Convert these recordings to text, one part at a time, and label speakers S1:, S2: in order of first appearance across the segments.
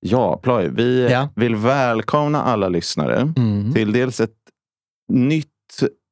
S1: Ja, Ploy, vi
S2: Ja. Mm.
S1: vill välkomna alla lyssnare till dels ett nytt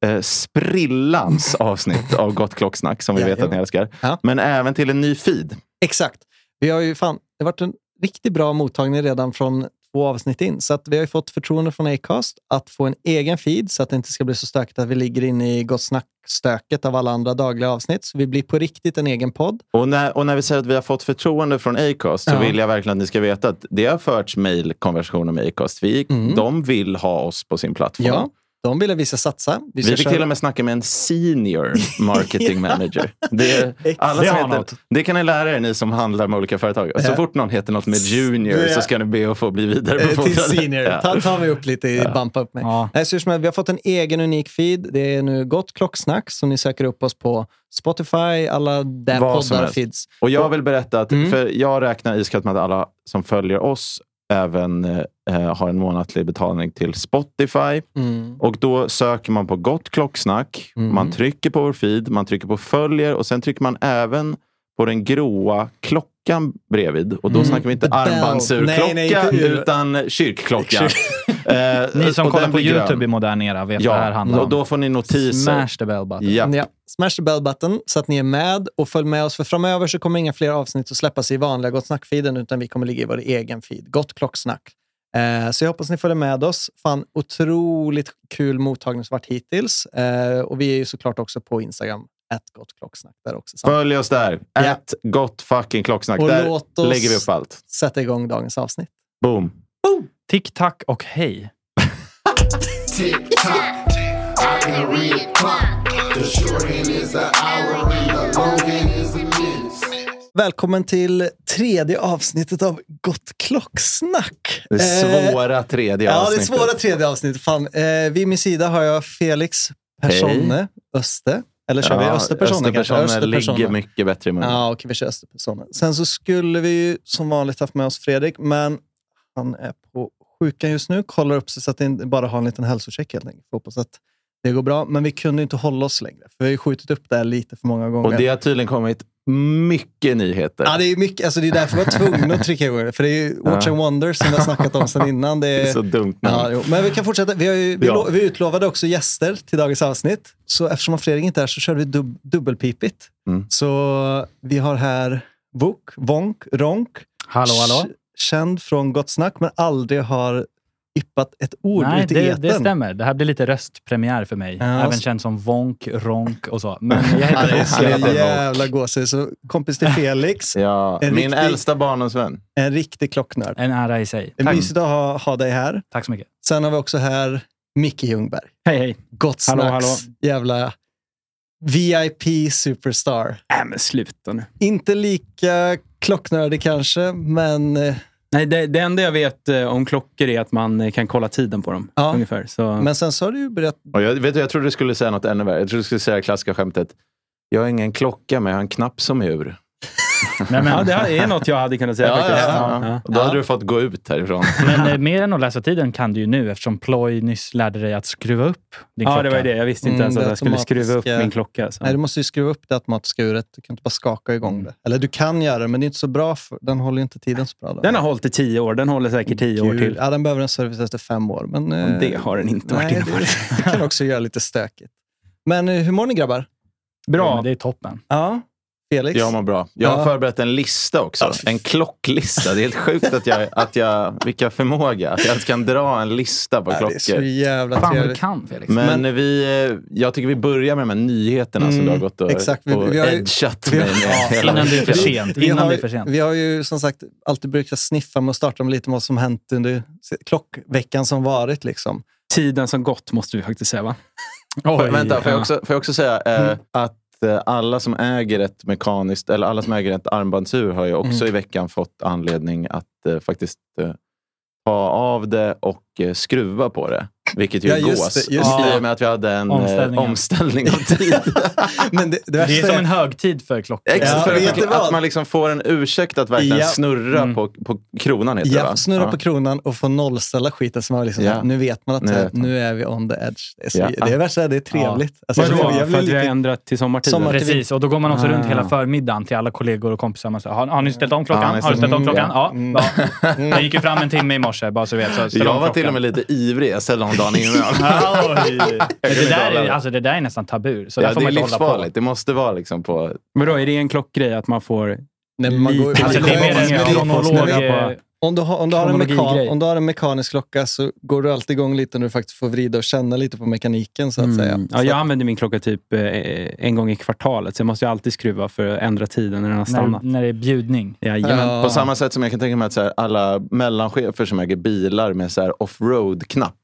S1: eh, sprillans avsnitt av Gott Klocksnack, som vi
S2: Ja,
S1: vet
S2: ja.
S1: att ni älskar.
S2: Ja.
S1: Men även till en ny feed.
S2: Exakt. Vi har ju fan, det har varit en riktigt bra mottagning redan från två avsnitt in. Så att vi har ju fått förtroende från Acast att få en egen feed så att det inte ska bli så stökigt att vi ligger inne i Gott Snack-stöket av alla andra dagliga avsnitt. Så vi blir på riktigt en egen podd.
S1: Och när, och när vi säger att vi har fått förtroende från Acast så
S2: Ja.
S1: vill jag verkligen att ni ska veta att det har förts mejlkonversationer med Acast. Vi,
S2: Mm.
S1: De vill ha oss på sin plattform.
S2: Ja, de ville vi ska satsa.
S1: Vi, fick till och med snacka med en senior marketing manager. Det, alla
S3: Det
S1: som
S3: har
S1: heter,
S3: något.
S1: det kan ni lära er, ni som handlar med olika företag. Så
S2: Ja.
S1: fort någon heter något med junior så ska ni be att få bli vidarebefordrade.
S2: Eh, till senior.
S1: Ja.
S2: Ta, ta mig upp lite, bumpa upp mig.
S3: Ja.
S2: Nej, så hur som helst, vi har fått en egen unik feed. Det är nu Gott Klocksnack, så ni söker upp oss på Spotify, alla där
S1: Vad som
S2: poddar
S1: helst.
S2: finns.
S1: Och jag vill berätta att
S2: Mm.
S1: för jag räknar iskallt med att alla som följer oss även eh, har en månatlig betalning till Spotify.
S2: Mm.
S1: Och då söker man på Gott Klocksnack.
S2: Mm.
S1: Man trycker på vår feed, man trycker på följer och sen trycker man även på den gråa klockan bredvid. Och då
S2: Mm.
S1: snackar vi inte
S2: The bell.
S1: armbandsurklocka
S2: Nej, nej, inte-
S1: utan kyrkklocka. Eh,
S3: Ni som
S1: och
S3: kollar
S1: den
S3: på
S1: blir grön.
S3: YouTube i modern era vet vad det här
S1: Ja,
S3: handlar om.
S1: och då får ni notiser.
S3: Smash the bell button.
S1: Ja.
S2: Ja, smash the bell button så att ni är med och följ med oss för framöver så kommer inga fler avsnitt att släppas i vanliga Gott Snack-feeden utan vi kommer ligga i vår egen feed, Gott Klocksnack. Eh, så jag hoppas ni följer med oss. Fan, otroligt kul mottagning som varit hittills. Eh, och vi är ju såklart också på Instagram, ett Gott Klocksnack där också. Så
S1: Följ oss där.
S2: Ja.
S1: Ett gott fucking klocksnack.
S2: Och
S1: där
S2: låt oss-
S1: lägger vi upp allt.
S2: Sätta igång dagens avsnitt.
S1: Boom.
S3: Tick, tack och hej.
S4: Tick tock, I can read a clock. The short end is an hour and the long end is a minute.
S2: Välkommen till tredje avsnittet av Gott Klocksnack.
S1: Det
S2: Eh,
S1: svåra tredje
S2: Ja, det är
S1: avsnittet.
S2: svåra tredje avsnittet. Fan. Eh, vid min sida har jag Felix Persone Öste. Eller kör vi Öste Persone? kanske?
S1: Österpersone
S2: Öste Persone.
S1: ligger mycket bättre i munnen.
S2: Ja, okej, vi kör Öste Persone. Sen så skulle vi ju som vanligt haft med oss Fredrik, men han är på sjukan just nu. Kollar upp sig så att det inte bara har en liten hälsocheck helt enkelt. Hoppas att det går bra. Men vi kunde ju inte hålla oss längre, för vi har ju skjutit upp det här lite för många gånger.
S1: Och det har tydligen kommit mycket nyheter.
S2: Ja, det är mycket, alltså det är därför vi var tvungna att trycka igång det. För det är ju Watch
S1: Ja.
S2: and Wonder som vi har snackat om sedan innan. Det
S1: Det
S2: är,
S1: är så dumt. namn.
S2: Ja, jo. Men vi kan fortsätta. Vi, har ju, vi,
S1: Ja.
S2: lo- vi utlovade också gäster till dagens avsnitt. Så eftersom Fredrik inte är här så körde vi dub, dubbelpipigt.
S1: Mm.
S2: Så vi har här Vuk, Vonk, Ronk.
S3: Hallå, hallå.
S2: K- Känd från Gott Snack, men aldrig har yppat ett ord
S3: Nej,
S2: ut i
S3: det,
S2: etern.
S3: det stämmer. Det här blir lite röstpremiär för mig.
S2: Ja,
S3: Även
S2: så-
S3: känd som Vonk, Ronk och så. Men
S2: Ja,
S3: jag
S2: det
S3: heter
S2: är
S1: Han heter
S2: så
S1: Vonk.
S3: Vonk.
S2: jävla gåshud. Så kompis till Felix,
S1: Ja,
S2: En
S1: min
S2: riktig-
S1: äldsta barndomsvän.
S2: en riktig klocknörd.
S3: En ära i sig.
S2: Det är
S3: Tack,
S2: Mysigt att ha, ha dig här.
S3: tack så mycket.
S2: Sen har vi också här Micke Ljungberg.
S3: Hej, hej.
S2: Gott Snacks
S5: Hallå, hallå.
S2: jävla VIP superstar.
S5: Nej, men sluta nu.
S2: Inte lika klocknördig kanske, men eh,
S5: Nej, det, det enda jag vet eh, om klockor är att man eh, kan kolla tiden på dem.
S2: Ja. Mm.
S5: Ungefär. Så,
S2: men sen så har du ju berättat...
S1: Och jag, vet du, jag trodde du skulle säga något ännu värre. Jag trodde du skulle säga det klassiska skämtet. Jag har ingen klocka, men jag har en knapp som är ur.
S3: Nej,
S5: ja,
S3: men,
S5: det här är något jag hade kunnat säga faktiskt. Ja.
S1: Och Då hade du fått gå ut härifrån.
S3: men eh, mer än att läsa tiden kan du ju nu eftersom Ploy nyss lärde dig att skruva upp din
S5: Ja,
S3: klocka.
S5: det var ju det. Jag visste inte
S2: Mm,
S5: ens att
S2: det
S5: jag skulle skruva upp
S2: automatiska-
S5: min klocka. Så.
S2: Nej, du måste ju skruva upp det automatiska uret. Du kan inte bara skaka
S5: Mm.
S2: igång det. Eller du kan göra det, men det är inte så bra. För, den håller ju inte tiden så bra. Då.
S5: Den har hållit i tio år. Den håller säkert tio år
S2: Kul.
S5: till.
S2: Ja, den behöver en service efter fem år. Men, eh,
S5: Det har den inte,
S2: nej,
S5: Martin.
S2: det, det kan också göra lite stökigt. Men eh, hur mår ni grabbar?
S3: Ja,
S5: Bra.
S3: men det är toppen.
S2: Ja. Felix?
S1: Jag mår bra. Jag har
S2: Ja.
S1: förberett en lista också. En klocklista. Det är helt sjukt att jag, att jag... Vilka förmåga. Att jag ens kan dra en lista på
S2: Ja, det är så
S1: klockor.
S2: jävla
S3: Fan vad du
S2: trevligt.
S3: kan, Felix.
S1: liksom? Men, vi, eh, jag tycker vi börjar med de här nyheterna som
S2: Mm,
S1: du har gått och,
S2: exakt. Vi-
S1: och
S2: vi har ju-
S1: edgat
S2: vi har-
S1: mig med.
S3: Ja,
S1: hela
S3: innan det är för
S1: veckan.
S3: sent.
S2: Vi
S3: Innan
S2: har,
S3: det är för sent.
S2: vi har ju som sagt alltid brukat sniffa med att starta med lite vad som hänt under se- klockveckan som varit. Liksom.
S5: Tiden som gått måste vi faktiskt säga, va?
S2: Mm.
S1: Får- Vänta, får jag också, får jag också säga eh, att att eh, alla som äger ett mekaniskt eller alla som äger ett armbandsur har ju också
S2: Mm.
S1: i veckan fått anledning att eh, faktiskt eh, ta av det och eh, skruva på det. Vilket ju
S2: Ja,
S1: är
S2: just
S1: gås.
S2: det, just
S1: I
S2: det.
S1: och med att vi hade en eh,
S3: Omställningen.
S1: omställning av tid.
S2: Men det, det
S3: Det är
S2: värsta
S3: som en högtid för klockan.
S1: Exakt,
S2: Ja,
S1: för
S2: vet du
S1: att,
S2: vad?
S1: att man liksom får en ursäkt att verkligen
S2: Ja.
S1: snurra
S3: Mm.
S1: på, på kronan. Heter det,
S2: Ja,
S1: va?
S2: snurra
S1: Ja.
S2: på kronan och få nollställa skiten. Så man liksom,
S1: Ja.
S2: Nu vet man att
S1: Nu
S2: nu,
S1: vet man.
S2: nu är vi on the edge. Det är, så,
S1: Ja.
S2: det, är värsta, det är trevligt. Alltså,
S5: Vadå?
S2: jag, jag
S5: För
S2: blir
S5: att vi har
S2: lite,
S5: ändrat till sommartiden?
S2: Sommar-
S3: Precis, och då går man också
S5: Ah.
S3: runt hela förmiddagen till alla kollegor och kompisar. Man säger, har, har ni ställt om
S1: Ja,
S3: klockan?
S1: ni
S3: har du ställt om
S1: ställer-
S3: klockan? Ja.
S2: Mm.
S3: ja. Jag gick ju fram en timme i morse, bara så du vet. Så ställ om
S1: Jag var till och
S3: klockan.
S1: med lite ivrig. Jag ställde om dagen innan.
S3: Oj. Men det,
S1: inte
S3: där
S1: hålla
S3: är,
S1: det.
S3: alltså, det där är nästan tabu. Så där
S1: ja,
S3: får
S1: det är
S3: man inte hålla på.
S1: livsfarligt. Det måste vara liksom på...
S5: Men då är det en klockgrej att man får...
S2: nej, men man går,
S5: Lite-
S3: Alltså,
S2: man
S3: det
S2: går,
S3: är mer
S2: men
S3: en
S2: det-
S3: kronolog.
S2: men
S3: eh,
S2: om, du har, om, du har en mekan,
S5: kronologigrej.
S2: om du har en mekanisk klocka så går du alltid igång lite när du faktiskt får vrida och känna lite på mekaniken. så att säga.
S5: Mm. Ja, jag använder min klocka typ eh, en gång i kvartalet, så jag måste ju alltid skruva för att ändra tiden när den
S3: När,
S5: har stannat.
S3: när det är bjudning.
S5: Jajamän.
S2: Ja.
S1: På samma sätt som jag kan tänka mig att så här, alla mellanchefer som äger bilar med så här offroad-knapp.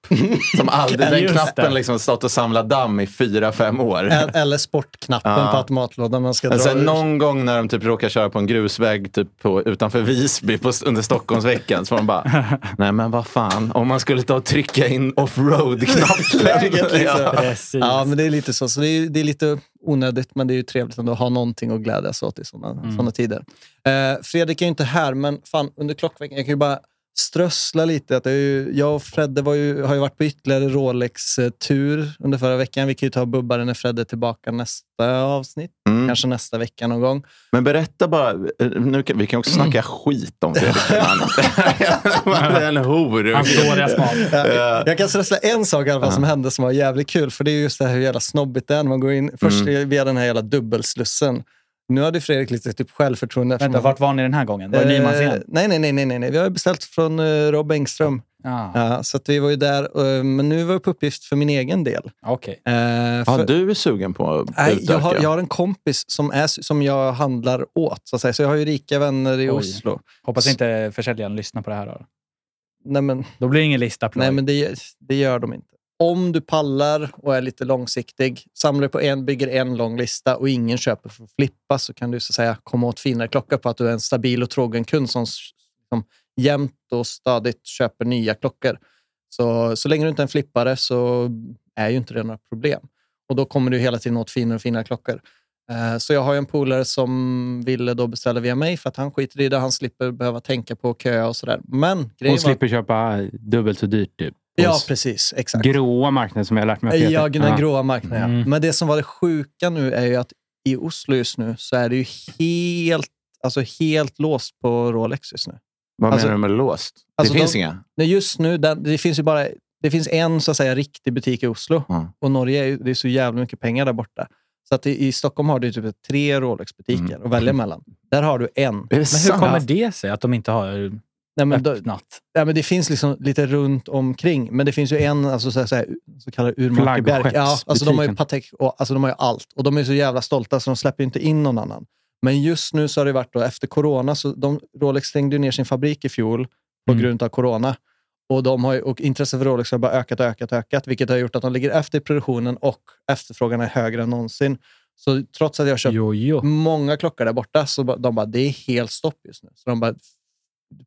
S1: Som aldrig, den
S3: Just det.
S1: knappen liksom stått och samlat damm i fyra, fem år.
S2: Ä- Eller sportknappen
S1: Ja.
S2: på automatlådan man ska
S1: Men
S2: dra
S1: sen
S2: ur.
S1: någon gång när de typ råkar köra på en grusväg typ på, utanför Visby på, under Stockholmsveckan så får de bara, nej men vad fan, om man skulle ta och trycka in offroad-knappen.
S2: Läget, liksom.
S1: ja.
S3: Precis.
S2: Ja, men det är lite så. så det, är, det är lite onödigt, men det är ju trevligt ändå att ha någonting att glädjas åt i sådana såna tider. Eh, Fredrik är ju inte här, men fan, under klockveckan, jag kan ju bara strössla lite. Att det är ju, jag och Fredde var ju, har ju varit på ytterligare Rolex-tur under förra veckan. Vi kan ju ta bubbare när Fredde är tillbaka nästa avsnitt.
S1: Mm.
S2: Kanske nästa vecka någon gång.
S1: Men berätta bara, eh, nu kan, vi kan
S2: Mm.
S1: också snacka skit om Fredrik. Han han är en
S3: Hans
S1: horunge.
S3: dåliga smak.
S2: Ja, Jag kan strössla en sak i alla fall som hände som var jävligt kul. För det är just det här hur jävla snobbigt det är när man går in först via den här jävla dubbelslussen. Nu hade ju Fredrik lite typ självförtroende. eftersom
S3: Vänta,
S2: han-
S3: vart var ni den här gången? Var det
S2: Eh,
S3: Nymansen?
S2: nej, nej, nej, nej, nej, nej. Vi har ju beställt från eh, Rob Engström.
S3: Ah,
S2: Ja, så att vi var ju där. eh, men nu var jag på uppgift för min egen del.
S3: Okej.
S2: Eh,
S1: Ja,
S2: för-
S1: du är sugen på att
S2: Nej, jag,
S1: utöka.
S2: har, jag har en kompis som, är, som jag handlar åt. Så, att säga. så jag har ju rika vänner i
S3: Oj.
S2: Oslo.
S3: Hoppas inte försäljaren lyssnar på det här. Då,
S2: Nej, men,
S3: då blir det ingen lista. ploj.
S2: nej, men det, det gör de inte. Om du pallar och är lite långsiktig, samlar på en, bygger en lång lista och ingen köper för att flippa så kan du så att säga komma åt finare klocka på att du är en stabil och trogen kund som, som jämt och stadigt köper nya klockor. Så, så länge du inte är en flippare så är ju inte det några problem. Och då kommer du hela tiden åt finare och finare klockor. Eh, Så jag har ju en polare som ville då beställa via mig för att han skiter i det. Han slipper behöva tänka på att köa och sådär. Men grejen
S5: Hon slipper köpa eh, dubbelt så dyrt typ.
S2: var... Ja,
S5: Hos
S2: precis. Exakt.
S5: gråa marknaden som jag har lärt mig att det
S2: Ja,
S5: heter.
S2: den
S5: Ja.
S2: gråa marknaden. ja.
S3: Mm.
S2: Men det som var det sjuka nu är ju att i Oslo just nu så är det ju helt, alltså helt låst på Rolex just nu.
S1: Vad
S2: Alltså-
S1: menar du med låst?
S2: Alltså
S1: det finns
S2: de-
S1: inga?
S2: Nej, just nu, den, det finns ju bara det finns en så att säga riktig butik i Oslo.
S1: Ja.
S2: Och Norge, är, ju- det är så jävla mycket pengar där borta. Så att i, i Stockholm har du ju typ tre Rolex-butiker att välja mellan. Där har du en.
S1: Är det
S3: Men hur
S1: sant?
S3: kommer det sig att de inte har
S2: Nej, men då,
S3: öppnat?
S2: ja, men det finns liksom lite runt omkring, men det finns ju en alltså, så, här, så, här, så kallad urmakerbjärk. Ja, alltså, de har ju
S5: Flaggskeppsbutiken.
S2: Patek och alltså, de har ju allt. Och de är så jävla stolta så de släpper ju inte in någon annan. Men just nu så har det varit då, efter corona, så de, Rolex stängde ju ner sin fabrik i fjol på
S3: Mm.
S2: grund av corona. Och, de har ju, och intresset för Rolex har bara ökat och ökat och ökat, vilket har gjort att de ligger efter i produktionen och efterfrågan är högre än någonsin. Så trots att jag köpt
S3: Jo, jo.
S2: många klockor där borta. Så ba- de bara, det är helt stopp just nu. Så de bara,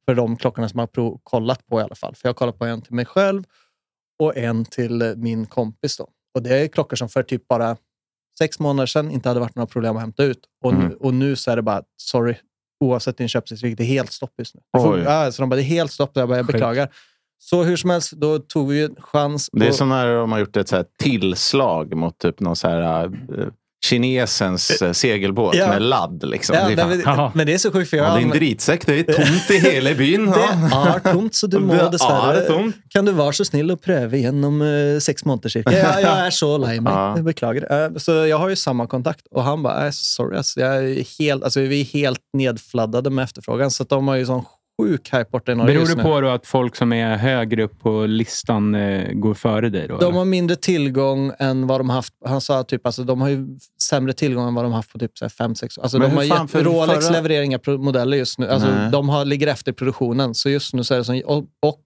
S2: för de klockorna som jag har prov- kollat på i alla fall. För jag har kollat på en till mig själv och en till eh, min kompis. Då. Och det är klockor som för typ bara sex månader sedan inte hade varit några problem att hämta ut. Och, nu,
S1: Mm.
S2: och nu så är det bara, sorry, oavsett din köpshistorik, det är helt stopp just nu. Det får-
S1: Oj.
S2: Ja, så de bara, det är helt stopp. Jag, bara, jag
S3: Sjukt.
S2: beklagar. Så hur som helst, då tog vi ju en chans.
S1: Det är
S2: och-
S1: som när de har gjort ett så här tillslag mot typ någon så här, eh, kinesens eh, segelbåt
S2: Ja.
S1: med ladd. Liksom.
S2: ja,
S1: det är fan,
S2: nej, men,
S3: Haha.
S2: men det är så sjukt, för jag
S1: ja,
S2: har
S1: det är en
S2: använt-
S1: dritsäck, det är tomt i hela byn.
S2: Det
S1: ja.
S2: är tomt så du må
S1: Det är
S2: dessvärre.
S1: tomt.
S2: Kan du vara så snill och pröva igen om eh, sex månader cirka? Ja, jag är så laj mig.
S1: Ja.
S2: Jag beklagar. Eh, så jag har ju samma kontakt och han bara, "Nej, sorry, alltså, jag är helt, alltså, vi är helt nedfladdade med efterfrågan. Så att de har ju sån sjuk hype borta i Norge
S5: Beror
S2: just
S5: det
S2: nu.
S5: på då att folk som är högre upp på listan eh, går före dig? Då,
S2: De
S5: eller?
S2: har mindre tillgång än vad de haft. Han sa typ, alltså, de har ju sämre tillgång än vad de haft på typ 5-6 år. Alltså,
S1: Men
S2: de
S1: hur
S2: har
S1: fan,
S2: gett,
S1: för
S2: Rolex
S1: förra-
S2: levererar inga pro- modeller just nu. Alltså,
S1: Nej.
S2: de har, ligger efter i produktionen. Så just nu så är det som, och, och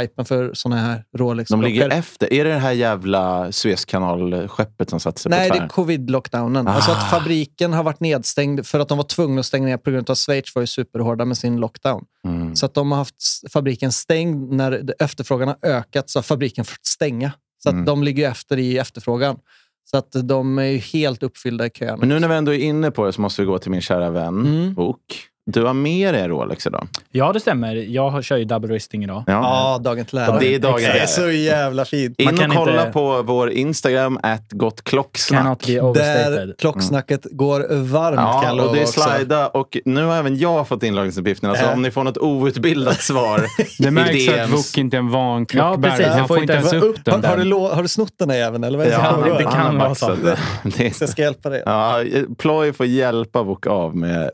S2: hypen för såna här Rolex.
S1: De ligger efter. Är det det här jävla Suezkanalskeppet som satte sig
S2: Nej,
S1: på
S2: det
S1: tvären?
S2: är covid-lockdownen. Alltså
S1: Ah.
S2: att fabriken har varit nedstängd för att de var tvungna att stänga ner på grund av att Schweiz var ju superhårda med sin lockdown.
S1: Mm.
S2: Så att de har haft s- fabriken stängd. När det- efterfrågan har ökat så har fabriken fått stänga. Så att
S1: Mm.
S2: de ligger ju efter i efterfrågan. Så att de är ju helt uppfyllda i kön.
S1: Men nu när vi ändå är inne på det så måste vi gå till min kära vän,
S2: Mm.
S1: Bok. Du har med dig Rolex idag.
S3: Ja, det stämmer. Jag har- kör ju double wristing idag.
S2: Ja, dagen till ära.
S1: Det är dagen till ära.
S2: Det är så jävla fint.
S1: In
S3: Man kan
S1: och kolla
S3: inte-
S1: på vår Instagram, at
S3: Cannot
S1: gottklocksnack.
S3: be
S2: Där
S3: overstated.
S2: klocksnacket går varmt kan jag
S1: Ja,
S2: lova
S1: och det är
S2: också.
S1: slida. Och nu har även jag fått inloggningsuppgifterna. Så
S2: Äh.
S1: om ni får något outbildat svar
S5: Det märks
S1: i
S5: att
S1: DMs.
S5: Wook inte är en van klockbärare.
S3: precis.
S5: Han
S3: Jag
S5: får inte ens upp den.
S2: Har, har, du,
S5: där.
S2: lå- har du snott den här jäveln? Eller vad är det
S1: Ja,
S2: som
S3: han-
S2: pågår?
S3: det kan
S1: har
S3: vara
S1: baxat
S3: så.
S1: det. Det är-
S2: Så jag ska hjälpa dig.
S1: Ja, Ploy får hjälpa Wook av med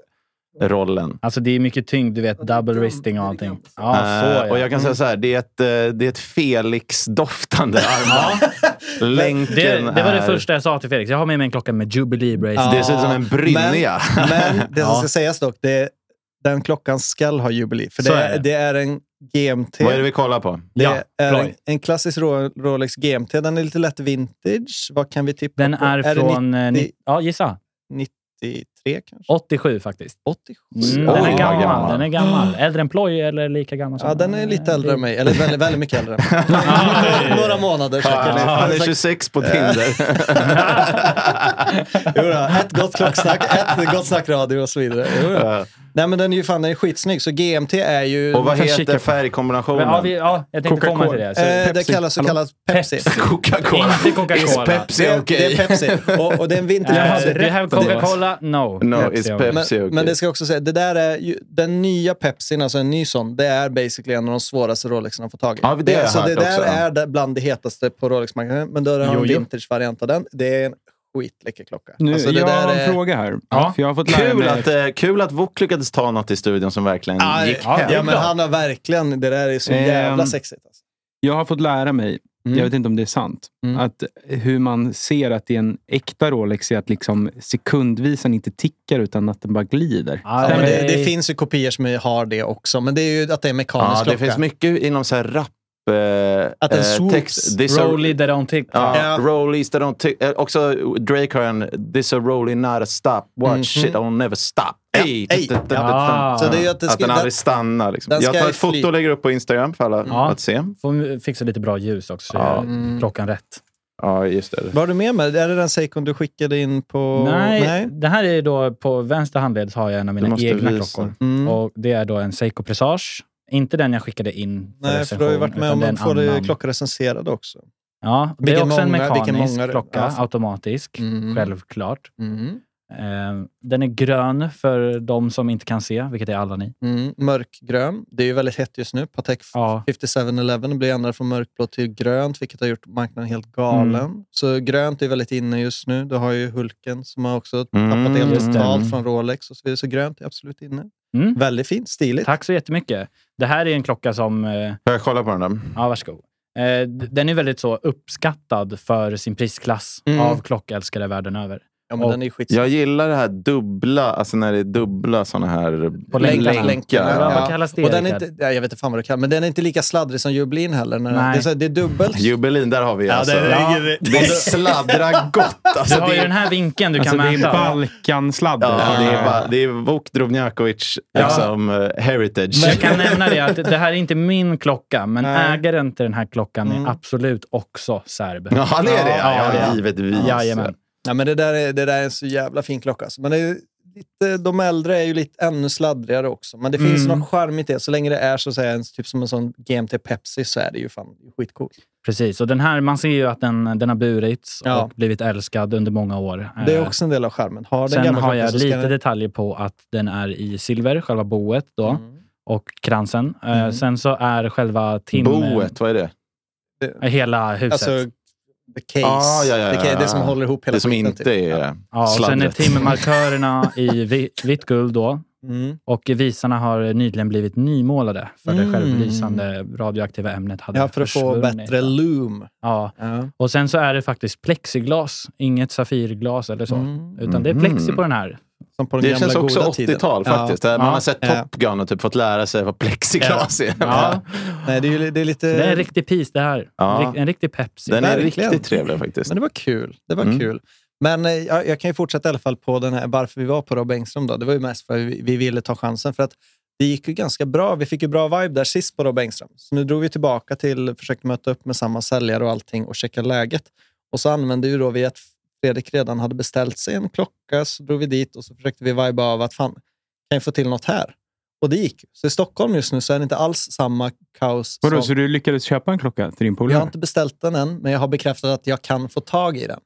S1: rollen.
S3: Alltså det är mycket tyngd, du vet. Double wristing och allting. Ja, så Mm.
S1: Eh,
S3: ja.
S1: och jag kan säga så här, det är ett, eh, det är ett Felix-doftande armband. Länken
S3: det, det var det
S1: är-
S3: första jag sa till Felix. Jag har med mig en klocka med Jubilee Bracelet.
S1: Det ser ut som en brynja.
S2: Men, men det som
S3: Ja.
S2: ska sägas dock, det är, den klockan skall ha jubilee. För
S3: Så
S2: det,
S3: är det.
S2: är, det är en GMT.
S1: Vad är det vi kollar på?
S2: Det
S3: Ja,
S2: är en,
S3: Ploy.
S2: en klassisk Ro- Rolex GMT. Den är lite lätt vintage. Vad kan vi tippa
S3: Den
S2: på?
S3: är,
S2: det
S3: från... eh, ni- ja, gissa.
S2: 93 kanske?
S3: 87 faktiskt.
S2: 87?
S3: Mm,
S1: Oj,
S3: den,
S1: vad
S3: är gammal,
S1: gammal.
S3: den är gammal. Äldre än Ploy eller lika gammal som... Mm.
S2: Ja, den är lite äldre än mig. Eller väldigt, väldigt mycket äldre än mig.
S3: Oj.
S2: Några månader säkert.
S1: Han är- Han är 26 på Tinder.
S2: Jo då, ett gott klocksnack, ett gott snack radio och så vidare. Jo då.
S1: Ja.
S2: Nej men den är ju fan den är skitsnygg, så GMT är ju...
S1: Och vad
S3: får kika
S1: heter
S3: på. Men,
S1: färgkombinationen?
S3: ja, vi, ja, jag tänkte
S5: Coca-Cola.
S3: komma till det. Så,
S2: eh, det kallas så kallat Pepsi.
S3: Pepsi.
S1: Coca-Cola.
S3: Inte Coca-Cola.
S1: Is Pepsi
S2: Det,
S1: okej?
S2: är- det är Pepsi. Och, och det är en vintage
S3: Eh,
S2: Pepsi.
S3: do you have Coca-Cola? No.
S1: No, it's
S3: only.
S1: Pepsi.
S2: men,
S1: okej.
S2: men det ska jag också säga, det där är ju, den nya Pepsin, alltså en ny sån, det är basically en av de svåraste Rolexen att få tag i.
S1: Ja, det har jag
S2: alltså, det
S1: hört
S2: där
S1: också.
S2: är det- bland det hetaste på Rolex-marknaden, men då har
S3: Jo,
S2: en
S3: jo.
S2: vintage-variant av den. Det är en skitläcker klocka.
S5: Nu,
S2: Alltså, det
S5: jag
S2: där
S5: har en
S2: är-
S5: fråga här.
S3: Ja.
S5: För jag har fått lära
S1: Kul
S5: mig
S1: att, eh, kul att Wok lyckades ta något i studion som verkligen
S2: Ah, Ja,
S1: gick
S3: ja,
S1: hem.
S2: Ja, men han har verkligen, det där är så
S5: Ehm,
S2: jävla sexigt. Alltså.
S5: Jag har fått lära mig,
S2: Mm.
S5: jag vet inte om det är sant,
S2: Mm.
S5: att hur man ser att det är en äkta Rolex är att liksom sekundvisan inte tickar utan att den bara glider.
S2: Ja, men det,
S3: Nej.
S2: det finns ju kopior som har det också, men det är ju att det är mekanisk
S1: Ja,
S2: klocka.
S1: det finns mycket inom så här rap... Eh,
S2: Att den
S1: eh,
S2: swoops.
S1: text. This a-
S3: Rolly that don't tick.
S1: Ja,
S2: Ja.
S1: rollies that don't tick. Eh, Också Drake har en “This a rollie not a stop. Watch
S2: Mhm.
S1: shit I'll never stop”. Ey,
S2: ey.
S1: da, da, da,
S3: Ja.
S1: da.
S3: Så det är
S2: ju att det
S1: att
S2: ska-
S1: den
S2: den-
S1: aldrig stannar. Liksom.
S2: den
S1: Jag
S2: ska
S1: tar
S2: ju
S1: ett foto
S2: fly.
S1: och lägger upp på Instagram för alla
S3: Ja.
S1: att se.
S3: Får fixa lite bra ljus också, så
S1: Ja.
S3: gör
S2: Mm.
S3: klockan rätt.
S1: Ja, just det.
S2: Vad har du med mig? Är det den Seikon du skickade in på...
S3: Nej, det här är då på vänster handled så har jag en av
S1: Du
S3: mina
S1: måste
S3: egna
S1: visa.
S3: klockor.
S2: Mm.
S3: Och det är då en Seiko Presage. Inte den jag skickade in för
S2: Nej, för
S3: recension,
S2: du har ju varit med
S3: utan
S2: om
S3: det är en
S2: att få det
S3: annan.
S2: klockrecenserade också.
S3: Ja, det är
S2: Vilken
S3: också en
S2: många- vilken
S3: mekanisk
S2: många det-
S3: klocka,
S2: ja.
S3: automatisk,
S2: Mm.
S3: självklart.
S2: Mm.
S3: Eh, den är grön för de som inte kan se, vilket är alla ni.
S2: Mm. Mörkgrön. Det är ju väldigt hett just nu. Patek
S3: Ja.
S2: 5711 blir ändrad från mörkblått till grönt, vilket har gjort marknaden helt galen.
S3: Mm.
S2: Så grönt är väldigt inne just nu. Du har ju Hulken som har också
S1: Mm,
S2: tappat helt
S3: just det.
S2: totalt från Rolex och så vidare. Så grönt är absolut inne.
S3: Mm.
S2: Väldigt fint, stiligt.
S3: Tack så jättemycket. Det här är en klocka som... eh,
S1: Får jag kolla på den där?
S3: Ja, varsågod. Eh, d- Den är väldigt så uppskattad för sin prisklass
S2: Mm.
S3: av klockälskare världen över.
S2: Ja, men
S3: Och-
S2: den är ju skits...
S1: Jag gillar det här dubbla, alltså när det är dubbla såna här
S3: På
S2: Länkar,
S3: länkarna.
S2: länkar,
S3: Ja,
S1: ja.
S3: Vad kallas det?
S2: Och den är
S3: Rickard?
S2: inte, ja, jag vet inte fan vad det kallas, men den är inte lika sladdrig som jubilin heller. När den,
S3: Nej.
S2: det, är så här, det är dubbelt.
S1: Jubelin, där har vi alltså.
S3: det är-
S1: det, sladdrar gott. Alltså,
S3: Du har ju
S1: det,
S3: den här vinkeln du
S5: Alltså
S3: kan
S5: det är
S3: mäta.
S5: Balkansladdar.
S1: ja, det är bara, det är Vuk Drobnjakovic liksom, eh, heritage.
S3: Jag kan nämna det att det här är inte min klocka, men
S2: Nej.
S3: ägaren till den här klockan
S2: Mm.
S3: är absolut också serb.
S1: Ja, han är det. Ja,
S3: Ja, ja.
S1: givetvis.
S3: Jajamän.
S2: Ja, men det, där är, det där är en så jävla fin klocka. Alltså. Men det är lite, de äldre är ju lite ännu sladdrigare också. Men det finns
S3: Mm.
S2: något charmigt i det. Så länge det är så att säga, en, typ som en sån GMT Pepsi så är det ju fan skitcoolt.
S3: Precis, och den här, man ser ju att den, den har burits
S2: Ja.
S3: och blivit älskad under många år.
S2: Det är
S3: Eh,
S2: också en del av charmen. Har den
S3: Sen
S2: gamla
S3: har
S2: klockan
S3: jag
S2: så ska
S3: lite
S2: den-
S3: detaljer på att den är i silver, själva boet då,
S2: Mm.
S3: och kransen. Eh,
S2: Mm.
S3: Sen så är själva tim...
S1: Boet, vad är det?
S3: eh, Hela huset.
S2: Alltså, the case.
S1: Ah, ja, ja,
S2: the case.
S1: ja,
S2: Det som
S1: ja.
S2: håller ihop hela
S1: Det som
S2: skiten,
S1: inte
S2: typ.
S1: är
S3: ja, och sen är
S1: sladdret.
S3: timmermarkörerna i vi- vitt guld då.
S2: Mm.
S3: Och visarna har nyligen blivit nymålade för det
S2: Mm.
S3: självbelysande radioaktiva ämnet hade
S2: Ja, för att få
S3: försvunnit.
S2: bättre loom.
S3: Ja,
S2: Ja.
S3: och sen så är det faktiskt plexiglas, inget safirglas eller så.
S2: Mm.
S3: Utan det är plexi på den här.
S2: Som på den
S1: Det
S2: gamla
S1: känns också
S2: goda tiden.
S1: 80-tal
S2: Ja.
S1: faktiskt. Där Man
S3: Ja.
S1: har sett
S2: Ja.
S1: Top Gun och typ fått lära sig vad plexiglas är.
S3: Ja.
S2: Nej, det är, ju- det är lite...
S3: Det är en riktig pis det här.
S1: Ja.
S3: En rik- En riktig Pepsi.
S1: Den är
S2: Verkligen.
S1: riktigt trevlig faktiskt.
S2: Men det var kul. Det var
S1: Mm.
S2: kul. Men eh, jag, jag kan ju fortsätta i alla fall på den här, varför vi var på Rob Engström. Då. Det var ju mest för att vi, vi ville ta chansen. För att det gick ju ganska bra. Vi fick ju bra vibe där sist på Rob Engström. Så nu drog vi tillbaka till, försökte möta upp med samma säljare och allting och checka läget. Och så använde ju då vi att Fredrik redan hade beställt sig en klocka. Så drog vi dit och så försökte vi vibe av att fan, kan jag få till något här? Och det gick. Så i Stockholm just nu så är det inte alls samma kaos.
S5: Vadå,
S2: som-
S5: så du lyckades köpa en klocka till din
S2: jag har
S5: polare?
S2: inte beställt den än, men jag har bekräftat att jag kan få tag i den.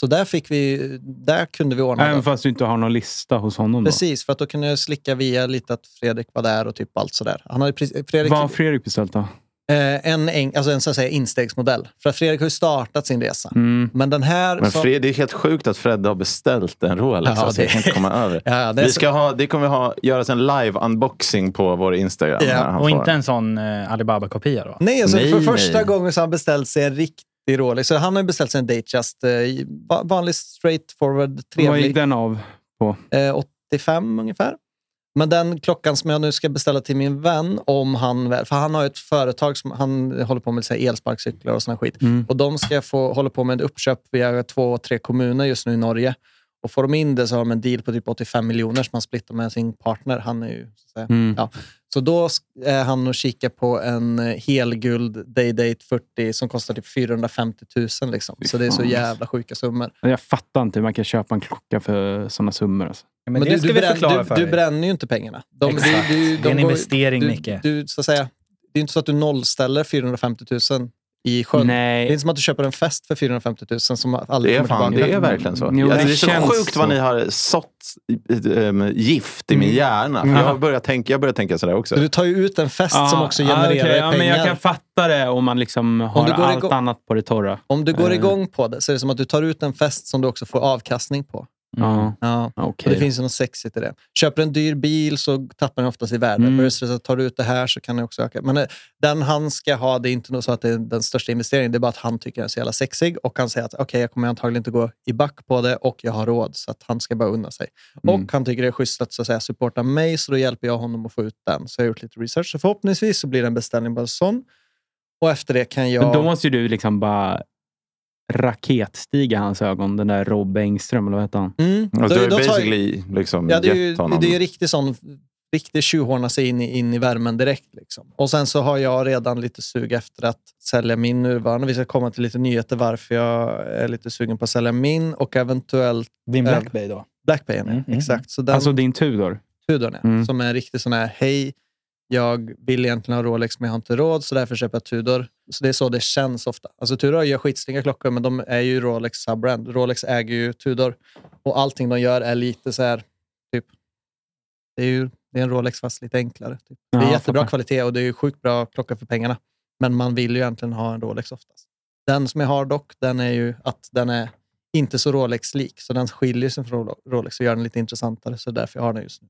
S2: Så där, fick vi, där kunde vi ordna
S5: Även
S2: den.
S5: fast du inte har någon lista hos honom? Då.
S2: Precis, för att då kunde jag slicka via lite att Fredrik var där och typ allt sådär. Han hade precis, Fredrik,
S5: Vad har Fredrik beställt då?
S2: eh, en, eng, alltså en så att säga, instegsmodell. För att Fredrik har ju startat sin resa.
S5: Mm.
S2: Men den här...
S1: Men
S2: så-
S1: Fred, det är helt sjukt att Fred har beställt en Rolex.
S2: Ja,
S1: alltså, jag
S2: det-
S1: kan inte komma över.
S2: ja, det är
S1: Vi
S2: så-
S1: ska ha, det kommer ha, göras en live-unboxing på vår Instagram.
S2: Ja.
S1: när han
S3: Och
S1: får-
S3: inte en sån eh, Alibaba-kopia då?
S2: Nej, alltså
S1: Nej,
S2: för första
S1: nej.
S2: gången så har han beställt sig en riktig Rolex. Så han har ju beställt sig en Datejust. Eh, va- vanlig straightforward,
S5: Vad gick
S2: trevlig.
S5: den av på?
S2: eh, 85 ungefär. Men den klockan som jag nu ska beställa till min vän, om han väl, för han har ju ett företag som han håller på med så här elsparkcyklar och sån här skit.
S5: Mm.
S2: Och de ska få hålla på med ett uppköp via två, tre kommuner just nu i Norge. Och får de in det så har de en deal på typ 85 miljoner som han splittar med sin partner. Han är ju, så, att säga.
S5: Mm.
S2: Ja. så då sk- är han och kikar på en eh, helguld Daydate 40 som kostar typ 450 000. Liksom. Så det är så
S5: fan.
S2: jävla sjuka summor.
S5: Jag fattar inte hur man kan köpa en klocka för sådana summor. Alltså.
S3: Men, det ska
S2: du,
S3: vi
S2: brän-
S3: förklara
S2: du,
S3: för
S2: du
S3: dig.
S2: bränner ju inte pengarna. De,
S3: Exakt.
S2: du- du-
S3: Det
S2: de
S3: är en
S2: går-
S3: investering,
S2: du,
S3: Micke.
S2: Du, så att säga, det är ju inte så att du nollställer 450 000 i sjön. Det är
S5: Nej.
S2: inte som att du köper en fest för 450 000 som aldrig
S1: Det är,
S2: kommer
S1: fan,
S2: tillbaka. Mm.
S1: det är verkligen så.
S5: Jo,
S1: alltså,
S5: det
S1: det är så
S5: känns
S1: sjukt vad
S5: så.
S1: ni har sått ähm, gift i min hjärna. För Jag börjar tänka, jag börjar tänka sådär också.
S2: Mm. Så du tar ju ut en fest som också
S5: Ah,
S2: genererar
S5: okej.
S2: dig
S5: ja, men
S2: pengar.
S5: Jag kan fatta det om man liksom har
S2: du går
S5: allt
S2: igång-
S5: annat på det torra.
S2: Om du går
S3: Mm.
S5: Eh.
S2: igång på det så är det som att du tar ut en fest som du också får avkastning på.
S5: Mm. Ja,
S2: Ja. Och
S5: okej.
S2: det finns ju något sexigt i det. Köper en dyr bil så tappar den oftast i värde.
S5: Mm.
S2: Mm. Så tar du ut det här så kan den också öka. Men eh, den han ska ha, det är inte nog så att det är den största investeringen. Det är bara att han tycker den är så jävla sexig och han säger att okej, jag kommer antagligen inte gå i back på det och jag har råd. Så att han ska bara unna sig.
S5: Mm.
S2: Och han tycker det är schysst att, så att säga, supporta mig så då hjälper jag honom att få ut den. Så jag har gjort lite research. Så förhoppningsvis så blir det en beställning bara sån. Och efter det kan jag...
S5: Men då måste ju du liksom bara raketstiga hans ögon. Den där Rob Engström, eller vad heter han?
S2: Mm,
S1: alltså,
S2: då-
S1: du har
S2: då
S1: ju
S2: tar jag-
S1: basically
S3: Mm,
S1: liksom
S2: Ja, det är ju,
S1: gett honom...
S2: det är ju riktigt sån riktig tjuvhåna sig in i, in i värmen direkt. Liksom. Och sen så har jag redan lite sug efter att sälja min nuvarande. Vi ska komma till lite nyheter varför jag är lite sugen på att sälja min och eventuellt
S3: Din
S2: Ja.
S3: Black Bay då?
S2: Blackbayen.
S3: Mm, mm,
S2: Exakt. Så den
S5: Alltså din Tudor.
S2: Tudorn, ja,
S5: Mm.
S2: som är en riktig sån här hej, jag vill egentligen ha Rolex men jag har inte råd så därför köper jag Tudor. Så det är så det känns ofta. Alltså Tudor gör skitsnygga klockor men de är ju Rolex subbrand. Rolex äger ju Tudor och allting de gör är lite så här, typ, det är ju det är en Rolex fast lite enklare. Typ. Det är
S5: Ja,
S2: jättebra
S5: fattar.
S2: kvalitet och det är ju sjukt bra klocka för pengarna. Men man vill ju egentligen ha en Rolex oftast. Den som jag har dock, den är ju att den är inte så Rolex-lik, så den skiljer sig från Rolo- Rolex och gör den lite intressantare. Så det är därför jag har den just nu.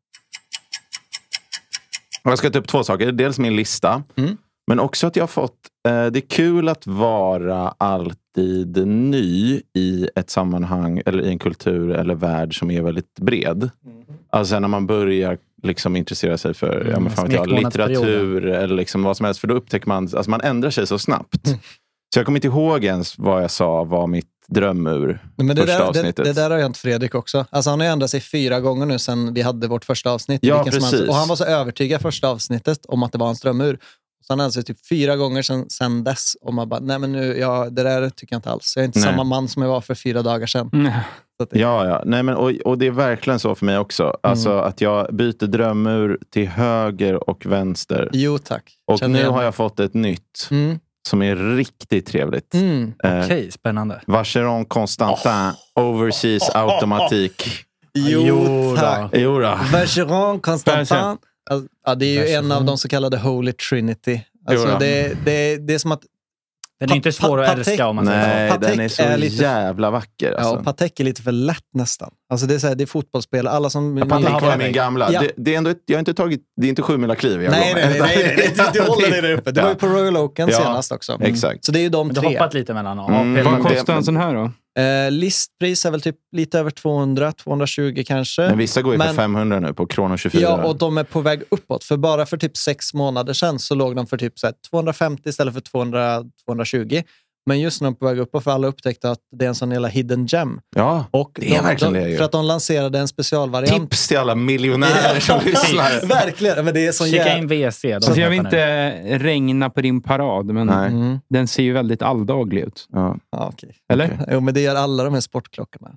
S1: Och Jag ska ta upp två saker. Dels min lista,
S2: Mm.
S1: men också att jag har fått... Eh, det är kul att vara alltid ny i ett sammanhang eller i en kultur eller värld som är väldigt bred. Alltså när man börjar liksom intressera sig för ja, men fan vet jag,
S3: smekmånadsperioden.
S1: litteratur eller liksom vad som helst. För då upptäcker man... Alltså man ändrar sig så snabbt. Så jag kommer inte ihåg ens vad jag sa var mitt drömur.
S2: Nej, Men det,
S1: Första
S2: där, det,
S1: avsnittet.
S2: det där har hänt Fredrik också. Alltså han har ju ändrat sig fyra gånger nu sedan vi hade vårt första avsnitt.
S1: Ja,
S2: Vilken som helst.
S1: precis.
S2: Och han var så övertygad första avsnittet om att det var en strömur. Så han har ändrat sig typ fyra gånger sedan, sedan dess. Och man bara, nej men nu, ja, det där tycker jag inte alls. Jag är inte
S1: Nej.
S2: samma man som jag var för fyra dagar sedan.
S1: Ja, ja. Nej, men, och, och det är verkligen så för mig
S2: Mm.
S1: också. Alltså att jag byter drömur till höger och vänster.
S2: Jo tack.
S1: Och
S2: Mm. Känner
S1: nu
S2: igen.
S1: har jag fått ett nytt
S2: Mm.
S1: som är riktigt trevligt.
S2: Mm. Oh.
S3: Okej,
S1: Eh,
S3: spännande.
S1: Vacheron Constantin Overseas Automatik.
S3: Jo tack.
S1: Jo då.
S2: Bergeron, Constantin.
S5: Bergeron.
S2: Alltså, ja, det är ju en av de så kallade Holy Trinity.
S1: Jo
S2: Alltså,
S1: då.
S2: det, det, det är som att...
S3: Den är inte
S2: Pa-
S3: svår
S2: pa-
S3: att älska
S2: Patek-
S3: om man säger så.
S1: Nej,
S2: Patek
S1: den är så
S2: är lite-
S1: jävla vacker.
S2: Ja,
S1: Alltså.
S2: och Patek är lite för lätt nästan. Alltså det är, så här, det är fotbollsspel. Alla som...
S1: Jag
S2: ni-
S1: Patrik var min gamla.
S2: Ja.
S1: Det, det är ändå ett, jag har inte tagit, det är inte sju mila kliv jag
S2: Nej,
S1: går
S2: nej,
S1: med.
S2: nej. nej, nej, Du, du håller dig där uppe. Du var ju på Royal Oaken
S1: Ja.
S2: senast också.
S1: Mm. Exakt.
S2: Så det är ju de
S3: Men du
S2: tre.
S3: har hoppat lite mellan A och
S1: Mm.
S3: P.
S1: Vad
S5: Vad
S1: det-
S5: kostar en sån här då?
S2: Eh, listpris är väl typ lite över 200, 220 kanske.
S1: Men vissa går ju för
S2: Mm. Men-
S1: 500 nu på Krono 24.
S2: Ja, och de är på väg uppåt. För bara för typ sex månader sedan så låg de för typ så här 250 istället för 200, 220. Men just nu är de på väg uppåt för alla upptäckte att det är en sån jävla hidden gem.
S1: ja.
S2: Och
S1: Det är
S2: de,
S1: verkligen
S2: de,
S1: det ju.
S2: För att de lanserade en specialvariant.
S1: Tips till alla miljonärer som lyssnar.
S2: Verkligen. Men det är sån
S3: Kika
S2: jävla...
S3: in WC. de
S5: Alltså jag vill
S3: heter nu.
S5: inte regna på din parad, men
S1: Nej.
S2: Mm.
S5: den ser ju väldigt alldaglig ut.
S1: Ja.
S2: Ja, okej.
S5: Eller?
S1: Okej.
S2: Jo, men det gör alla de här sportklockorna.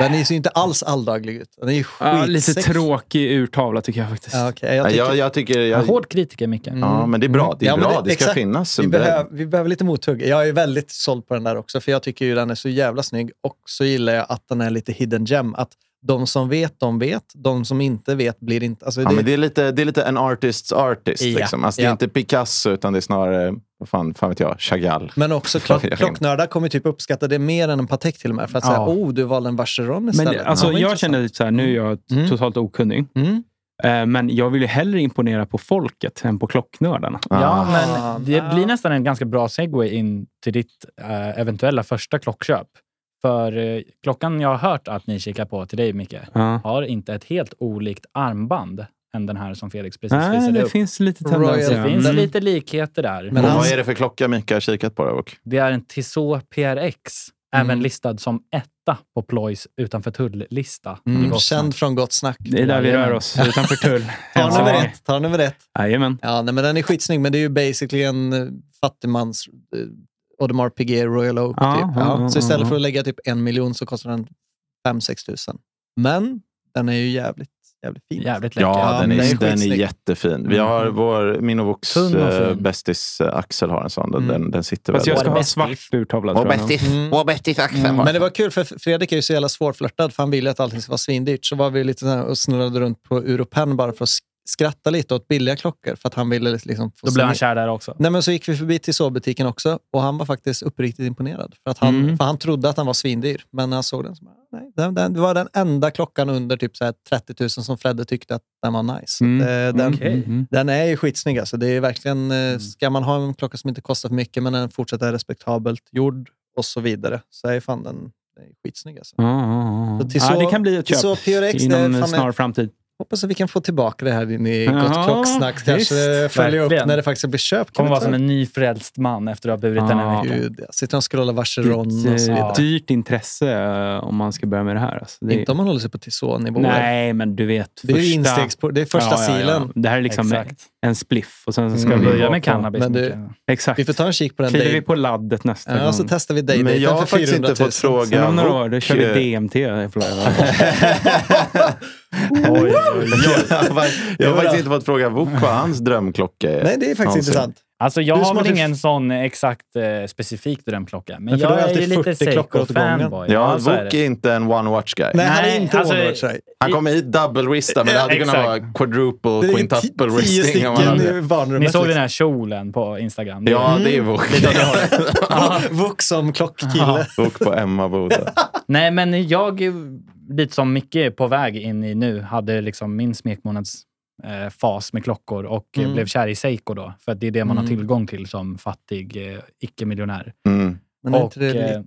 S2: Den ser ju inte alls alldaglig ut. Den är ju
S5: Ja, lite
S2: skitsexig.
S5: tråkig urtavla tycker jag faktiskt.
S2: Ja, okej,
S1: Ja,
S2: jag tycker... Mm.
S1: jag, jag tycker...
S3: En
S1: Jag,
S3: Hård kritiker,
S2: Ah.
S3: Micke.
S1: ja, men det är bra. Det är
S2: Ja, men
S1: bra.
S2: det-
S1: Det, ska
S2: exakt.
S1: finnas
S2: Vi,
S1: en bredd.
S2: behöv, vi behöver lite mothugg. Jag är väldigt såld på den där också, för jag tycker ju den är så jävla snygg. Och så gillar jag att den är lite hidden gem. Att de som vet, de vet. De som inte vet blir inte... Alltså,
S1: Ja,
S2: det,
S1: men det, är lite, det är lite en artists artist.
S2: Ja.
S1: Liksom. Alltså, det är
S2: Ja.
S1: inte Picasso, utan det är snarare, vad fan, fan vet jag, Chagall.
S2: men också klock,
S1: Jag vet inte.
S2: klocknördar kommer typ uppskatta det mer än en Patek till och med. För att säga,
S5: Ja.
S2: oh, du valde en Vacheron
S5: Men
S2: istället.
S5: det- alltså,
S2: Det var
S5: jag
S2: intressant.
S5: känner lite så här, nu är jag
S2: Mm.
S5: totalt okunnig.
S2: Mm.
S5: Eh, Men jag vill ju hellre imponera på folket än på klocknördarna.
S3: Ja,
S1: Ah.
S3: men det
S2: Ah.
S3: blir nästan en ganska bra segway in till ditt eh, eventuella första klockköp. För eh, klockan jag har hört att ni kikar på till dig, Micke,
S5: Ja.
S3: har inte ett helt olikt armband än den här som Felix precis
S5: Nej,
S3: visade
S5: det
S3: upp.
S5: finns lite
S2: Royal
S5: tendenser.
S3: Det finns
S5: Mm.
S3: lite likheter där.
S2: Men
S1: och
S2: hans-
S1: Vad är det för klocka Mika har kikat på? Där, och?
S3: Det är en Tissot PRX, även
S2: Mm.
S3: listad som etta på Ploys utanför tull-lista. i
S2: Mm.
S3: Gotland.
S2: Känd från Gott Snack.
S5: Det är där vi rör oss, utanför tull.
S2: Tar
S5: Ja.
S2: han över ett? Tar han över ett?
S5: Jajamän.
S2: Ja, nej, men den är skitsnygg, men det är ju basically en eh, fattigmans eh, Audemars Piguet Royal Oak.
S5: Ja,
S2: typ.
S5: ja, ja,
S2: så istället
S5: ja.
S2: för att lägga typ en miljon så kostar den 5-6 tusen. Men den är ju jävligt, jävligt fin.
S3: Jävligt läcker.
S1: Ja, den
S2: den är
S1: är, den är
S2: skitsnygg.
S1: jättefin. Vi har vår, min och Vox
S3: Tunn och fin.
S1: eh, bästis eh, Axel har en sån. Den,
S2: Mm.
S1: den, den sitter
S5: Fast jag
S1: väldigt
S5: ska
S1: bra.
S5: ha svart urtavla tror jag. nog.
S2: Mm.
S1: Mm.
S2: Men det var kul, för Fredrik är ju så jävla svårflörtad, för han vill ju att allting ska vara svindyrt. Så var vi lite så här och snurrade runt på Europen bara för att sk- skratta lite åt billiga klockor, för att han ville liksom få
S3: Då
S2: se-
S3: blev han kär där också.
S2: Nej, men så gick vi förbi till butiken också och han var faktiskt uppriktigt imponerad. För, att han,
S5: Mm.
S2: för han trodde att han var svindyr, men när han såg den så bara, nej, den, den, Det var den enda klockan under typ så här 30 000 som Fredde tyckte att den var nice. Så
S5: Mm.
S2: att, eh, den,
S3: Okej. Mm.
S5: Mm.
S2: den är ju skitsnygg. Alltså. Det är verkligen, eh, Ska man ha en klocka som inte kostar för mycket, men den fortsatt är respektabelt gjord och så vidare, så är fan den den är skitsnygg. Alltså.
S5: Ja, ja,
S2: Så
S5: ja.
S2: till
S5: Ja,
S2: så-
S5: det kan bli ett
S2: till
S5: köp
S2: så PRX, det är
S5: inom en
S2: fan med-
S5: snar framtid.
S2: Hoppas att vi kan få tillbaka det här in i
S5: Ja,
S2: Gott klocksnack. Kanske
S5: visst.
S2: följa upp
S3: Verkligen.
S2: när det faktiskt blir köp. Kan
S3: Kommer
S2: vi
S3: vara
S2: ta
S3: som
S2: det?
S3: en nyfrälst man efter att ha burit den en
S5: Ja.
S3: vecka.
S2: Gud, jag sitter och scrollar Vacheron och så
S5: Ett
S2: vidare.
S5: eh, dyrt intresse eh, om man ska börja med det här. Alltså. Det,
S2: Inte om man håller sig på Tissot-nivåer.
S5: Nej, men du vet.
S2: Det är ju
S5: första-
S2: instegspå- det är första silen.
S5: Det här är liksom
S3: Exakt.
S5: en spliff. Och sen så ska
S3: Ska vi
S5: vi
S3: börja
S5: gå
S3: med
S5: på-
S3: cannabis?
S2: men det-
S3: Micke?
S5: Exakt.
S2: Vi får ta en kik på den
S5: Kliver vi
S2: dig.
S5: på laddet nästa
S2: Ja,
S5: gång.
S2: så testar vi dig.
S1: Men jag har faktiskt inte fått
S5: Sen
S1: fråga
S5: om några år, då
S1: Vox,
S5: kör vi
S1: eh,
S5: DMT.
S3: Oj, oj, oj.
S1: jag, har- jag har
S2: Jodå.
S1: faktiskt inte fått fråga Vuk vad hans drömklocka är.
S2: Nej, det är faktiskt
S1: Någonsin.
S2: intressant.
S3: Alltså jag
S2: Du
S3: har
S2: som
S3: väl
S2: har
S3: ingen sån exakt eh, specifik drömklocka. Men,
S2: Men för du har
S3: jag är
S2: alltid
S3: ju lite
S2: 40 klockor åt gången.
S3: Seiko-fanboy.
S1: Ja,
S3: så är
S1: Vuk
S3: det.
S1: är inte en one watch guy.
S2: Nej, han är
S3: Nej,
S2: inte
S3: alltså-
S2: alltså, sig.
S1: Han kommer hit double wrista, men det hade kunnat
S3: Exakt.
S1: vara quadruple,
S2: Det är ti-
S1: quintuple
S2: tio
S1: wristing. om man
S2: stycken Mm.
S1: hade-
S2: i barnrummet.
S3: Ni såg den här kjolen på Instagram. Det-
S1: liksom- Ja, det är Vuk.
S2: Vux som klockkille.
S1: Vuk på Emma Boda.
S3: Nej, men jag, lite som Micke är på väg in i nu, hade liksom min smekmånads eh, fas med klockor och eh,
S2: Mm.
S3: blev kär i Seiko då. För att det är det man har
S2: Mm.
S3: tillgång till som fattig eh, icke-miljonär.
S1: Mm.
S2: Men är
S3: Och,
S2: inte det,
S3: eh,
S2: lite,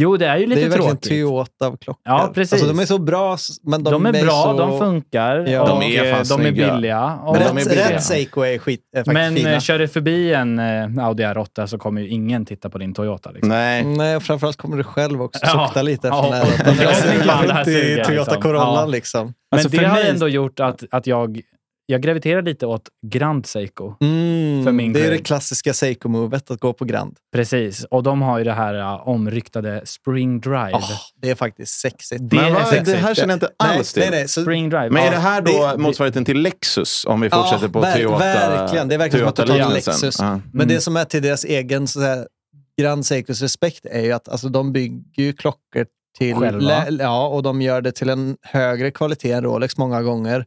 S3: Jo, det är ju
S2: det är ju
S3: lite
S2: verkligen
S3: tråkigt.
S2: Toyota av klockor.
S3: Ja, precis.
S2: Alltså, de är så bra, s- men de,
S3: de, är bra,
S2: så...
S3: de funkar
S2: Ja.
S3: och
S2: De
S1: är fan
S3: eh, de är
S1: snygga.
S3: billiga. Och
S2: Men
S1: de är
S2: rätt,
S1: billiga.
S2: rätt Seiko är, skit, är faktiskt
S3: Men eh,
S2: fina.
S3: kör du förbi en eh, Audi R8 så kommer ju ingen titta på din Toyota. Liksom.
S1: Nej.
S2: Nej, och framförallt kommer du själv också
S3: Ja.
S2: sukta lite
S3: Ja.
S2: efter den här. När
S3: Ja,
S2: jag
S3: jag tycker fan det
S2: cyklar
S3: här
S2: runt i
S3: suger,
S2: Toyota
S3: liksom.
S2: Corolla
S3: Ja.
S2: liksom.
S3: Men
S5: Alltså,
S3: det
S5: för
S3: har
S5: mig-
S3: ändå gjort att, att jag, jag graviterar lite åt Grand Seiko.
S2: Mm,
S3: För min
S2: det är ju
S3: grej.
S2: det klassiska Seiko-movet, att gå på Grand.
S3: Precis. Och de har ju det här eh, omryktade Spring Drive.
S2: Åh, Ah, det är faktiskt sexigt.
S3: Det
S1: Men
S3: är
S1: vad,
S3: sexigt.
S1: det här känner jag inte alls till.
S2: nej, nej, nej. Så,
S3: Spring Drive.
S1: Men är
S3: ja.
S1: det här
S2: det-
S1: då
S2: det-
S1: motsvarigheten till Lexus? Om vi fortsätter på
S2: ver-
S1: Toyota
S2: Verkligen. Det är verkligen som att du tar
S1: Toyota-liknelsen.
S2: Lexus.
S1: Ja.
S2: Men
S3: Mm.
S2: det som är till deras egen så här, Grand Seicos respekt är ju att alltså, de bygger ju klockor till...
S3: Själva.
S2: lä- ja, och de gör det till en högre kvalitet än Rolex många gånger.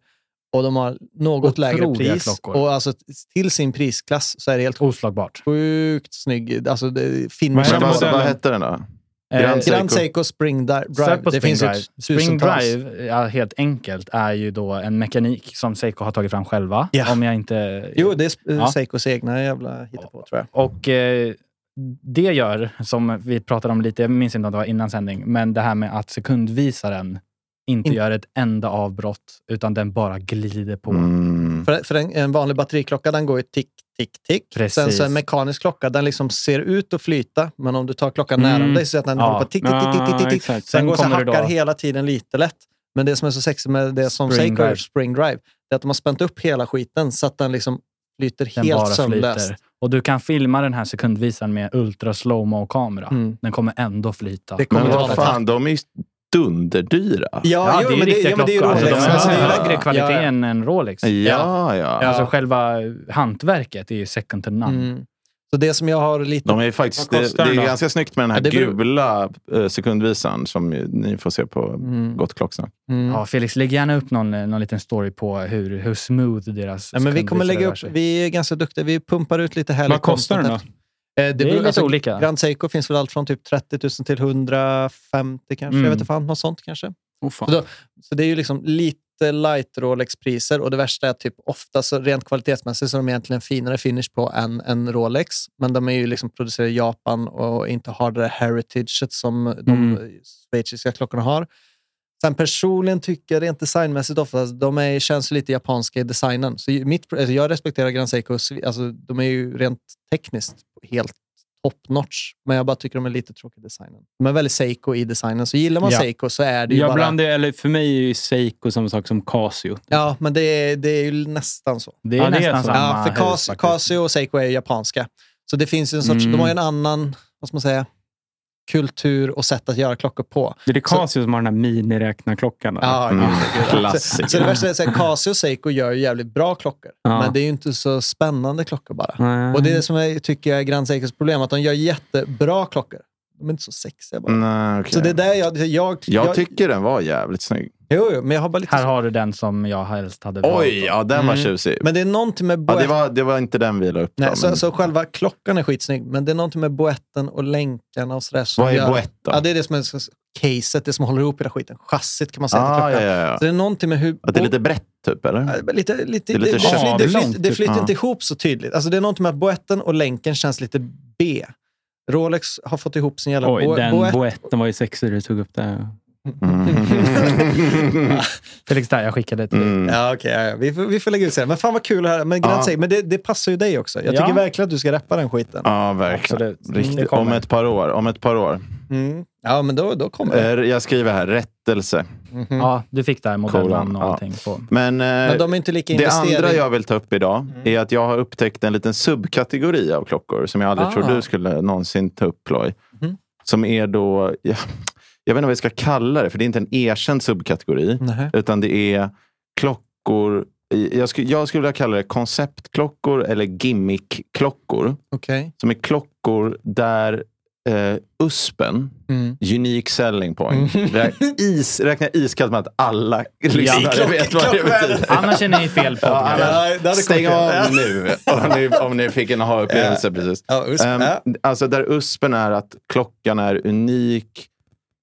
S2: Och de har något
S3: Otroliga
S2: lägre pris.
S3: klockor.
S2: Och alltså, till sin prisklass så är det helt
S3: Mm. Oslagbart.
S2: sjukt snygg. Alltså, det,
S5: Vad
S2: finishen
S5: heter
S1: Men vad,
S2: på
S5: modellen?
S1: vad hette den då?
S3: Eh,
S1: Grand Seiko.
S2: Grand Seiko Spring Di- Drive.
S3: Sök på
S2: det
S3: Spring
S2: finns ju
S3: Drive. Spring
S2: tusentals.
S3: Drive, ja, helt enkelt, är ju då en mekanik som Seiko har tagit fram själva.
S2: Ja.
S3: Om jag inte...
S2: Jo, det är Sp- eh,
S3: Ja.
S2: Seikos egna jävla hittepå tror jag.
S3: Och eh, det gör, som vi pratade om lite, jag minns inte om det var innan sändning, men det här med att sekundvisaren inte
S2: In-
S3: gör ett enda avbrott, utan den bara glider på.
S1: Mm.
S2: För, för en, en vanlig batteriklocka den går ju tick, tick, tick.
S3: Precis.
S2: Sen så en mekanisk klocka den liksom ser ut att flyta, men om du tar klockan
S3: Mm.
S2: nära dig så ser att den
S3: Ja.
S2: håller på tick, tick, tick, tick, tick, tick.
S5: exakt.
S2: Sen
S3: Sen
S2: går så
S3: kommer det
S2: hackar
S3: då-
S2: hela tiden lite lätt. Men det som är så sexigt med det som
S3: Spring
S2: Seiko gör,
S3: Drive.
S2: Spring Drive, det är att de har spänt upp hela skiten så att den liksom flyter
S3: Den bara
S2: helt sömnlöst.
S3: flyter. Och du kan filma den här sekundvisaren med ultra slow-mo kamera.
S2: Mm.
S3: Den kommer ändå flyta.
S2: Det kommer
S1: Men
S2: vara
S1: vad fan, de är ju dunderdyra.
S2: Ja,
S3: Ja,
S2: jo,
S3: det är ju
S2: men
S3: riktiga
S2: ja, men det är ju
S3: klockor. Alltså,
S2: Rolex.
S3: de
S1: Rolex.
S3: har
S1: Ja.
S3: högre kvalitet
S2: Ja, ja.
S3: än en Rolex.
S1: Ja, ja.
S3: Alltså själva hantverket är ju second to none.
S2: Mm. Så det som jag har lite...
S1: De är ju faktiskt,
S5: Vad
S1: det, det
S5: kostar
S1: är
S5: den då?
S1: ganska snyggt med den här
S2: Ja, det beror-
S1: gula eh, sekundvisaren som ju, ni får se på
S2: Mm.
S1: Gott klocksnack.
S2: Mm.
S3: Ja, Felix, lägg gärna upp någon, någon liten story på hur, hur smooth deras
S2: Ja, men vi kommer
S3: sekundvisare
S2: lägga
S3: rör
S2: upp,
S3: sig.
S2: vi är ganska duktiga. Vi pumpar ut lite härlig
S5: Vad kostar den då?
S2: content. Eh, Det,
S3: är
S2: beror-
S5: alltså,
S3: lite olika.
S2: Grand Seiko finns väl allt från typ 30 000 till 150 kanske.
S3: Mm.
S2: Jag vet inte fan, något sånt kanske.
S5: Åh, fan.
S2: Så då- Så det är ju liksom lite light Rolex-priser och det värsta är att typ ofta så rent kvalitetsmässigt så är de egentligen finare finish på än en Rolex. Men de är ju liksom producerade i Japan och inte har det där heritaget som de
S5: Mm.
S2: schweiziska klockorna har. Sen personligen tycker jag rent designmässigt ofta att de är, känns ju lite japanska i designen. Så ju- mitt, alltså jag respekterar Grand Seiko, svi- alltså de är ju rent tekniskt helt top notch. Men jag bara tycker de är lite tråkiga i designen. De är väldigt Seiko i designen, så gillar man
S3: Ja.
S2: Seiko så är det ju
S5: Jag
S2: bara...
S5: blandar, eller för mig är ju Seiko samma sak som Casio.
S2: Ja, men det är, det är ju nästan så.
S3: Det är
S5: Ja, det är
S3: nästan
S5: så.
S3: samma
S2: Ja, för
S3: hus
S2: Cas-
S3: faktiskt.
S2: Casio och Seiko är ju japanska. Så det finns ju en sorts,
S5: Mm.
S2: de har ju en annan, vad ska man säga, kultur och sätt att göra klockor på.
S5: Det är det
S2: Så-
S5: Casio som har den här miniräknarklockan. eller?
S2: Ja,
S1: Mm.
S2: gud, gud.
S1: Klassiker.
S2: Så, så det värsta är att säga, Casio och Seiko gör ju jävligt bra klockor.
S5: Ja. Mm.
S2: Men det är ju inte så spännande klockor bara.
S5: Nej.
S2: Och det är det som jag tycker är Grand Seikos problem, att de gör jättebra klockor. De är inte så sexiga bara.
S1: Nej, okej.
S2: Mm. Så det är där jag... Jag, jag,
S1: Mm. Jag tycker den var jävligt snygg.
S2: jo, jo, men jag har bara lite...
S3: Här har du den som jag helst hade valt.
S1: Oj, ja den var
S2: Mm.
S1: tjusig.
S2: Men det är någonting med
S1: Ja,
S2: Boettner.
S1: det, var, det var inte den vi la upp.
S2: Nej,
S1: då,
S2: så,
S1: men-
S2: så själva klockan är skitsnygg, men det är någonting med boetten och länkarna och sådär. som
S1: Vad
S2: gör-
S1: är boett då?
S2: Ja, det är det som är s- caset, det som håller ihop hela skiten. Chassit kan man säga till
S1: ah, ja,
S2: klockan.
S1: ja,
S2: Så
S1: ja.
S2: det är någonting med hur...
S1: Att det är lite brett typ, eller?
S2: Ja, men Lite, lite,
S1: Det är lite
S2: det, flyter, det,
S5: avlångt,
S2: flyter, det
S5: typ.
S2: flyter
S1: Ja.
S2: inte ihop så tydligt. Alltså, det är någonting med att boetten och länken känns lite B. Rolex har fått ihop sin jävla
S5: Oj,
S2: bo-
S5: den
S2: boett.
S5: boetten var ju sexig du tog upp där.
S1: Mm.
S3: Felix, där, jag skickade till dig.
S1: Mm.
S2: Ja, okej. ja, ja. vi, får, vi får lägga ut sen. Men fan vad kul det här Men, Grand
S1: Ja.
S2: Seiko, men det, det passar ju dig också. Jag
S3: Ja.
S2: tycker verkligen att du ska rappa den skiten.
S1: Ja, verkligen.
S3: Absolut. Det
S1: Riktigt. Om
S3: kommer.
S1: ett par år. Om ett par år.
S2: Mm. Ja, men då, då kommer det.
S1: Eh, Jag skriver här, rättelse.
S2: Mhm.
S5: Mm.
S3: Ja, du fick där modellnamn och
S1: Kolan, ja.
S3: allting. På.
S1: Men, eh,
S2: Men de är inte lika
S1: Det
S2: investerade.
S1: andra jag vill ta upp idag är att jag har upptäckt en liten subkategori av klockor som jag aldrig
S3: Ah.
S1: trodde du skulle någonsin ta upp, Ploy.
S2: Mhm.
S1: Som är då... Ja, jag vet inte vad jag ska kalla det, för det är inte en erkänd subkategori.
S2: Nähä.
S1: Utan det är klockor... Jag, sku, jag skulle vilja kalla det konceptklockor eller gimmick-klockor.
S2: Okej.
S1: Som är klockor där eh, USPen, unique selling point, rä- is, räknar iskallt med att alla lyssnare
S2: Klock-
S1: vet vad det betyder.
S3: Annars är ni fel på.
S1: Ja, annars-
S2: Ja, det hade
S1: stäng
S2: kommit fel.
S1: av nu om ni, om ni fick en aha-upplevelse precis.
S2: Ja, USP.
S1: Ehm,
S2: Ja.
S1: Alltså där USPen är att klockan är unik.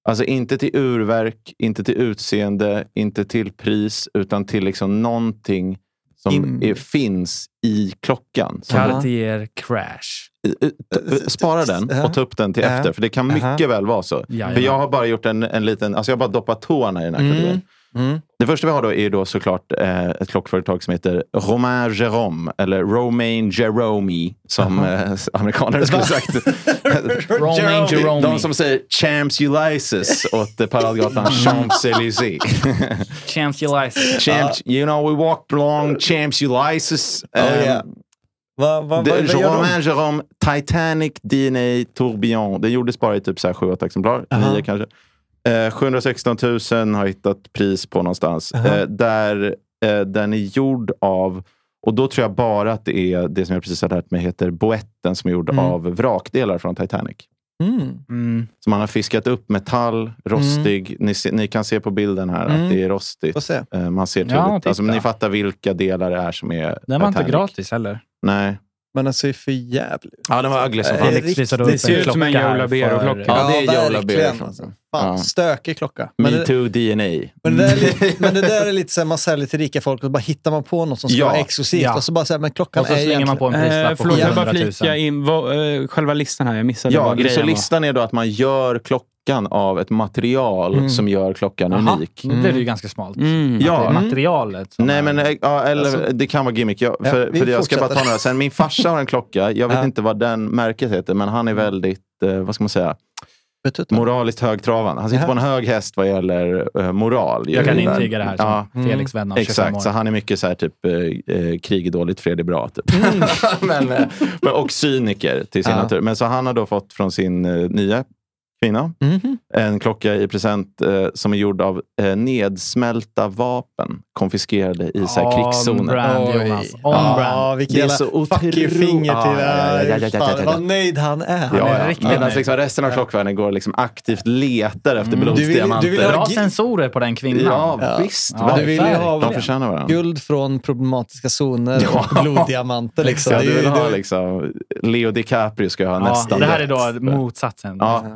S1: Alltså inte till urverk, inte till utseende, inte till pris, utan till liksom någonting som
S2: Gimmick.
S1: är, finns i klockan. Så,
S3: Cartier Crash.
S1: eh, t- spara den
S2: Ja.
S1: och ta upp den till
S2: Ja.
S1: efter, för det kan
S2: Aha.
S1: mycket väl vara så.
S3: Jajamän.
S1: För jag har bara gjort en, en liten, alltså jag har bara doppat tårna i den här
S2: Mm.
S1: kategorin.
S2: Mm.
S1: Det första vi har då är ju då såklart eh, ett klockföretag som heter Romain Jerome, eller Romain Jerome som eh, amerikaner skulle ha sagt.
S3: Romain Jerome.
S1: De som säger Champs Ulysses åt eh,
S2: Mm.
S1: paradgatan Champs-Élysées.
S3: Chance Elias.
S1: Champs, you know we walked along Champs Ulysses.
S2: Oh,
S1: Ehm,
S2: yeah. Vad va, va,
S1: det,
S2: vad gör de?
S1: Romain Jerome Titanic DNA Tourbillon. Det gjordes bara i typ så här 7-8 exemplar.
S2: Aha.
S1: nio kanske. Eh, 716 000 har hittat pris på någonstans. Eh, där eh, den är gjord av, och då tror jag bara att det är det som jag precis har lärt mig heter boetten som är gjord
S2: Mm.
S1: av vrakdelar från Titanic.
S2: Mm.
S3: Mm.
S1: Så man har fiskat upp metall, rostig. Ni, se, ni kan se på bilden här att
S2: Mm.
S1: det är rostigt.
S2: Får se.
S1: Eh, man ser
S3: Ja,
S1: tydligt. alltså,
S3: titta.
S1: ni fattar vilka delar det är som är
S3: Den var inte
S1: Titanic.
S3: gratis heller.
S1: Nej.
S2: Men den ser ju för jävligt ut.
S1: Ja, den var ugly som fan.
S2: Eh,
S3: Felix visade upp
S2: det ser
S3: en
S2: ut
S5: som en
S3: klocka här
S5: Joe Labero-klocka.
S3: för-
S1: Ja, det är Joe
S2: verkligen.
S1: Labero, alltså.
S2: Fan,
S1: Ja. Mm.
S2: stökig klocka. Men det,
S1: Metoo-DNA.
S2: men, det där är lite, men det där är lite så här, man säljer till rika folk och bara hittar man på något som ska
S1: Ja.
S2: vara exklusivt.
S3: Ja.
S2: Och så bara så här, men klockan
S3: Och så
S2: är
S3: slänger man på en
S5: Eh,
S3: prislapp på
S5: förlåt, jag bara
S3: 700 000.
S5: flika in vad, eh, själva listan här. Jag missade
S1: Ja,
S5: vad grejen
S1: så
S5: var.
S1: listan är då att man gör klockan av ett material
S2: Mm.
S1: som gör klockan
S3: Jaha,
S1: unik.
S3: Nu blev det ju ganska smalt.
S5: Mm.
S1: Ja.
S3: Det är materialet. som
S1: Nej,
S3: är-
S1: men eh, ja, eller,
S2: Alltså-
S1: det kan vara gimmick. Jag,
S2: Ja,
S1: för,
S2: vi
S1: för jag ska bara ta
S2: fortsätter.
S1: några. Sen, min farsa har en klocka. Jag vet
S2: Ja. Mm.
S1: inte vad den märket heter, men han är väldigt, eh, vad ska man säga,
S2: egentligen.
S1: moraliskt högtravande. Han sitter
S2: Ja.
S1: på en hög häst vad gäller eh, moral.
S3: Jag kan
S1: Gör-
S3: intyga det här som
S1: Ja, Mm.
S3: Felix vän av 25 år.
S1: Exakt, så han är mycket så här typ eh, eh, krig är dåligt, fred är bra. Typ. men, eh, men, och cyniker till sin
S2: Mm. Ja.
S1: natur. Men så han har då fått från sin eh, nya kvinna
S2: Mhm.
S1: en klocka i present eh, som är gjord av eh, nedsmälta vapen konfiskerade i så här,
S3: On
S1: krigszoner.
S3: brand,
S2: Oj.
S3: Jonas. On
S1: Ja.
S3: brand.
S2: Ja, vilken
S1: Det är
S2: jävla
S1: så
S2: fuck you
S1: otroligt-
S2: finger till
S1: Ja,
S2: det
S1: ja, ja, ja, ja, ja,
S2: här.
S1: ja, ja,
S2: Fan,
S1: ja.
S2: Vad nöjd han är.
S3: Han är
S1: ja.
S3: riktigt
S1: Medan
S3: nöjd.
S1: liksom resten av klockvärlden går och liksom aktivt letar efter
S2: Mm. Du vill-
S1: blodsdiamanter.
S2: du vill
S3: Bra
S2: Gi-
S3: sensorer på den kvinnan.
S1: ja,
S2: Ja.
S1: visst.
S3: Ja,
S2: du vill ju
S1: verkligen.
S2: ha
S1: De förtjänar varandra.
S2: Guld från problematiska zoner och bloddiamanter. Liksom.
S1: Ja,
S2: Det är
S1: du
S2: ju-
S1: vill ha
S2: det-
S1: liksom, Leo DiCaprio ska ha
S3: Ja,
S1: nästan
S3: det här är
S1: rätt.
S3: då motsatsen.
S1: Ja.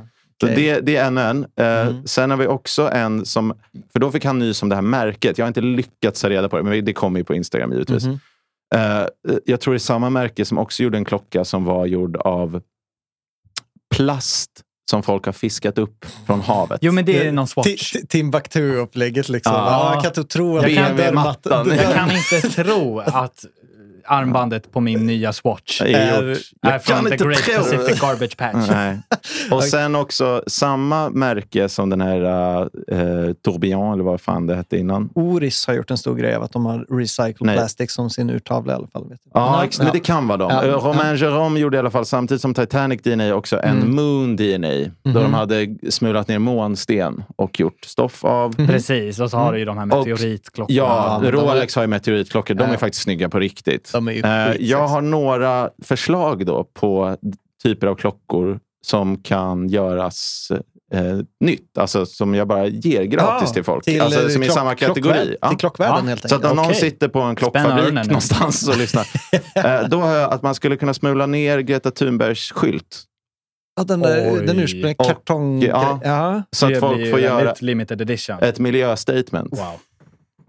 S1: Så
S2: Okej.
S1: det, det är en en. Eh, Sen har vi också en som... För då fick han nys om det här märket. Jag har inte lyckats ta reda på det, men det kommer ju på Instagram givetvis. Eh, jag tror det är samma märke som också gjorde en klocka som var gjord av plast som folk har fiskat upp från havet.
S3: Jo, men det är någon
S2: Ti-
S3: swatch.
S2: ti- Timbuktu-upplägget liksom.
S1: Ja.
S2: Ja, jag kan inte tro att
S3: Jag kan-
S2: dörrmatt-
S1: mattan.
S2: dörr-
S3: Jag kan inte tro att armbandet på min nya swatch
S1: Det är gjort.
S3: är från The Great
S1: tro det.
S3: Pacific Garbage Patch.
S1: Mm, Nej. Och sen också samma märke som den här uh, Tourbillon, eller vad fan det hette innan.
S2: Oris har gjort en stor grej av att de har recycled
S1: Nej.
S2: plastic som sin urtavla i alla fall. Vet jag.
S1: Ja, ex- men det kan vara dem.
S2: Ja.
S1: Ja. Romain Jerome gjorde i alla fall, samtidigt som Titanic DNA, också en
S2: Mm.
S1: Moon DNA. Då
S2: Mhm.
S1: de hade smulat ner månsten och gjort stoff av.
S3: Precis, och så har du ju de här
S1: Och-
S3: meteoritklockorna.
S1: Ja,
S2: Mm. men de-
S1: Rolex har ju meteoritklockor. De
S2: Ja.
S1: är faktiskt snygga på riktigt.
S2: De är ju
S1: Eh,
S2: skitsexiga.
S1: jag har några förslag då på typer av klockor som kan göras eh, nytt. Alltså som jag bara ger gratis
S2: Ja,
S1: till folk.
S2: till,
S1: alltså,
S2: eh,
S1: som är i
S2: klock-
S1: samma
S2: klockvärld-
S1: kategori. Ja.
S2: Till klockvärlden
S3: Ja,
S2: helt
S1: Så
S2: enkelt.
S1: att om någon
S3: Okej.
S1: sitter på en
S3: Spänn
S1: klockfabrik
S3: öronen nu.
S1: någonstans och lyssnar. eh, då har jag att man skulle kunna smula ner Greta Thunbergs skylt.
S2: ja, den, där,
S3: Oj.
S2: den ursprungliga
S1: Och-
S2: kartong...
S1: ja.
S2: Ja.
S1: Så att
S3: Det blir
S1: folk
S3: ju
S1: får göra
S3: väldigt limited edition.
S1: ett miljöstatement.
S3: Wow.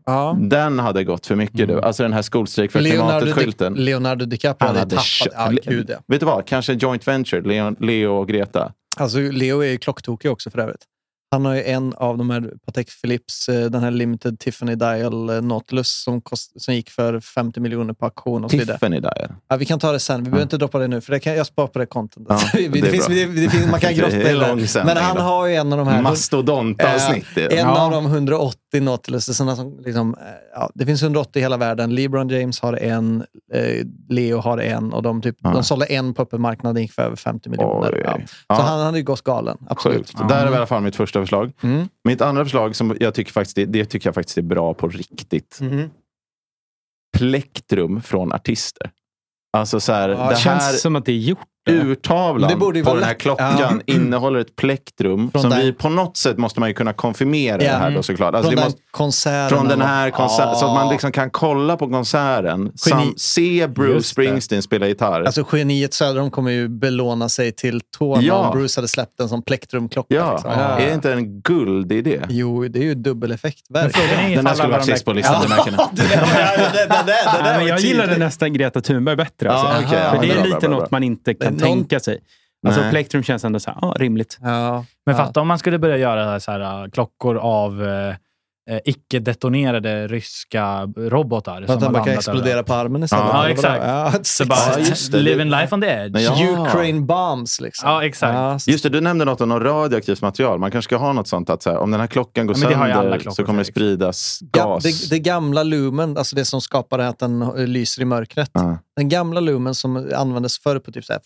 S2: Ja.
S1: Den hade gått för mycket du. Alltså den här skolstrejk för
S2: Mm. Leonardo,
S1: klimatet-skylten.
S2: Di- Leonardo
S1: Han
S2: DiCaprio hade
S1: hade
S2: tappat...
S1: kört-
S2: Ja, gud ja.
S1: Vet du vad? Kanske en joint venture, Leo, Leo och Greta.
S2: Alltså, Leo är ju klocktokig också för övrigt. Han har ju en av de här Patek Philips, eh, den här Limited Tiffany Dial eh, Nautilus som, kost, som gick för 50 miljoner på auktion och så vidare.
S1: Tiffany där.
S2: Ja, vi kan ta det sen. Vi behöver inte droppa det nu, för det kan, jag sparar på det contentet.
S1: Ja,
S2: det
S1: det är
S2: finns,
S1: bra.
S2: det, det finns, man kan
S1: Det är
S2: grotta
S1: lång
S2: i det.
S1: sändning
S2: Men han
S1: då.
S2: har ju en av de här...
S1: Mastodontavsnitt.
S2: Eh,
S1: Ja,
S2: en
S3: Ja.
S2: av de 180 Nautilusarna som liksom, eh, ja, det finns 180 i hela världen. LeBron James har en, eh, Leo har en och de, typ,
S1: Ja.
S2: de sålde en på öppenmarknaden, gick för över 50 miljoner.
S1: Oj.
S2: Ja. Så
S1: Ja.
S2: han hade ju gått galen, absolut.
S1: Sjukt. Där är i alla fall mitt första förslag.
S2: Mm.
S1: Mitt andra förslag, som jag tycker faktiskt, det, det tycker jag faktiskt är bra på riktigt.
S2: Mhm.
S1: Plektrum från artister. Alltså så här,
S2: Ja,
S1: det
S5: Känns
S1: här
S5: som att det är gjort. då.
S1: urtavlan
S2: Det borde ju
S1: på
S2: vara
S1: den här
S2: lätt.
S1: klockan innehåller ett plektrum
S2: Från
S1: som
S2: den-
S1: vi på något sätt måste man ju kunna konfirmera
S2: Ja.
S1: det här då såklart. Alltså,
S2: från,
S1: det
S2: den
S1: måste,
S2: konserten.
S1: från den
S2: eller-
S1: här konserten, så att man liksom kan kolla på konserten, sam, se Bruce
S3: Just det.
S1: Springsteen spela gitarr.
S2: Alltså geniet Söderholm kommer ju belåna sig till tårna
S1: Ja.
S2: om Bruce hade släppt den som plektrumklocka.
S1: ja,
S2: liksom.
S1: är det inte en guldidé?
S2: Jo, det är ju dubbeleffekt.
S3: Frågan är
S2: Verkligen.
S1: Den
S3: ifall
S1: här skulle
S3: alla
S1: varit
S3: de
S1: sist på listan. det märker ni.
S2: Det där var- ja, det där- det där- det
S5: Nej,
S2: där
S5: men
S2: var
S5: jag
S2: tydligt.
S5: gillade nästan Greta Thunberg bättre.
S1: Ja,
S5: alltså.
S1: okej, ja,
S5: För det
S1: bra,
S5: är
S1: bra,
S5: lite
S1: bra,
S5: något
S1: bra.
S5: man inte kan
S2: Det är någon-
S5: tänka sig. Alltså,
S1: Nej.
S5: Plektrum känns ändå så här, ah, rimligt.
S2: Ja.
S3: Men fatta om man skulle börja göra så här, äh, klockor av eh, eh, icke-detonerade ryska robotar.
S2: Att
S3: har
S2: han bara kan
S3: landat
S2: explodera
S3: överallt.
S2: på armen istället.
S3: Ja,
S2: Eller vadå?
S3: exakt.
S2: Ja,
S3: Så bara,
S1: Ja, just det.
S3: living life on the edge.
S1: Men jag- Ja.
S2: Ukraine bombs liksom.
S3: Ja, exakt.
S2: så-
S1: Just det, du nämnde något om något radioaktivt material. Man kanske ska ha något sånt att så här, om den här klockan går
S3: Ja, men det har ju alla
S1: sönder
S3: klockor,
S1: så kommer det
S3: Felix.
S1: spridas
S2: Ja,
S1: gas.
S2: det, det gamla lumen, alltså det som skapade att den eh, lyser i mörkret.
S1: Ja.
S2: Den gamla lumen som användes förr på typ så här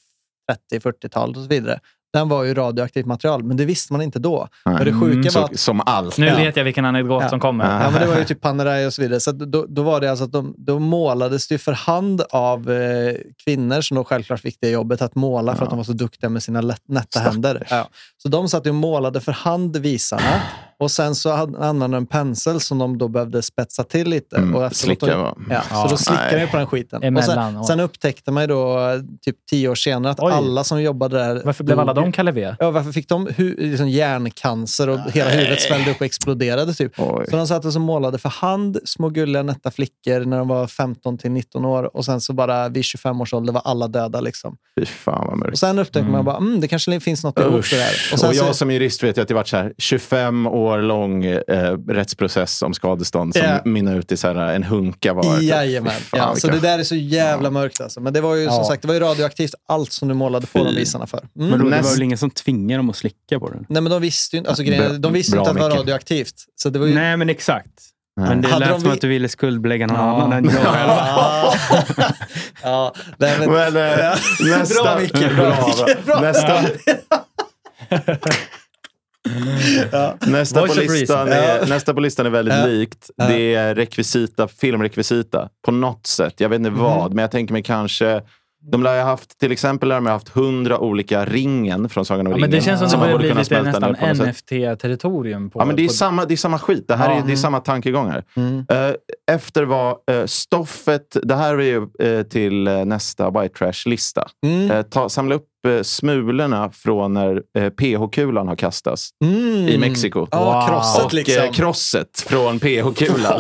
S2: 30-40-talet och så vidare. Den var ju radioaktivt material, men det visste man inte då.
S1: Nej.
S2: Och det sjuka
S1: Mm, Så,
S2: var att
S1: Som allt.
S3: Nu
S2: Ja.
S3: vet jag vilken anekdot
S2: Ja.
S3: som kommer.
S1: Ja.
S2: Ja, men det var ju typ Panerai och så vidare. Så att då, då var det alltså att de, då målades det ju för hand av eh, kvinnor som då självklart fick det jobbet att måla för att de var så duktiga med sina lätt, nätta händer. Ja. Så de satt ju och målade för hand visarna Och sen så hade- använde de pensel som de då behövde spetsa till lite.
S1: Mm,
S2: och efteråt-
S1: slicka, va?
S2: Ja,
S3: Ja.
S2: så då slickade
S1: Nej.
S2: jag på den skiten. Och sen,
S3: Emellanåt.
S2: sen upptäckte man ju då, eh, typ tio år senare, att
S3: Oj.
S2: alla som jobbade där...
S3: Varför blev
S2: dog
S3: alla
S2: ju.
S3: de Kalle V?
S2: Ja, varför fick de hu- liksom hjärncancer och hela huvudet svällde upp och exploderade? Typ.
S1: Oj.
S2: Så de satt och så målade för hand, små gulliga nätta flickor när de var 15 till 19 år. Och sen så bara vid 25 års ålder var alla döda. Liksom.
S1: Fy fan vad
S2: Och
S1: mörkt.
S2: sen upptäckte man bara, mm, det kanske finns något ihop det där.
S1: Och,
S2: sen så-
S1: jag som jurist vet ju att det varit så här 25 år lång eh, rättsprocess om skadestånd som
S2: Ja.
S1: mynnar ut i så här, eh, en hunka var. typ.
S2: Jajamän.
S1: Fy fan,
S2: Ja, så
S1: vilken-
S2: det där är så jävla mörkt. Alltså. Men det var ju som
S3: Ja.
S2: sagt det var ju radioaktivt, allt som du målade på de visarna för. Mm.
S5: Men då, det var
S1: Näst-
S5: väl ingen som tvingade dem att slicka på den?
S2: Nej, men de visste ju inte, alltså, grejen,
S1: Bra-
S2: de visste ju
S1: bra,
S2: inte att det var
S1: Micke.
S2: radioaktivt. Så det var ju...
S5: Nej, men exakt.
S1: Nej.
S5: Men det
S2: Hade de
S5: lät som
S2: vi-
S5: att du ville skuldbelägga någon
S3: Ja.
S5: annan än jag.
S2: Ja, Ah. ja, nej, men,
S1: Men, eh,
S2: Ja.
S1: nästa,
S2: Bra, Micke.
S1: Bra,
S2: Bra, Micke. Bra.
S1: Nästa, nästa, på
S3: Voice of
S1: listan
S2: reason.
S1: är,
S2: Ja.
S1: nästa på listan är väldigt
S2: Ja.
S1: likt. Det är rekvisita, filmrekvisita. På något sätt. Jag vet inte
S3: Mhm.
S1: vad, men jag tänker mig kanske... De lär ju ha haft, till exempel lär de ha haft hundra olika ringen från Sagan om
S3: Ja,
S1: ringen.
S3: men det känns som
S1: man
S3: det börjar
S1: borde
S3: bli
S1: kunna
S3: lite
S1: smälta ner
S3: nästan
S1: på något sätt.
S3: NFT-territorium. på-
S1: Ja, men det är,
S3: på-
S1: samma, det är samma skit. Det här
S3: Ja. Mm.
S1: är, det är samma tankegångar. Eh, efter var eh, stoffet... Det här är ju eh, till eh, nästa White Trash-lista.
S2: Mm.
S1: Eh, ta, samla upp eh, smulorna från när eh, PH-kulan har kastats
S2: Mm.
S1: i Mexiko.
S2: Ja,
S3: Wow.
S2: krosset
S1: Och
S2: liksom.
S1: eh, krosset från PH-kulan.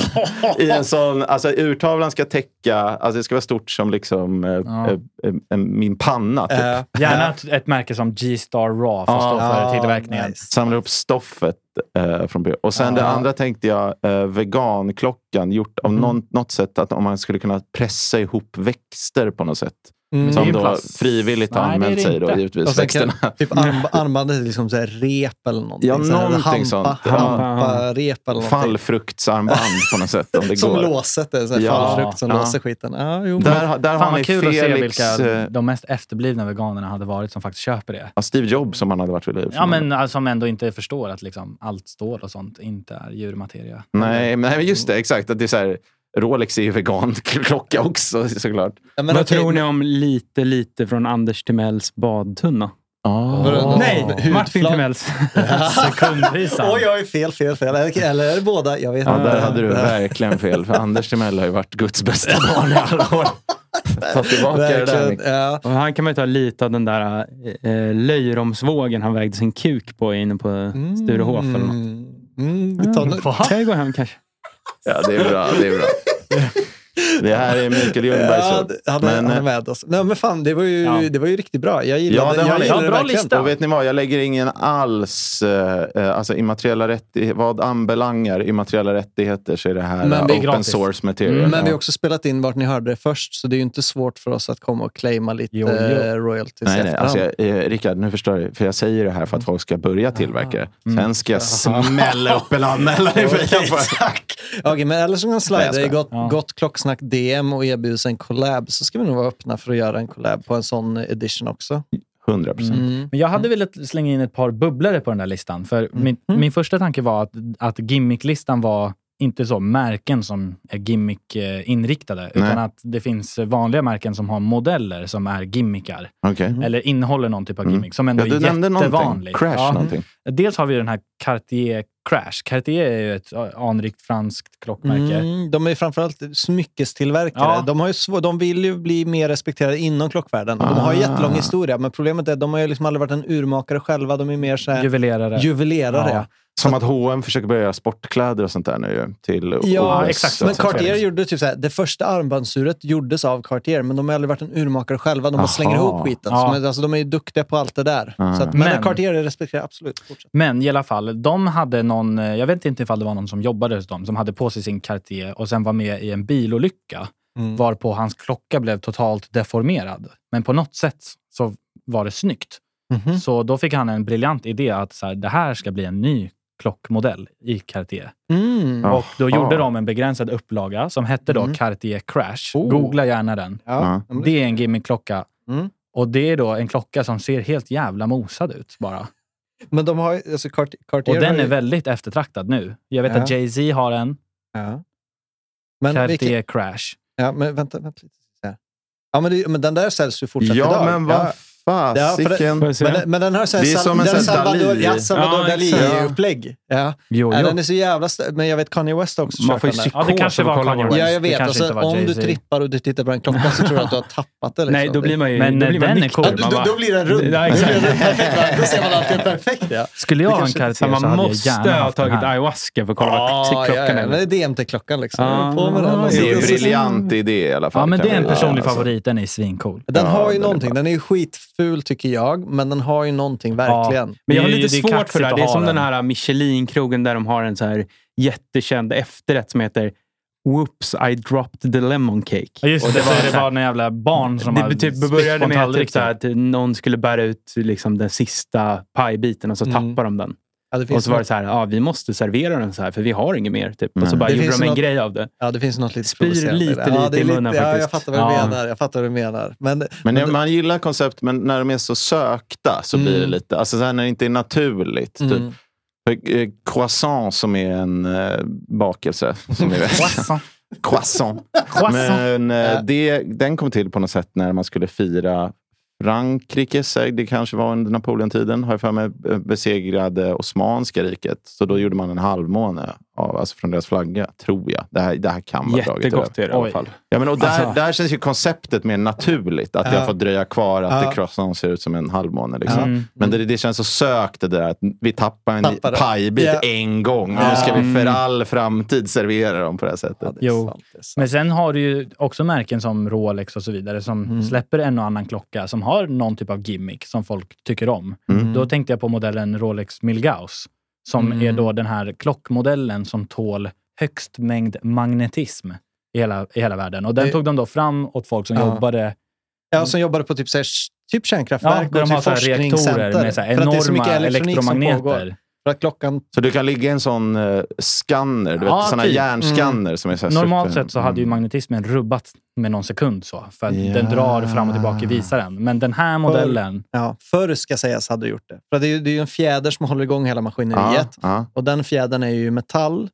S1: I en sån, alltså urtavlan ska täcka, alltså det ska vara stort som liksom, eh,
S3: Ja.
S1: eh, eh, eh, min panna. Typ.
S2: Eh,
S3: Gärna ett, ett märke som G-Star Raw för att stå
S2: ja,
S3: för tillverkningen.
S2: nice.
S1: Samlar upp stoffet eh, från PH. Och sen
S3: Ja. Mm.
S1: det andra tänkte jag, eh, veganklockan, gjort av någon, något sätt att om man skulle kunna pressa ihop växter på något sätt.
S2: Mm.
S3: Det är
S1: Som
S3: ju
S1: då
S3: plast.
S1: frivilligt har
S3: Nej, det är
S1: använt
S3: det
S1: sig då,
S3: inte.
S2: Och
S1: givetvis,
S2: sen kan,
S1: växterna.
S2: typ arm, armbandet är liksom så här rep eller någonting.
S1: Ja,
S2: så här,
S1: någonting
S2: hampa,
S1: sånt. Ja.
S2: Hampa, rep eller någonting.
S1: Fallfruktsarmband på något sätt. Om det
S2: som
S1: går.
S2: låset är, så här,
S1: Ja.
S2: fallfrukt som
S1: Ja.
S2: låser skiten. Ja, jo, men-
S1: Där, har- där har
S3: Fan
S1: ni
S3: vad kul att se
S1: Felix,
S3: vilka
S1: eh,
S3: de mest efterblivna veganerna hade varit som faktiskt köper det.
S1: ja, Steve Jobs om han hade varit vid liv.
S3: Ja, men alltså, som ändå inte förstår att liksom allt stål och sånt inte är djurmateria.
S1: Nej, men nej, men just det. Exakt. Att det är så här, Rolex är ju vegan klocka också såklart.
S2: ja, men
S5: Vad
S2: okej,
S5: tror ni om lite, lite från Anders Timells badtunna?
S1: Ah.
S2: Vadå,
S5: Nej,
S2: hudflak-
S5: Martin Timells.
S3: Sekundvisan.
S2: Oj, oj, fel, fel, fel. Eller, eller båda, jag vet
S1: Ja,
S2: inte.
S1: där hade du verkligen fel. För Anders Timell har ju varit Guds bästa barn i alla år. Ta tillbaka det där.
S2: Verkligen.
S1: Nick.
S2: Ja.
S5: Och han kan man ju ta lite av den där eh, löjromsvågen han vägde sin kuk på inne på Sturehof eller något.
S2: Mm, vi tar nu.
S5: Kan jag gå hem kanske?
S1: Ja, det är bra. Det är bra. Det här är Mikael Ljungbergs
S2: Ja,
S1: ord.
S2: det- han, är,
S1: Men,
S2: han är
S1: eh,
S2: med oss. alltså- Nej, men fan, det var ju,
S3: Ja.
S2: det var ju riktigt bra. Jag
S1: Ja,
S2: gillade
S1: det har
S2: jag
S1: ni.
S2: gillade
S3: Ja, bra
S2: verkligen.
S3: lista.
S1: Och vet ni vad? Jag lägger ingen alls eh, eh, alltså immateriella rättigheter. Vad anbelangar immateriella rättigheter så är det här
S2: Men
S1: eh,
S2: det är
S1: open
S3: gratis.
S1: source material.
S2: Men vi har
S1: Ja.
S2: också spelat in vart ni hörde det först, så det är ju inte svårt för oss att komma och claima lite
S3: Jo, jo.
S2: eh, royalties
S1: Nej,
S2: i
S1: nej.
S2: efterhand.
S1: Alltså, jag, eh, Rickard, nu förstår jag. För jag säger det här för att folk ska börja tillverka det. Sen ska jag smälla upp en anmälan i fejan på det.
S2: Tack! Okej, men eller så kan jag
S1: Nej, jag
S2: slida i
S1: skojar.
S2: gott, gott klocksnack DM och erbjuds en collab så ska vi nog vara öppna för att göra en collab på en sån edition också.
S1: 100 procent.
S3: Men jag hade velat slänga in ett par bubblare på den där listan. För
S1: Mm.
S3: min, min första tanke var att, att gimmicklistan var inte så märken som är gimmick-inriktade, utan att det finns vanliga märken som har modeller som är gimmickar.
S1: Okej.
S3: Eller innehåller någon typ av gimmick som ändå
S1: Mm. Ja, du
S3: är
S1: nämnde någonting.
S3: jättevanlig.
S1: Crash
S3: Ja.
S1: någonting.
S3: Dels har vi den här Cartier Crash. Cartier är ju ett anrikt franskt klockmärke.
S2: Mm, de är ju framförallt smyckestillverkare.
S3: Ja.
S2: De, har ju svår, de vill ju bli mer respekterade inom klockvärlden. Och De har ju
S1: Ah.
S2: jättelång historia, men problemet är att de har ju liksom aldrig varit en urmakare själva. De är mer så här,
S3: Juvelerare.
S2: juvelerare.
S3: Ja.
S1: Som att H&M försöker börja göra sportkläder och sånt där nu ju, till
S2: Ja,
S1: OS.
S3: exakt.
S1: Så
S2: Men
S1: att säga.
S2: Cartier gjorde typ så här, det första armbandsuret gjordes av Cartier, men de har aldrig varit en urmakare själva. De bara
S1: Aha.
S2: slänger ihop skiten.
S3: Ja.
S2: Så, men, alltså, de är ju duktiga på allt det där.
S1: Mm.
S2: Så att, men,
S3: Men-
S2: Cartier är respekterat, absolut. Fortsätt.
S3: Men i alla fall, de hade någon, eh, jag vet inte ifall det var någon som jobbade hos dem, som hade på sig sin Cartier och sen var med i en bilolycka.
S2: Mm.
S3: Varpå hans klocka blev totalt deformerad. Men på något sätt så var det snyggt.
S2: Mhm.
S3: Så då fick han en briljant idé att så här, det här ska bli en ny klockmodell i Cartier.
S2: Mm.
S1: Ja.
S3: Och då
S1: Aha.
S3: gjorde de en begränsad upplaga som hette då
S2: Mm.
S3: Cartier Crash.
S2: Oh.
S3: Googla gärna den.
S2: Ja.
S1: Ja.
S2: Ja, men det-
S3: Det är en gimmickklocka.
S2: Mm.
S3: Och det är då en klocka som ser helt jävla mosad ut bara.
S2: Men de har ju- alltså Cart- Cartier
S3: Och
S2: har
S3: den
S2: ju-
S3: är väldigt eftertraktad nu. Jag vet
S2: Ja.
S3: att Jay-Z har en,
S2: Ja. Men,
S3: Cartier
S2: vilken,
S3: Crash.
S2: ja, men vänta, vänta lite. Ja, men, det, men den där säljs ju fortsatt
S1: Ja,
S2: idag.
S1: men vad
S2: Ja, för det-
S1: fasiken.
S5: Får jag se?
S2: Men, den- men den har så här,
S1: Det är som en
S2: den
S1: sån här
S2: Salvador,
S1: Dalí.
S2: ja, Salvador
S5: Ja, exakt.
S2: Dalí-upplägg. Ja.
S3: Jo,
S2: Ja,
S3: jo.
S2: den är så jävla st- Men jag vet Kanye West har också
S5: Man
S2: kört
S5: får ju
S2: den där.
S5: psykos
S3: Ja, det kanske
S5: av att
S3: var
S5: kolla på
S3: Kanye
S5: den.
S3: West.
S2: Ja, jag
S3: Det
S2: vet.
S3: kanske
S2: Och sen,
S3: inte var
S2: om du
S3: Jay-Z.
S2: trippar och du tittar på den klockan så tror du att du har tappat det. Liksom.
S5: Nej, då blir man ju...
S3: Men
S5: då blir man
S3: den är
S5: nykter.
S3: cool.
S2: Ja, då, då, då blir den rund.
S5: Ja,
S2: Då
S5: exakt.
S2: blir den perfekt. va? Då ser man att det är perfekt. Ja.
S3: Skulle jag ha en karriär så
S5: Så man
S3: hade jag
S5: måste
S3: gärna
S5: ha
S3: haft den
S5: tagit
S3: här.
S5: ayahuasca för att kolla vad
S2: Ja,
S5: klockan
S2: ja, ja.
S5: är.
S2: Men det är DMT-klockan liksom.
S5: Ah.
S2: På med den. och
S5: Det
S1: Det är
S2: så-
S1: en
S2: så-
S1: briljant idé i alla fall.
S3: Ja, men
S1: kan
S3: det är en
S1: vi säga,
S3: personlig
S1: alltså.
S3: favorit. Den är svincool.
S2: Den
S1: Ja,
S2: har ju
S1: den är
S2: någonting. Den är ju skitful tycker jag, men den har ju någonting verkligen.
S5: Men jag har
S3: Det är ju-
S5: lite
S3: det är
S5: svårt
S3: kaxigt
S5: för det här.
S3: att
S5: Det är
S3: ha
S5: som den
S3: den.
S5: här Michelin-krogen där de har en så här jättekänd efterrätt som heter Whoops, I dropped the lemon
S3: Ja,
S5: cake.
S3: just det. Det var, det var några jävla barn som
S5: Det
S3: hade
S5: typ
S3: spytt på
S5: började
S3: en
S5: med att
S3: tallrik
S5: typ så här
S3: där.
S5: att någon skulle bära ut liksom den sista pajbiten och så
S2: Mm.
S5: tappar de den.
S2: Ja, det,
S5: Och
S2: finns
S5: så var det
S2: något,
S5: så här, ja, vi måste servera den så här för vi har inget mer. Typ. Och så bara
S2: Det
S5: gjorde
S2: finns
S5: de en
S2: något-
S5: grej av det.
S2: ja, det finns något lite
S5: Spyr
S2: provocerande i
S5: lite,
S2: det. ja,
S5: lite
S2: det är
S5: i munnen
S2: Ja, jag
S5: faktiskt.
S2: fattar vad du
S3: Ja.
S2: menar. Jag fattar vad du menar. Men,
S1: Men när man gillar koncept, men när de är så sökta så blir det
S2: Mm.
S1: lite... Alltså så här, när det inte är naturligt. Typ.
S2: mm.
S1: Eh, Croissant som är en eh, bakelse. Som ni vet.
S3: Croissant.
S1: Croissant.
S3: Croissant.
S1: Men eh,
S2: Ja.
S1: det, den kom till på något sätt när man skulle fira Frankrike, säg, det kanske var under Napoleontiden, har jag för mig, eh, besegrade Osmanska riket. Så då gjorde man en halvmåne av, alltså från deras flagga, tror jag. Det här, det här kan vara draget i röv.
S5: Jättegott är det i alla
S3: Oj.
S5: fall.
S1: Ja, men och där,
S5: Alltså-
S1: där känns ju konceptet mer naturligt. Att
S2: Ja.
S1: jag får dröja kvar, att
S2: Ja.
S1: det croissant ser ut som en halvmåne. Liksom.
S2: Ja.
S3: Mm.
S1: Men det, det känns så sökt det där att vi tappar en
S2: Tappar det.
S1: pajbit
S2: Ja.
S1: en gång.
S2: Ja.
S1: Nu ska vi för
S5: Mm.
S1: all framtid servera dem på det här
S2: ja,
S1: sättet.
S2: det är
S3: Jo.
S2: sant. Det är sant.
S3: Men sen har du ju också märken som Rolex och så vidare som
S2: Mm.
S3: släpper en och annan klocka som har någon typ av gimmick som folk tycker om.
S1: Mm.
S3: Då tänkte jag på modellen Rolex Milgauss som
S2: Mm.
S3: är då den här klockmodellen som tål högst mängd magnetism i hela, i hela världen. Och den
S2: Det-
S3: tog de då fram åt folk som
S2: Ja.
S3: jobbade...
S2: Ja, som jobbade på typ, så här, typ
S3: Ja,
S2: kärnkraftverk
S3: där
S2: och
S3: de har
S2: typ
S3: så här reaktorer
S2: forskningscenter.
S3: med så här
S2: För att det är så
S3: enorma
S2: mycket elektronik som pågår.
S3: elektromagneter.
S2: För att klockan...
S1: Så du kan ligga i en sån eh, scanner, du
S3: Ja,
S1: vet, sån här
S3: typ.
S1: järnskanner.
S2: Mm.
S1: Som är så här
S3: Normalt
S1: super-
S3: sett så hade ju
S1: Mm.
S3: magnetismen rubbat med någon sekund så, för att
S1: Ja.
S3: den drar fram och tillbaka i visaren. Men den här modellen,
S2: Ja, förr ska sägas hade gjort det. För det är ju det är ju en fjäder som håller igång hela maskineriet.
S1: Ja,
S2: Och den fjädern är ju metall.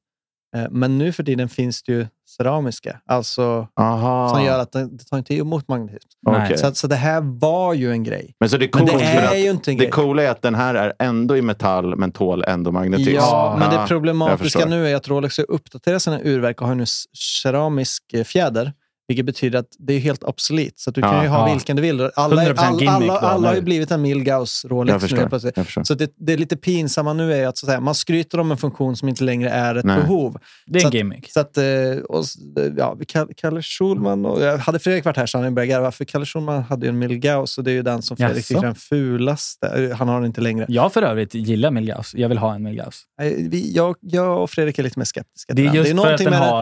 S2: Eh, Men nu för tiden finns det ju keramiska. Alltså
S1: ja. Aha.
S2: som gör att den, det tar inte emot magnetism.
S3: Nej.
S1: Ah. Okej.
S2: Så, att- så det här var ju en grej.
S1: Men så det är
S2: Men
S1: coolt
S2: det
S1: för
S2: är
S1: att
S2: ju inte en
S1: det
S2: grej.
S1: coola är att den här är ändå i metall men tål ändå magnetism.
S2: Ja, men
S1: Ja,
S2: det
S1: Ah, jag
S2: problematiska
S1: förstår.
S2: nu är att Rolex har uppdaterat sina urverk och har nu s- keramisk eh, fjäder. Vilket betyder att det är helt obsolet. Så att du
S1: Ja,
S2: kan ju ha
S3: ja.
S2: vilken du vill. Alla, alla,
S3: 100%
S2: alla,
S3: gimmick
S2: alla,
S3: då,
S2: alla har ju
S3: eller?
S2: blivit en Milgauss Rolex
S1: Jag
S2: nu helt plötsligt.
S1: förstår. Jag förstår.
S2: Så det, det är lite pinsamma nu är att, så att säga, man skryter om en funktion som inte längre är ett
S1: Nej.
S2: behov.
S3: det är
S2: Så
S3: en
S2: att-
S3: gimmick.
S2: Så att, eh, och, s- ja, vi kall- Kalle Schulman och, jag hade Fredrik varit här så hade han börjat garva, för Kalle Schulman hade ju en Milgauss och det är ju den som Fredrik
S3: Jaså?
S2: tycker är den fulaste. Eh, Han har den inte längre.
S3: Jag för övrigt gillar Milgauss. Jag vill ha en Milgauss.
S2: Eh, Vi, jag, jag och Fredrik är lite mer skeptiska
S3: Det är just för att
S2: någonting
S3: den
S2: med
S3: har...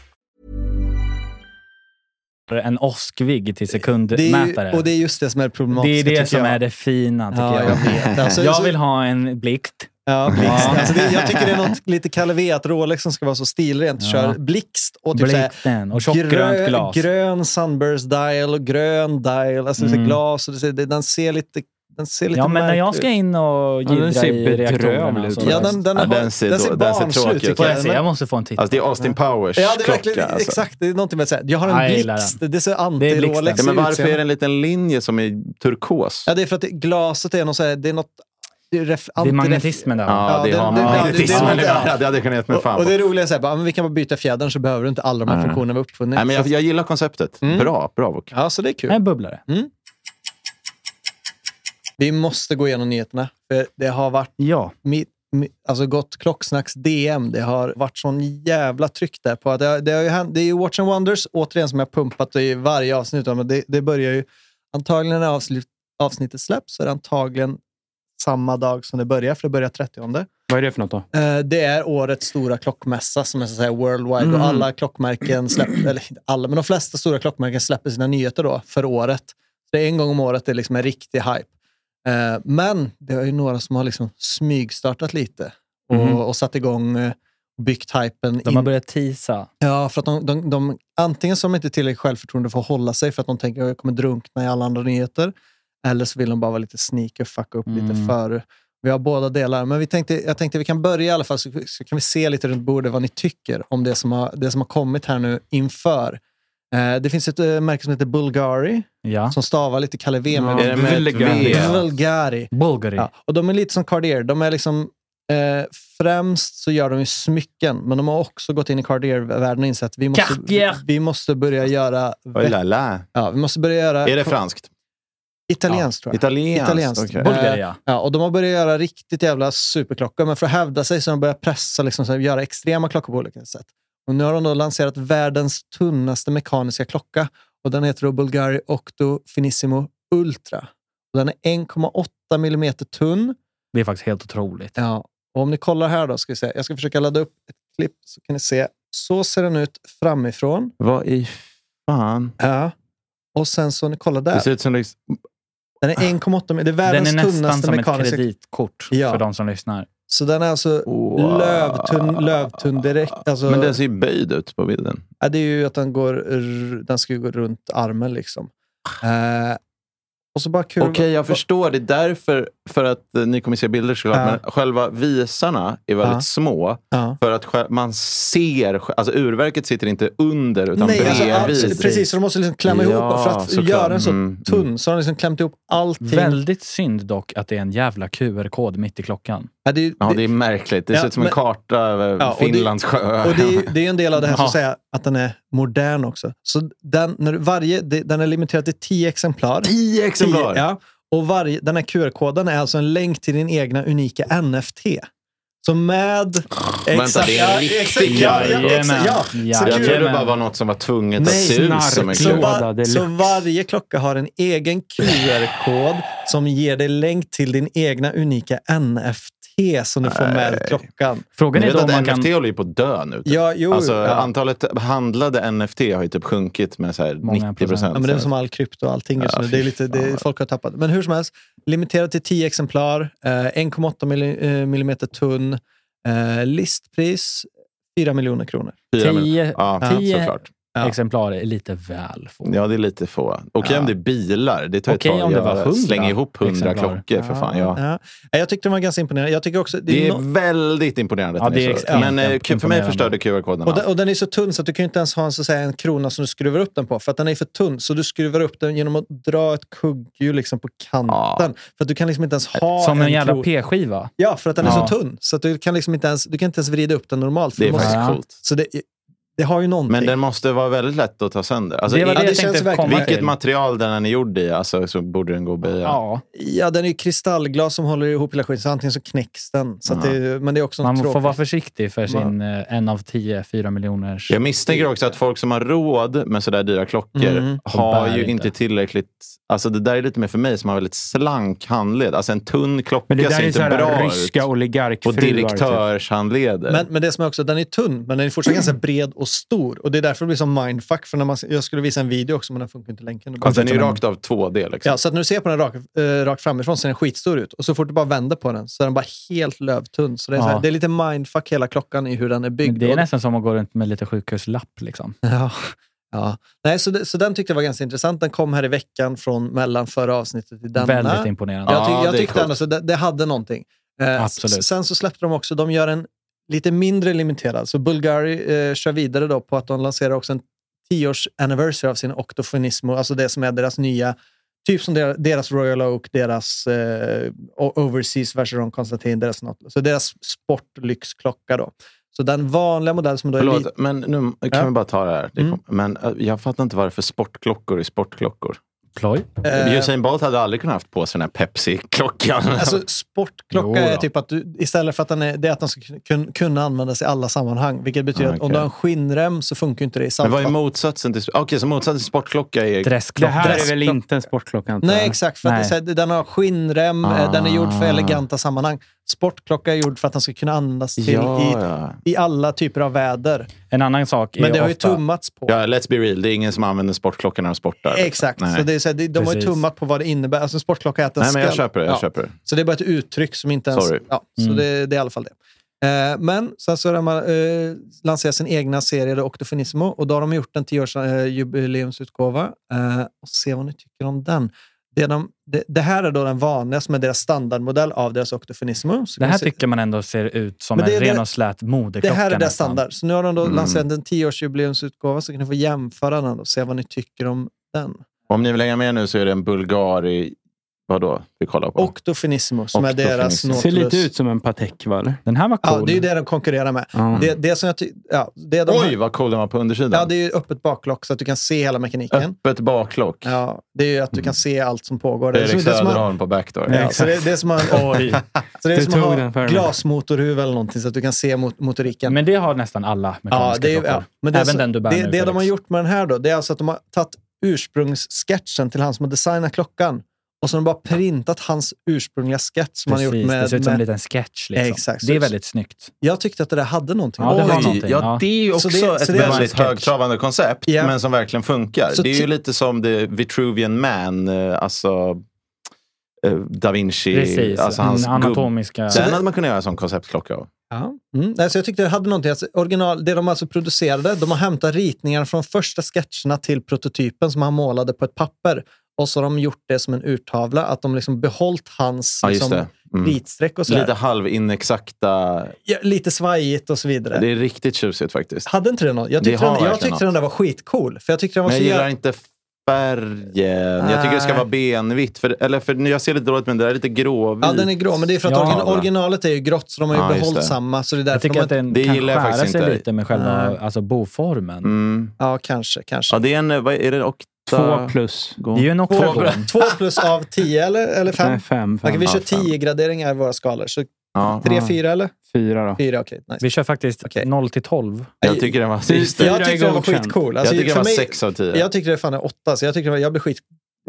S3: en åskvigg till
S2: det, det är
S3: sekundmätare.
S2: ju, Och det är just det som är det
S3: det,
S2: problematiska.
S3: är det som
S2: tycker jag.
S3: är det fina, tycker
S2: Ja, jag
S3: jag.
S2: vet. Alltså,
S3: jag
S2: så-
S3: vill ha en blixt.
S2: Ja, blixt. Alltså det, jag tycker det är något lite Kalle V att Rolex som ska vara så stilrent kör blixt och typ så här-
S3: Blixten och tjockgrönt glas.
S2: Grön sunburst dial och grön dial. Alltså mm.
S3: Mm.
S2: glas. Och det, ser- det- den ser lite Den ser lite
S3: ja, men när jag
S2: märklig
S3: ska in och
S5: den
S3: jiddra
S5: ser
S3: i
S5: bedrövlig
S3: reaktorerna.
S5: ut.
S3: och
S2: ut.
S3: så-
S2: Ja, den, den,
S1: Ja,
S2: har,
S1: den ser då- den ser
S2: barnslig
S1: tråkig
S2: ut, tycker
S1: ut.
S3: Får jag
S2: Den
S3: se?
S2: är-
S3: Jag måste få en titt.
S1: Alltså, det är Austin Powers
S2: Ja, det är verkligen,
S1: klocka. Alltså.
S2: exakt. Det är någonting med att säga, jag har
S3: Ja, jag
S2: en
S3: gillar
S2: blixt.
S3: den.
S2: Det ser
S3: Det är blixten.
S2: anti-Rolex
S1: Ja, men varför är
S2: utseende.
S1: det en liten linje som är turkos?
S2: Ja, det är för att det, glaset är något, så här, det är något ref,
S3: Det är magnetismen där. va?
S1: Ja,
S2: Ja,
S1: det
S2: den-
S1: har
S2: den-
S1: man.
S2: den-
S1: Magnetismen
S2: den-
S1: är värd. Det hade jag kunnat ge mig
S2: Och,
S1: fan
S2: och
S1: på.
S2: det roliga är så här, bara, men vi kan bara byta fjädern så behöver du inte alla de här
S1: Nej.
S2: funktionerna vara uppfunna.
S1: Nej, men jag,
S2: Så-
S1: jag gillar konceptet.
S2: Mm.
S1: Bra, bra bok.
S2: Ja, så det är kul.
S3: Nej, bubblare.
S2: Vi måste gå igenom nyheterna. För det har varit
S3: Ja.
S2: mitt, mitt, alltså gott klocksnacks DM. Det har varit sån jävla tryck där på att det, har- det, har ju hänt, det är ju Watch and Wonders, återigen, som jag pumpat i varje avsnitt. Men det, det börjar ju antagligen när avslut, avsnittet släpps så är det antagligen samma dag som det börjar, för det börjar 30.
S5: Vad är det för något då?
S2: Eh, Det är årets stora klockmässa som är så att säga worldwide.
S3: Mm.
S2: Och alla klockmärken släpper, eller inte alla, men de flesta stora klockmärken släpper sina nyheter då för året. Det är en gång om året det är liksom en riktig hype. Eh, Men det är ju några som har liksom smygstartat lite och, och satt igång eh, och byggt hypen.
S3: Mm. De har börjat tisa.
S2: Ja, för att de, de, de, antingen så har de inte tillräckligt självförtroende för att hålla sig för att de tänker att jag kommer drunkna i alla andra nyheter. Eller så vill de bara vara lite sneaky och fucka upp lite
S3: Mm.
S2: före. Vi har båda delar, men vi tänkte, jag tänkte vi kan börja i alla fall så, så kan vi se lite runt bordet vad ni tycker om det som har, det som har kommit här nu inför. Eh, det finns ett eh, märke som heter Bulgari
S3: Ja.
S2: som stavar lite Kalle V. men-
S1: Är det med ett V?
S2: Bulgari.
S3: Bulgari.
S2: Ja,
S1: Mm.
S2: och de är lite som Cartier. De är liksom, eh, främst så gör de ju smycken, men de har också gått in i Cartier-världen och insett att vi måste,
S3: Cartier.
S2: vi måste börja göra...
S1: Oj, la, la.
S2: Ja, vi måste börja göra...
S1: Är det franskt?
S2: Italienskt, tror jag.
S1: Italienskt?
S2: Italienskt.
S1: okej.
S2: Bul-
S3: Bulgari, ja.
S2: Ja, och de har börjat göra riktigt jävla superklockor, men för att hävda sig så har de börjat pressa, liksom, så här, göra extrema klockor på olika sätt. Och nu har de då lanserat världens tunnaste mekaniska klocka. Och den heter då Bulgari Octo Finissimo Ultra. Och den är 1,8 millimeter tunn.
S3: Det är faktiskt helt otroligt.
S2: Ja. Och om ni kollar här då, ska vi se. jag ska försöka ladda upp ett klipp så kan ni se. Så ser den ut framifrån.
S1: Vad i fan?
S2: Ja. Och sen så, ni kollar
S1: Det
S2: där.
S1: ser ut som... liksom-
S2: Den är 1,8 meter. Det är
S3: Den
S2: världens
S3: är nästan
S2: tunnaste
S3: som ett
S2: mekaniska.
S3: kreditkort
S2: Ja.
S3: för de som lyssnar.
S2: Så den är alltså
S1: Wow.
S2: lövtunn, lövtunn direkt. Alltså,
S1: Men den ser ju böjd ut på bilden.
S2: ja, det är ju att den, går, r- den ska ju gå runt armen liksom. Eh, och så bara kurva.
S1: Okej, jag förstår. Det är därför, för att eh, ni kommer se bilder såklart,
S2: Ja.
S1: men själva visarna är väldigt
S2: Ja.
S1: små.
S2: Ja.
S1: För att själ- man ser, sj- alltså urverket sitter inte under utan
S2: Nej, alltså,
S1: bredvid.
S2: absolut, precis. Så de måste liksom klämma ihop.
S1: Ja,
S2: För att
S1: såklart.
S2: göra den så
S1: Mm,
S2: tunn så har de liksom klämt ihop allting.
S3: Väldigt synd dock att det är en jävla QR-kod mitt i klockan.
S2: Ja, det är ju-
S1: Ja,
S2: det-
S1: det är märkligt. Det ser
S2: Ja,
S1: ut som en
S2: men-
S1: karta över
S2: Ja, och det-
S1: Finlands sjö.
S2: Och det, är ju- det är ju en del av det här som
S3: Ja.
S2: säger att den är modern också. Så den, när du- varje, det- den är limiterad till 10 exemplar.
S1: Tio exemplar!
S2: Tio, ja. Och varje, den här QR-koden är alltså en länk till din egna unika NFT. Så med...
S1: Vänta, det är en
S2: ja,
S1: riktig
S2: ja, ja, exakt, ja. Så
S1: Jag trodde det
S3: Jajamän.
S1: bara var något som var tvunget att
S2: Nej,
S1: se ut som en
S5: snark.
S2: Så,
S1: klon.
S5: klocka.
S2: va-
S5: Deluxe.
S2: så varje klocka har en egen QR-kod som ger dig länk till din egna unika NFT som du får med klockan.
S3: Frågan
S1: Ni
S3: är
S1: vet
S3: då om man
S1: att NFT
S3: kan...
S1: håller ju på att dö nu. typ.
S2: Ja, jo,
S1: alltså,
S2: ja.
S1: Antalet handlade NFT har ju typ sjunkit med så här
S3: Många
S1: 90 procent.
S3: procent.
S2: Ja, men det är som all krypto och allting just
S1: Alltså. Ja,
S2: nu. Det är
S1: fy
S2: lite,
S1: fan,
S2: det,
S1: vad-
S2: folk har tappat. Men hur som helst, limiterat till 10 exemplar, eh, 1,8 milli- eh, millimeter tunn, eh, listpris 4 miljoner kronor.
S1: Fyra miljoner.
S3: Tio
S1: Ja,
S3: tio-
S1: såklart.
S2: Ja.
S3: exemplar är lite väl få.
S1: Ja, det är lite få. Okej om det är bilar. Det tar
S3: Okej
S1: ett tag.
S3: om det var
S1: Jag
S3: 100
S1: slänger ihop hundra
S3: exemplar.
S1: klockor för fan. Ja.
S2: Ja. Nej, Jag tyckte den var ganska imponerande. Jag tycker också, det är
S1: Det är
S2: no-
S1: väldigt imponerande. att
S3: Ja,
S1: den är
S3: det är
S1: så.
S3: extremt
S1: Men eh, för mig
S3: imponerande.
S1: förstörde QR-koden
S2: och, den,
S1: allt.
S2: och den är så tunn så att du kan ju inte ens ha en, så att säga, en krona som du skruvar upp den på. För att den är för tunn. Så du skruvar upp den genom att dra ett kugghjul liksom på kanten.
S1: Ja.
S2: För att du kan liksom inte ens ha
S3: Som en
S2: kro-
S3: jävla p-skiva.
S2: Ja, för att den är
S3: Ja.
S2: så tunn. Så att du kan liksom inte ens, du kan inte ens vrida upp den normalt. För
S1: Det är
S2: du måste-
S1: faktiskt
S3: Ja.
S1: coolt.
S2: Så det, det har ju någonting.
S1: Men den måste vara väldigt lätt att ta sönder. Alltså,
S3: det var
S1: i-
S3: det,
S2: det
S3: jag
S2: känns
S3: tänkte
S2: verkligen-
S3: komma
S1: vilket
S3: till.
S1: material den än är gjord i alltså, så borde den gå att böja.
S3: Ja,
S2: Ja, den är ju kristallglas som håller ihop hela skiten, så antingen så knäcks den. Så att det, men det är också en
S3: man
S2: tråkig...
S3: får vara försiktig för sin eh, en av tio, fyra miljoners...
S1: Jag misstänker också att folk som har råd med sådär dyra klockor
S2: Mm.
S1: har
S3: bär
S1: ju
S3: inte.
S1: inte tillräckligt... Alltså det där är lite mer för mig som har väldigt slank handled. Alltså en tunn klocka
S5: Men det där
S1: ser
S5: är så
S1: inte
S5: här
S1: bra
S5: ryska
S1: ut. Och
S5: oligarkfruar. typ.
S1: direktörshandleder.
S2: men, men det som är också, den är tunn, men den är fortfarande ganska bred och stor. Och det är därför det blir som mindfuck. För när man, jag skulle visa en video också, men den funkar inte länken.
S1: Alltså, den är ju rakt av 2D. Liksom.
S2: Ja, så att när du ser på den rakt eh, rakt framifrån ser den skitstor ut. Och så fort du bara vänder på den så är den bara helt lövtunn. Så det är, så här,
S3: Ja.
S2: det är lite mindfuck hela klockan i hur den är
S3: Men
S2: byggd.
S3: det är
S2: Och-
S3: nästan som att gå runt med lite sjukhuslapp. Liksom.
S2: Ja. ja. Nej, så, det, så den tyckte jag var ganska intressant. Den kom här i veckan från mellan förra avsnittet till denna.
S3: Väldigt imponerande.
S2: Jag, tyck,
S1: Ja,
S2: jag
S1: det är
S2: tyckte
S1: coolt.
S2: ändå så det, det hade någonting. Eh,
S3: Absolut.
S2: s- Sen så släppte de också, de gör en lite mindre limiterad. Så Bulgari eh, kör vidare då på att de lanserar också en 10-års anniversary av sin Octofonismo, alltså det som är deras nya Typ som der- deras Royal Oak, deras eh, O- Overseas Vacheron Constantin, deras något. Så deras sportlyxklocka då. Så den vanliga modellen som då är lite...
S1: Förlåt, men nu kan
S2: Ja.
S1: vi bara ta det här. Det
S2: Mm.
S1: kom, men eh, jag fattar inte varför sportklockor är sportklockor.
S3: Ploj?
S2: eh,
S1: Usain Bolt hade aldrig kunnat haft på sig den här Pepsi-klockan.
S2: Alltså, sportklocka
S3: Jo då.
S2: är typ att du, istället för att den är, det är att den ska kun, kunna användas i alla sammanhang. Vilket betyder
S1: Ah,
S2: att om
S1: okej.
S2: du har en skinnrem så funkar ju inte det i
S1: men vad är
S2: saltvatten.
S1: motsatsen till... Okej, så motsatsen till sportklocka är...
S5: Det
S3: Dressklocka.
S5: här är väl
S2: Dressklocka.
S5: inte en sportklocka? antar
S2: Nej,
S5: jag?
S2: exakt. För att det är
S3: Nej.
S2: så här, den har skinnrem, eh, den är gjord för
S1: Ah.
S2: eleganta sammanhang. Sportklocka är gjord för att den ska kunna användas till
S1: Ja,
S2: i,
S1: ja.
S2: i alla typer av väder.
S3: En annan sak är
S2: Men det har ju
S3: ofta...
S2: tummats på.
S1: ja, let's be real. Det är ingen som använder sportklocka när de sportar.
S2: Exakt.
S1: Nej.
S2: Så det är så här, de de har ju
S3: Precis.
S2: tummat på vad det innebär. Alltså en sportklocka är att den
S1: Nej, men jag
S2: ska-
S1: köper det. Jag
S2: Ja.
S1: köper det.
S2: Så det är bara ett uttryck som inte ens...
S1: Sorry.
S2: Ja, så det, det är i alla fall det. Eh, men sen så har de eh, lanserat sin egna serie, då, Octofinissimo, och då har de gjort den tioårsjubileumsutgåva. Eh, jubileumsutgåva. eh, och se vad ni tycker om den. Det, de, det, det här är då den vanliga som är deras standardmodell av deras Octofinissimo. Så
S3: Det
S2: kan vi
S3: här
S2: se-
S3: tycker man ändå ser ut som
S2: Men det är
S3: en ren
S2: det-
S3: och slät
S2: det
S3: modeklocka.
S2: här är deras
S3: nästan.
S2: standard. Så nu har de då
S1: Mm.
S2: lanserat en tioårsjubileumsutgåva, så kan ni få jämföra den och se vad ni tycker om den.
S1: Om ni vill hänga med nu så är det en Bulgari... Vadå? Vi kollar på.
S2: Octofinissimo, som är
S1: Octofinissimo.
S2: deras
S5: Det ser lite
S2: Nautilus.
S5: ut som en Patek, va? eller?
S3: Den här var cool.
S2: Ja, det är ju det de konkurrerar med.
S5: Ja.
S2: Det, det som jag ty- ja, det de
S1: Oj, vad cool den var på undersidan.
S2: Ja, det är ju öppet baklock så att du kan se hela mekaniken.
S1: Öppet baklock.
S2: Ja, det är ju att du
S3: Mm.
S2: kan se allt som pågår.
S1: Det är
S2: som-
S1: Erik
S2: det som har-
S1: Söderholm på backdoor.
S2: Ja, så det, det är som att
S3: Oj.
S2: så det är
S5: Du
S2: som att
S5: tog
S2: ha
S5: den för mig.
S2: glasmotorhuvud eller någonting så att du kan se mot, motoriken.
S3: Men det har nästan alla mekaniska
S2: ja, det är,
S3: klockor.
S2: ja, men det är
S3: Även
S2: så-
S3: den du bär
S2: det,
S3: nu,
S2: det de
S3: Felix.
S2: har gjort med den här då, det är alltså att de har tagit ursprungssketchen till han som har designat klockan och så har de bara printat hans ursprungliga sketch som han har gjort
S3: Precis,
S2: med...
S3: det ser ut som en
S2: med
S3: liten sketch. Liksom.
S2: Exakt.
S3: Det är väldigt snyggt.
S2: jag tyckte att det där hade någonting.
S3: Ja, det har
S1: Oj,
S3: någonting,
S1: ja,
S3: ja.
S1: det är ju
S2: Så
S1: också
S2: det-
S1: ett
S2: så det är alltså
S1: väldigt
S3: en sketch.
S1: högtravande koncept,
S2: Ja.
S1: men som verkligen funkar.
S2: Så
S1: det är
S2: ti-
S1: ju lite som The Vitruvian Man, eh, alltså eh, da Vinci.
S3: Precis,
S1: alltså
S3: en
S1: hans
S2: Mm,
S1: gubb.
S3: anatomiska...
S1: Den hade man kunnat göra en sån konceptklocka av.
S2: Ja. Mm. Nej, så jag tyckte det hade någonting. Alltså, original, det de alltså producerade, de har hämtat ritningar från första sketcherna till prototypen som han målade på ett papper. Och så har de gjort det som en urtavla, att de liksom behållit hans
S1: Ja, just
S2: liksom,
S1: det. Mm.
S2: ritstreck och sådär.
S1: Lite
S2: Lite.
S1: halvinexakta.
S2: Ja, lite svajigt och så vidare.
S1: Det är riktigt tjusigt faktiskt.
S2: Hade inte det något? Jag
S1: Det
S2: tyckte,
S1: har
S2: den, jag
S1: verkligen
S2: tyckte den där var skitcool. För jag tyckte den var
S1: Men
S2: så
S1: jag gillar
S2: jävla...
S1: inte färgen. Jag tycker det ska
S2: Nej.
S1: vara benvitt. För, eller för, jag ser lite dåligt, men det där är lite gråvitt.
S2: Ja, den är grå, men det är för att
S3: Ja,
S2: origina-
S1: bra.
S2: originalet är ju grått, så de har ju
S1: Ja, just
S2: behållit
S1: det.
S2: samma. Så det är därför
S3: Jag
S2: de
S3: tycker
S2: har...
S3: att den
S1: Det
S3: kan
S1: gillar jag
S3: skära sig
S1: faktiskt inte.
S3: lite med själva
S2: Nej.
S3: alltså, boformen.
S1: Mm.
S2: Ja, kanske. kanske.
S1: Ja, det är en... Vad är det? Okta...
S5: Två plus.
S3: Det är ju en oktagon.
S2: Två plus av tio, eller, eller fem?
S5: Nej, fem, fem.
S2: Okej, vi
S1: Ja,
S2: kör
S1: fem.
S2: 10 graderingar i våra skalor. Så
S1: Ja.
S2: tre
S5: Ja.
S2: fyra eller?
S5: Fyra då.
S2: fyra okej. Nice.
S3: Vi kör faktiskt
S2: Okej.
S3: 0 till 12.
S1: Jag tycker den var... Just det.
S5: fyra
S2: Jag
S5: är
S2: tyckte den var
S5: godkänd.
S2: skitcool.
S1: Jag
S2: Alltså,
S1: tycker den
S2: för
S1: var eh.
S2: mig-
S1: 6 av 10.
S2: Jag tyckte det fan är åtta, så jag tyckte, det var- jag blev skit...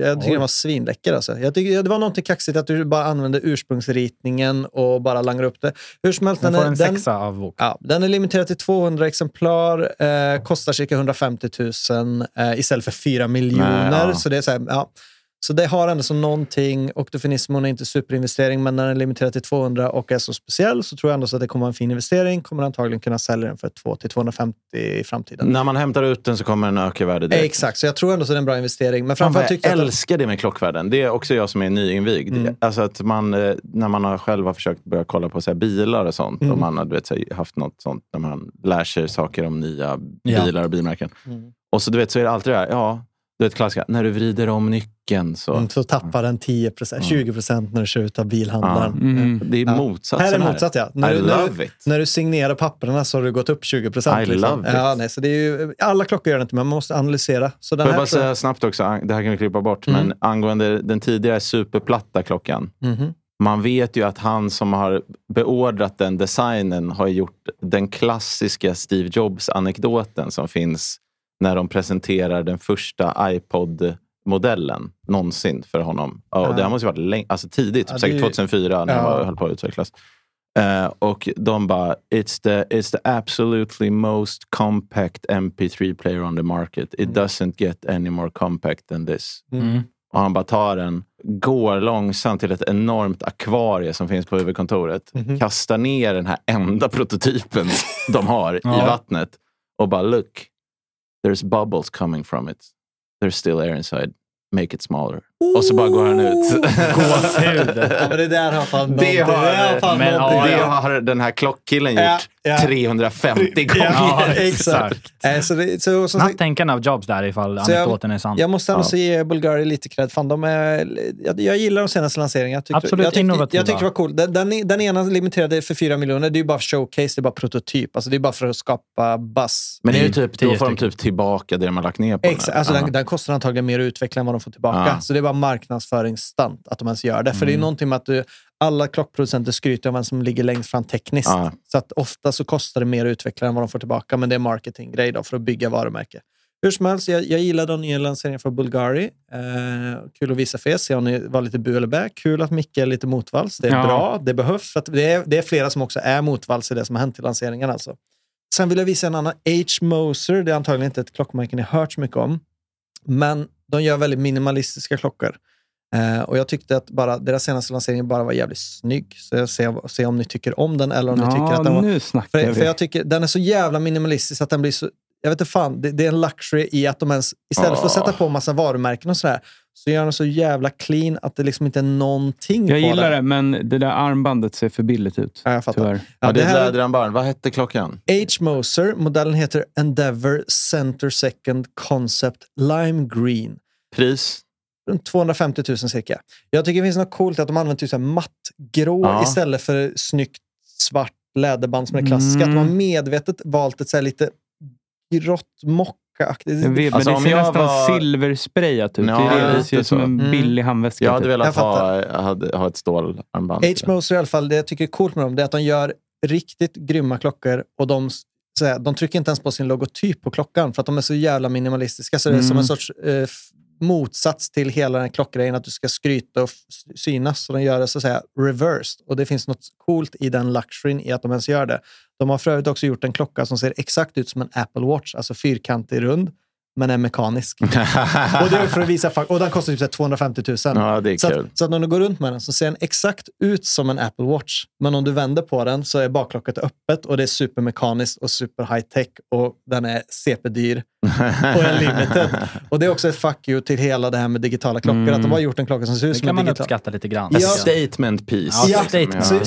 S2: Jag tyckte
S3: Oj.
S2: den var svinläcker. Alltså. Jag tycker, det var någonting kaxigt att du bara använde ursprungsritningen och bara langar upp det. Hur som helst,
S3: Den
S2: den
S3: får
S2: är,
S3: en
S2: den,
S3: sexa av bok.
S2: ja, den är limiterad till 200 exemplar, eh, kostar cirka 150 000 eh, istället för 4 miljoner.
S1: Nej, ja.
S2: Så det är så här, ja. Så det har ändå som någonting. Octofinismon är inte superinvestering, men när den är limiterad till 200 och är så speciell så tror jag ändå så att det kommer vara en fin investering. Kommer antagligen kunna sälja den för 200-250 i framtiden.
S1: När man hämtar ut den så kommer den öka i värde direkt.
S2: Exakt, så jag tror ändå så det är en bra investering. Men
S1: Fan, vad
S2: framförallt
S1: jag
S2: tyckte jag att...
S1: älskar det med klockvärlden. Det är också jag som är nyinvigd.
S2: Mm.
S1: Alltså att man, eh, när man har själv har försökt börja kolla på så här bilar och sånt.
S2: Mm.
S1: Och man har du vet, så här, haft något sånt när man lär sig saker om nya
S3: Ja.
S1: bilar och bilmärken.
S2: Mm.
S1: Och så, du vet, så är det alltid det här, ja, du vet klassiska, när du vrider om nyckeln så.
S2: Mm, så tappar den 10 20 när du kör ut av bilhandlaren.
S5: Mm.
S2: Mm.
S1: Det är
S2: Ja.
S1: motsatsen
S2: Här är motsatt, ja. När
S1: I
S2: du, när,
S1: love
S2: du,
S1: it.
S2: när du signerar papperna så har du gått upp 20
S1: I
S2: liksom.
S1: love it.
S2: ja, nej, så det är ju, Alla klockor gör det inte, men man måste analysera. Så den
S1: Får jag
S2: här
S1: bara
S2: tror
S1: säga snabbt också, ang- det här kan vi klippa bort,
S2: Mm.
S1: men angående den tidigare superplatta klockan.
S2: jag- Mhm.
S1: Man vet ju att han som har beordrat den designen har gjort den klassiska Steve Jobs-anekdoten som finns när de presenterar den första iPod-modellen någonsin för honom. Ja, och
S2: Ah.
S1: Det här måste ju varit länge, alltså tidigt,
S2: Ja, det är
S1: säkert
S2: ju-
S1: 2004 när
S2: Ja.
S1: den var, höll på att utvecklas. Eh, och de bara, it's the, it's the absolutely most compact MP3 player on the market.
S2: Mm.
S1: It doesn't get any more compact than this.
S3: Mm.
S1: Och han bara tar den, går långsamt till ett enormt akvarie som finns på huvudkontoret.
S2: Mhm.
S1: Kastar ner den här enda prototypen de har i
S3: Ja.
S1: vattnet. Och bara, look, there's bubbles coming from it. There's still air inside. Make it smaller. Och så bara går han ut.
S3: Gåshud.
S2: Ja, men det där har fan
S1: Det
S2: någonting-
S1: har,
S2: fan
S3: men
S2: någonting.
S3: ja,
S1: det
S3: ja.
S1: har den här klockkillen gjort
S2: Ja, ja.
S1: 350 gånger.
S2: Ja,
S3: Ja,
S2: exakt.
S3: exakt.
S2: Eh, Så det, så, som sagt,
S3: Nattänkan av Jobs där ifall
S2: Så jag-
S3: anekdoten är sann.
S2: jag måste ändå
S1: Ja.
S2: så ge Bulgari lite cred. Fan, de är, jag, jag gillar de senaste lanseringarna. Jag tyckte,
S3: Absolut
S2: jag tyckte,
S3: innovativa.
S2: jag tyckte det var cool. Den, den, den ena limiterade för 4 miljoner. Det är ju bara showcase, det är bara prototyp. Alltså, det är bara för att skapa buzz.
S1: Men är det typ, då
S3: Tio
S1: får de
S3: stycken.
S1: typ tillbaka det de har lagt ner på
S2: Ex,
S1: den.
S2: alltså
S1: Ja.
S2: den, den kostar antagligen mer att utveckla än vad de får tillbaka.
S1: Ja. Mm.
S2: Så det är bara marknadsföringsstunt att de ens gör det. För det är någonting med att du, alla klockproducenter skryter om vem som ligger längst fram tekniskt.
S1: Ja.
S2: Så att ofta så kostar det mer att utveckla än vad de får tillbaka. Men det är marketinggrej då för att bygga varumärke. Hur som helst, jag, jag gillar de nya lanseringarna från Bulgari. Eh, kul att visa för er, se om ni var lite bu eller bä. Kul att Micke är lite motvalls. Det är
S5: Ja.
S2: bra, det behövs. För att det, är, det är flera som också är motvalls i det som har hänt i lanseringen. Alltså. Sen vill jag visa en annan. H. Moser, det är antagligen inte ett klockmärke ni hört så mycket om. Men de gör väldigt minimalistiska klockor. Eh, och jag tyckte att bara, deras senaste lansering bara var jävligt snygg. Så jag ser, ser om ni tycker om den eller om ni tycker att den var...
S5: nu snackar
S2: För,
S5: vi.
S2: för jag tycker den är så jävla minimalistisk att den blir så... Jag vet inte fan, det, det är en luxury i att de ens... Istället för att
S1: Ah.
S2: sätta på massa varumärken och sådär, så gör de så jävla clean att det liksom inte är någonting
S5: jag
S2: på den.
S5: gillar det, men det där armbandet ser för billigt ut.
S2: Ja, jag fattar.
S5: Tyvärr.
S2: Ja,
S1: Ja, det
S2: det
S1: är ett
S2: här
S1: läderarmband. Vad hette klockan?
S2: H. Moser, modellen heter Endeavour Center Second Concept Lime Green.
S1: Pris?
S2: Runt 250 000 cirka. Jag tycker det finns något coolt att de använder typ så här mattgrå
S1: Ja.
S2: istället för snyggt svart läderband som är klassiska. Att de har medvetet valt ett så här lite grått mockaaktigt.
S5: Jag vet, men
S1: Alltså,
S5: det
S1: om
S5: ser
S1: jag
S5: nästan
S1: var-
S5: silversprayat ut.
S1: Ja,
S5: det, är det, det
S1: lite
S5: ser ut som
S1: så.
S5: en
S2: Mm.
S5: billig handväska.
S1: Jag
S5: typ.
S1: hade velat
S2: Jag
S1: ha, hade, ha ett stålarmband.
S2: H. Moser i alla fall, det jag tycker är coolt med dem, det är att de gör riktigt grymma klockor och de, så här, de trycker inte ens på sin logotyp på klockan för att de är så jävla minimalistiska. Så det är som en
S5: Mm.
S2: sorts eh, f- motsats till hela den här klockgrejen att du ska skryta och f- synas. Så de gör det så att säga reversed. Och det finns något coolt i den luxuryn i att de ens gör det. De har för övrigt också gjort en klocka som ser exakt ut som en Apple Watch, alltså fyrkantig rund, men är mekanisk. Och det är för att visa fuck. Och den kostar typ så här 250 000.
S1: Ja, det är
S2: så,
S1: kul.
S2: att, så att när du går runt med den så ser den exakt ut som en Apple Watch. Men om du vänder på den så är baklocket öppet och det är supermekaniskt och super high tech och den är CP-dyr och är limited. Och det är också ett fuck you till hela det här med digitala klockor.
S5: Mm.
S2: Att de har gjort en klocka som ser ut
S3: Det
S2: som
S3: kan
S2: en
S3: man
S2: digital.
S3: uppskatta lite grann.
S2: Ja.
S1: A statement piece.
S3: Ja,
S1: liksom.
S3: statement.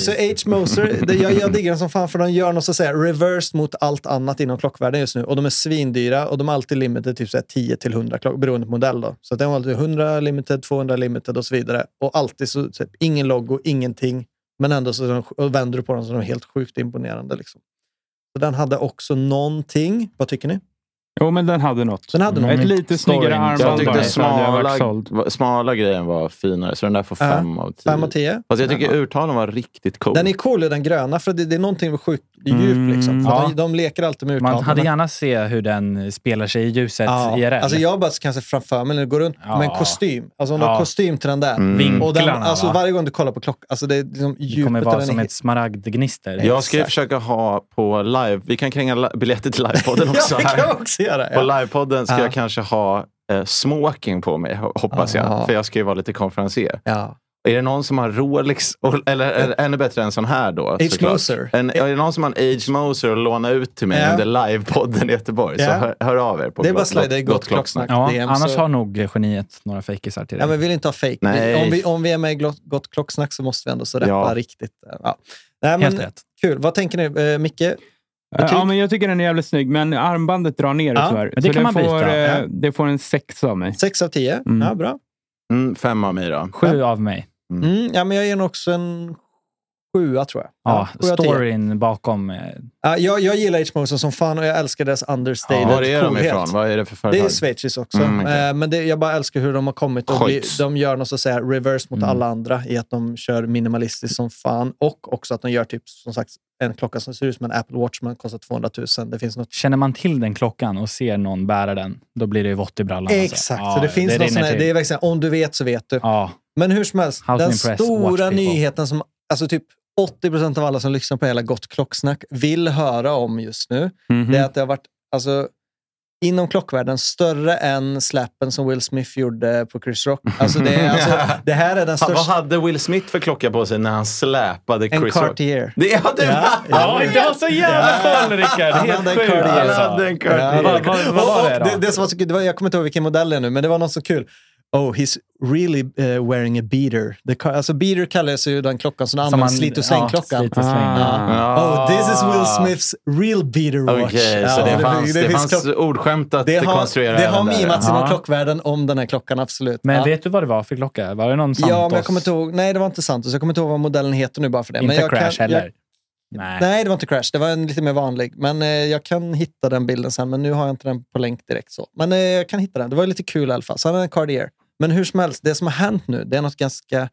S2: Så, så H. Moser, det, jag, jag diggar dem som fan för de gör något så att säga reversed mot allt annat inom klockvärlden just nu. Och de är svindyra och de är alltid limited typ så här 10 till 100 klockor beroende på modell. Då. Så att de har alltid 100 limited, 200 limited och så vidare. Och alltid så, så, här, ingen logo, ingenting. Men ändå så är de, och vänder du på dem så är de helt sjukt imponerande. Liksom. Så den hade också någonting. Vad tycker ni?
S5: Jo, men den hade något.
S2: Den
S3: Mm.
S2: hade någonting.
S5: Ett lite
S3: Storyn.
S5: snyggare
S3: Jag
S1: Jag
S5: armband
S1: tyckte
S5: bara, så hade jag varit
S1: smala,
S5: såld.
S1: smala grejen var finare, så den där får
S2: Ja.
S1: fem av tio.
S2: Fem och tio.
S1: Fast jag tycker urtalen var riktigt cool.
S2: Den är cool, den gröna, för det, det är någonting med sjukt djup.
S5: Mm,
S2: Liksom. För
S3: ja.
S2: de, de leker alltid med
S3: Man
S2: urtavlorna.
S3: hade gärna se hur den spelar sig i ljuset
S2: Ja,
S3: IRL.
S2: Alltså jag bara kanske framför mig när du går runt
S3: Ja.
S2: med en kostym. Alltså om du har
S3: Ja.
S2: kostym till den där.
S1: Mm.
S3: Vinklarna,
S2: Och den, alltså
S3: va?
S2: varje gång du kollar på klockan, alltså det är liksom
S3: det
S2: djupet
S3: kommer
S2: i
S3: vara
S2: den
S3: som
S2: är-
S3: ett smaragdgnister.
S1: Jag ska ju
S2: Exakt.
S1: försöka ha på live... Vi kan kränga li- biljetter till livepodden också.
S2: Ja, det kan
S1: här.
S2: jag också göra.
S1: På
S2: Ja.
S1: livepodden ska
S2: Ja.
S1: jag kanske ha eh, smoking på mig, ho- hoppas
S2: Ja.
S1: jag. För jag ska ju vara lite konferencier.
S2: Ja.
S1: Är det någon som har Rolex, och, eller, eller ännu bättre än sån här då? såklart. Eh,
S2: Moser.
S1: En, är det någon som har en Age Moser att låna ut till mig
S2: Ja.
S1: under livepodden i Göteborg?
S2: Ja.
S1: Så hör, hör av er. På
S2: Det är bara
S1: Gott-
S2: att slida i
S1: Gott-
S2: gott klocksnack.
S3: Ja,
S2: DM,
S3: annars
S2: så-
S3: har nog geniet några fejkisar till
S2: Ja,
S3: dig.
S2: men vi vill inte ha fake.
S1: Nej.
S2: Om vi, om vi är med i Glott- Gott Klocksnack så måste vi ändå så rappa
S1: Ja.
S2: riktigt. eh, Ja. Nej,
S3: Helt
S2: men,
S3: rätt.
S2: kul. Vad tänker ni? Eh, Micke? Betyg?
S5: Ja, men jag tycker den är jävligt snygg, men armbandet drar ner det
S2: Ja,
S5: tyvärr.
S3: men det
S5: Så
S3: kan
S5: den
S3: man byta.
S5: får,
S2: Ja.
S5: eh, Det får en sexa av mig.
S2: 6 av 10?
S5: Mm.
S2: Ja, bra.
S1: Mm, fem av mig då.
S3: Sju av mig.
S2: Mm, ja, men jag ger nog också en sjua, tror jag.
S3: Ja,
S2: sju av tio.
S3: storyn bakom. eh,
S2: Ja, jag, jag gillar H. Moser som fan och jag älskar deras understated
S1: Var är de
S2: coolhet.
S1: ifrån? Vad är det för företag?
S2: Det är schweiziskt också.
S1: Mm, okej.
S2: Eh, Men det, jag bara älskar hur de har kommit. Och bli,
S1: Schweiz.
S2: de gör något så att säga reverse mot
S3: Mm.
S2: alla andra i att de kör minimalistiskt som fan. Och också att de gör typ som sagt en klocka som ser ut som en Apple Watch men kostar 200 000. Det finns något
S3: Känner man till den klockan och ser någon bära den, då blir det ju vått i brallan. alltså.
S2: Exakt,
S3: Ja,
S2: så det finns något
S3: rinner
S2: sån här,
S3: till.
S2: det är verkligen så här, om du vet så vet du.
S3: Ja,
S2: Men hur som helst,
S3: How to
S2: den
S3: impress watch
S2: stora
S3: people.
S2: nyheten som alltså typ 80 procent av alla som lyssnar på hela Gott Klocksnack vill höra om just nu,
S5: Mhm.
S2: det är att det har varit alltså, inom klockvärlden större än slappen som Will Smith gjorde på Chris Rock. Alltså, det, är, alltså, det här
S1: Ha,
S2: är den
S1: vad
S2: största...
S1: hade Will Smith för klocka på sig när han släpade
S2: En
S1: Chris Rock?
S2: Cartier.
S1: Det ja, du
S2: Ja,
S3: Ja, du har så jävla koll Rickard!
S2: Han
S3: Helt
S2: hade en
S3: sjukt
S2: curly
S3: alltså.
S1: Han hade en curly.
S3: Vad- vad- vad var
S2: Och- och
S3: det då?
S2: det, det som var så kul, det var, jag kommer inte ihåg vilken modell det är nu, men det var något så kul. oh, he's really eh, wearing a beater. The car, alltså beater kallas ju den klockan som
S3: Som man-
S2: används, slit och
S3: Ja,
S2: släng-klockan.
S3: slit och släng.
S2: Oh, this is Will Smiths real beater watch.
S1: Ah. Okej, så
S2: Ja,
S1: det fanns, det
S2: finns
S1: fanns
S2: klock-
S1: ordskämt att
S2: det har,
S1: konstruera.
S2: det
S1: även
S2: har
S1: där.
S2: mimats inom
S3: Ja.
S2: klockvärlden om den här klockan, absolut.
S3: Men
S2: ja.
S3: vet du vad det var för klocka? Var det någon Santos?
S2: Ja, men jag kommer inte ihåg. Nej, det var inte Santos. Jag kommer inte ihåg vad modellen heter nu bara för det.
S3: Inte
S2: men jag
S3: Crash
S2: kan,
S3: heller.
S2: Jag,
S3: nej.
S2: nej, det var inte Crash. Det var en lite mer vanlig. Men eh, jag kan hitta den bilden sen, men nu har jag inte den på länk direkt. så. Men eh, jag kan hitta den. Det var ju lite kul i alla fall. Så han hade en Cartier. Men hur som helst, det som har hänt nu, det är något ganska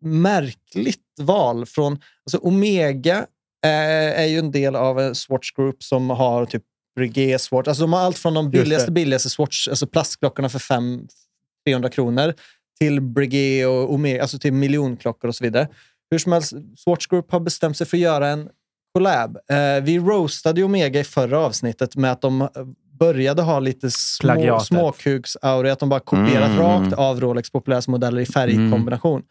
S2: märkligt val från... Alltså Omega eh, är ju en del av en Swatch Group som har typ Breguet Swatch. Alltså de har allt från de billigaste, billigaste Swatch, alltså plastklockorna för fem 300 kronor till Breguet och Omega, alltså till miljonklockor och så vidare. Hur som helst, Swatch Group har bestämt sig för att göra en collab. Eh, vi roastade ju Omega i förra avsnittet med att de eh, började ha lite små,
S3: Plagiatet.
S2: småkuks-aura, att de bara kopierat
S1: Mm.
S2: rakt av Rolex populäraste modeller i färgkombination.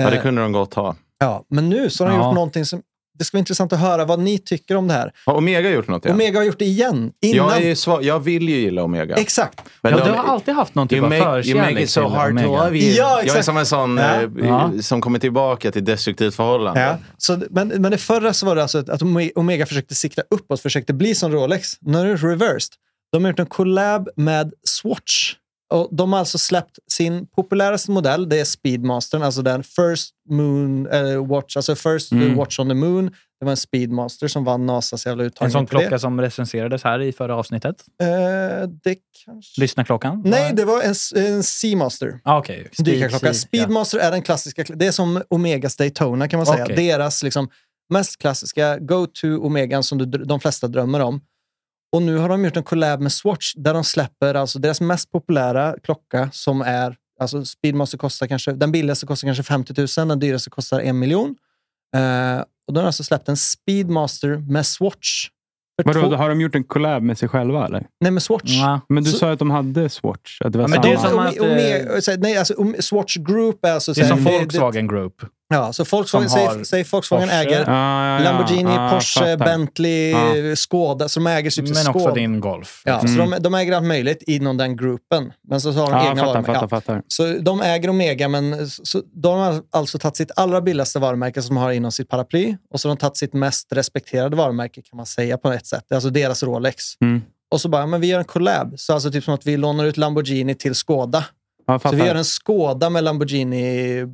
S1: Ja, det
S2: Eh,
S1: kunde de gott ha.
S2: Ja, men nu så har de
S3: Ja.
S2: gjort någonting som... Det ska bli intressant att höra vad ni tycker om det här.
S1: Har Omega gjort något igen?
S2: Omega har gjort det igen. Innan.
S1: jag, är ju sva- jag vill ju gilla Omega.
S2: Exakt.
S1: Men
S3: ja,
S1: de-
S3: du har alltid haft någon typ
S1: You
S3: av
S1: make, you make
S3: förkärlek
S1: it so
S3: till
S1: hard to
S3: Omega.
S1: love you.
S2: Ja,
S1: Jag är
S2: exakt.
S1: som en sån
S2: Ja.
S1: eh,
S3: Ja.
S1: som kommer tillbaka till destruktivt förhållande.
S2: Ja. Så, men, men det förra så var det alltså att att Ome- Omega försökte sikta uppåt, försökte bli som Rolex. Nu är det reversed. De har gjort en collab med Swatch. Och de har alltså släppt sin populäraste modell, det är Speedmastern, alltså den First Moon eh, Watch, alltså First
S3: Mm.
S2: Watch on the Moon. Det var en Speedmaster som vann Nasas jävla uttagning.
S3: En sån
S2: till det.
S3: klocka som recenserades här i förra avsnittet.
S2: Eh, det kanske...
S3: Lyssna klockan.
S2: Nej, det var en, s- en Seamaster.
S3: Ah, Okej.
S2: Dykarklocka.
S3: Speed- ja.
S2: Speedmaster är den klassiska. kl- Det är som Omegas Daytona kan man säga.
S3: Okej.
S2: Deras liksom, mest klassiska go-to Omegan som du, dr- de flesta drömmer om. Och nu har de gjort en collab med Swatch där de släpper alltså deras mest populära klocka som är alltså Speedmaster kostar kanske, den billigaste kostar kanske 50 000, den dyraste kostar en miljon. Eh, och de har alltså släppt en Speedmaster med Swatch. För
S5: Vadå,
S2: två-
S5: har de gjort en collab med sig själva eller?
S2: Nej, med Swatch.
S3: Ja.
S5: Men du
S2: Så-
S5: sa ju att de hade Swatch. Att det var
S3: Ja, men
S5: samma.
S3: det är
S2: Ja,
S3: som
S2: Ome-
S3: att,
S2: Ome-
S3: eh,
S2: så- nej, alltså, Ome- Swatch Group är alltså...
S3: Det är
S2: så här-
S3: som
S2: det-
S3: Volkswagen Group.
S2: Ja, så Volkswagen,
S3: Som har
S2: säg, säg Volkswagen
S3: Porsche.
S2: äger
S5: Ah, ja, ja.
S2: Lamborghini,
S5: Ah,
S2: Porsche,
S5: fattar.
S2: Bentley,
S5: Ja.
S2: Skoda. Så de äger typ
S3: Men också
S2: Skoda.
S3: din Golf.
S2: Ja,
S3: liksom.
S2: så de, de äger allt möjligt inom den gruppen. Men så har de
S5: Mm. Ja,
S2: egna
S5: fattar,
S2: varumärken.
S5: fattar,
S2: Ja.
S5: fattar.
S2: Så de äger Omega, men så- så de har alltså tagit sitt allra billigaste varumärke som de har inom sitt paraply och så har de tagit sitt mest respekterade varumärke kan man säga på ett sätt. Det är Alltså deras Rolex.
S5: Mm.
S2: Och så bara, men vi gör en collab. Så alltså typ som att vi lånar ut Lamborghini till Skoda.
S5: Ja,
S2: Så vi gör
S5: fattar.
S2: en Skoda med Lamborghini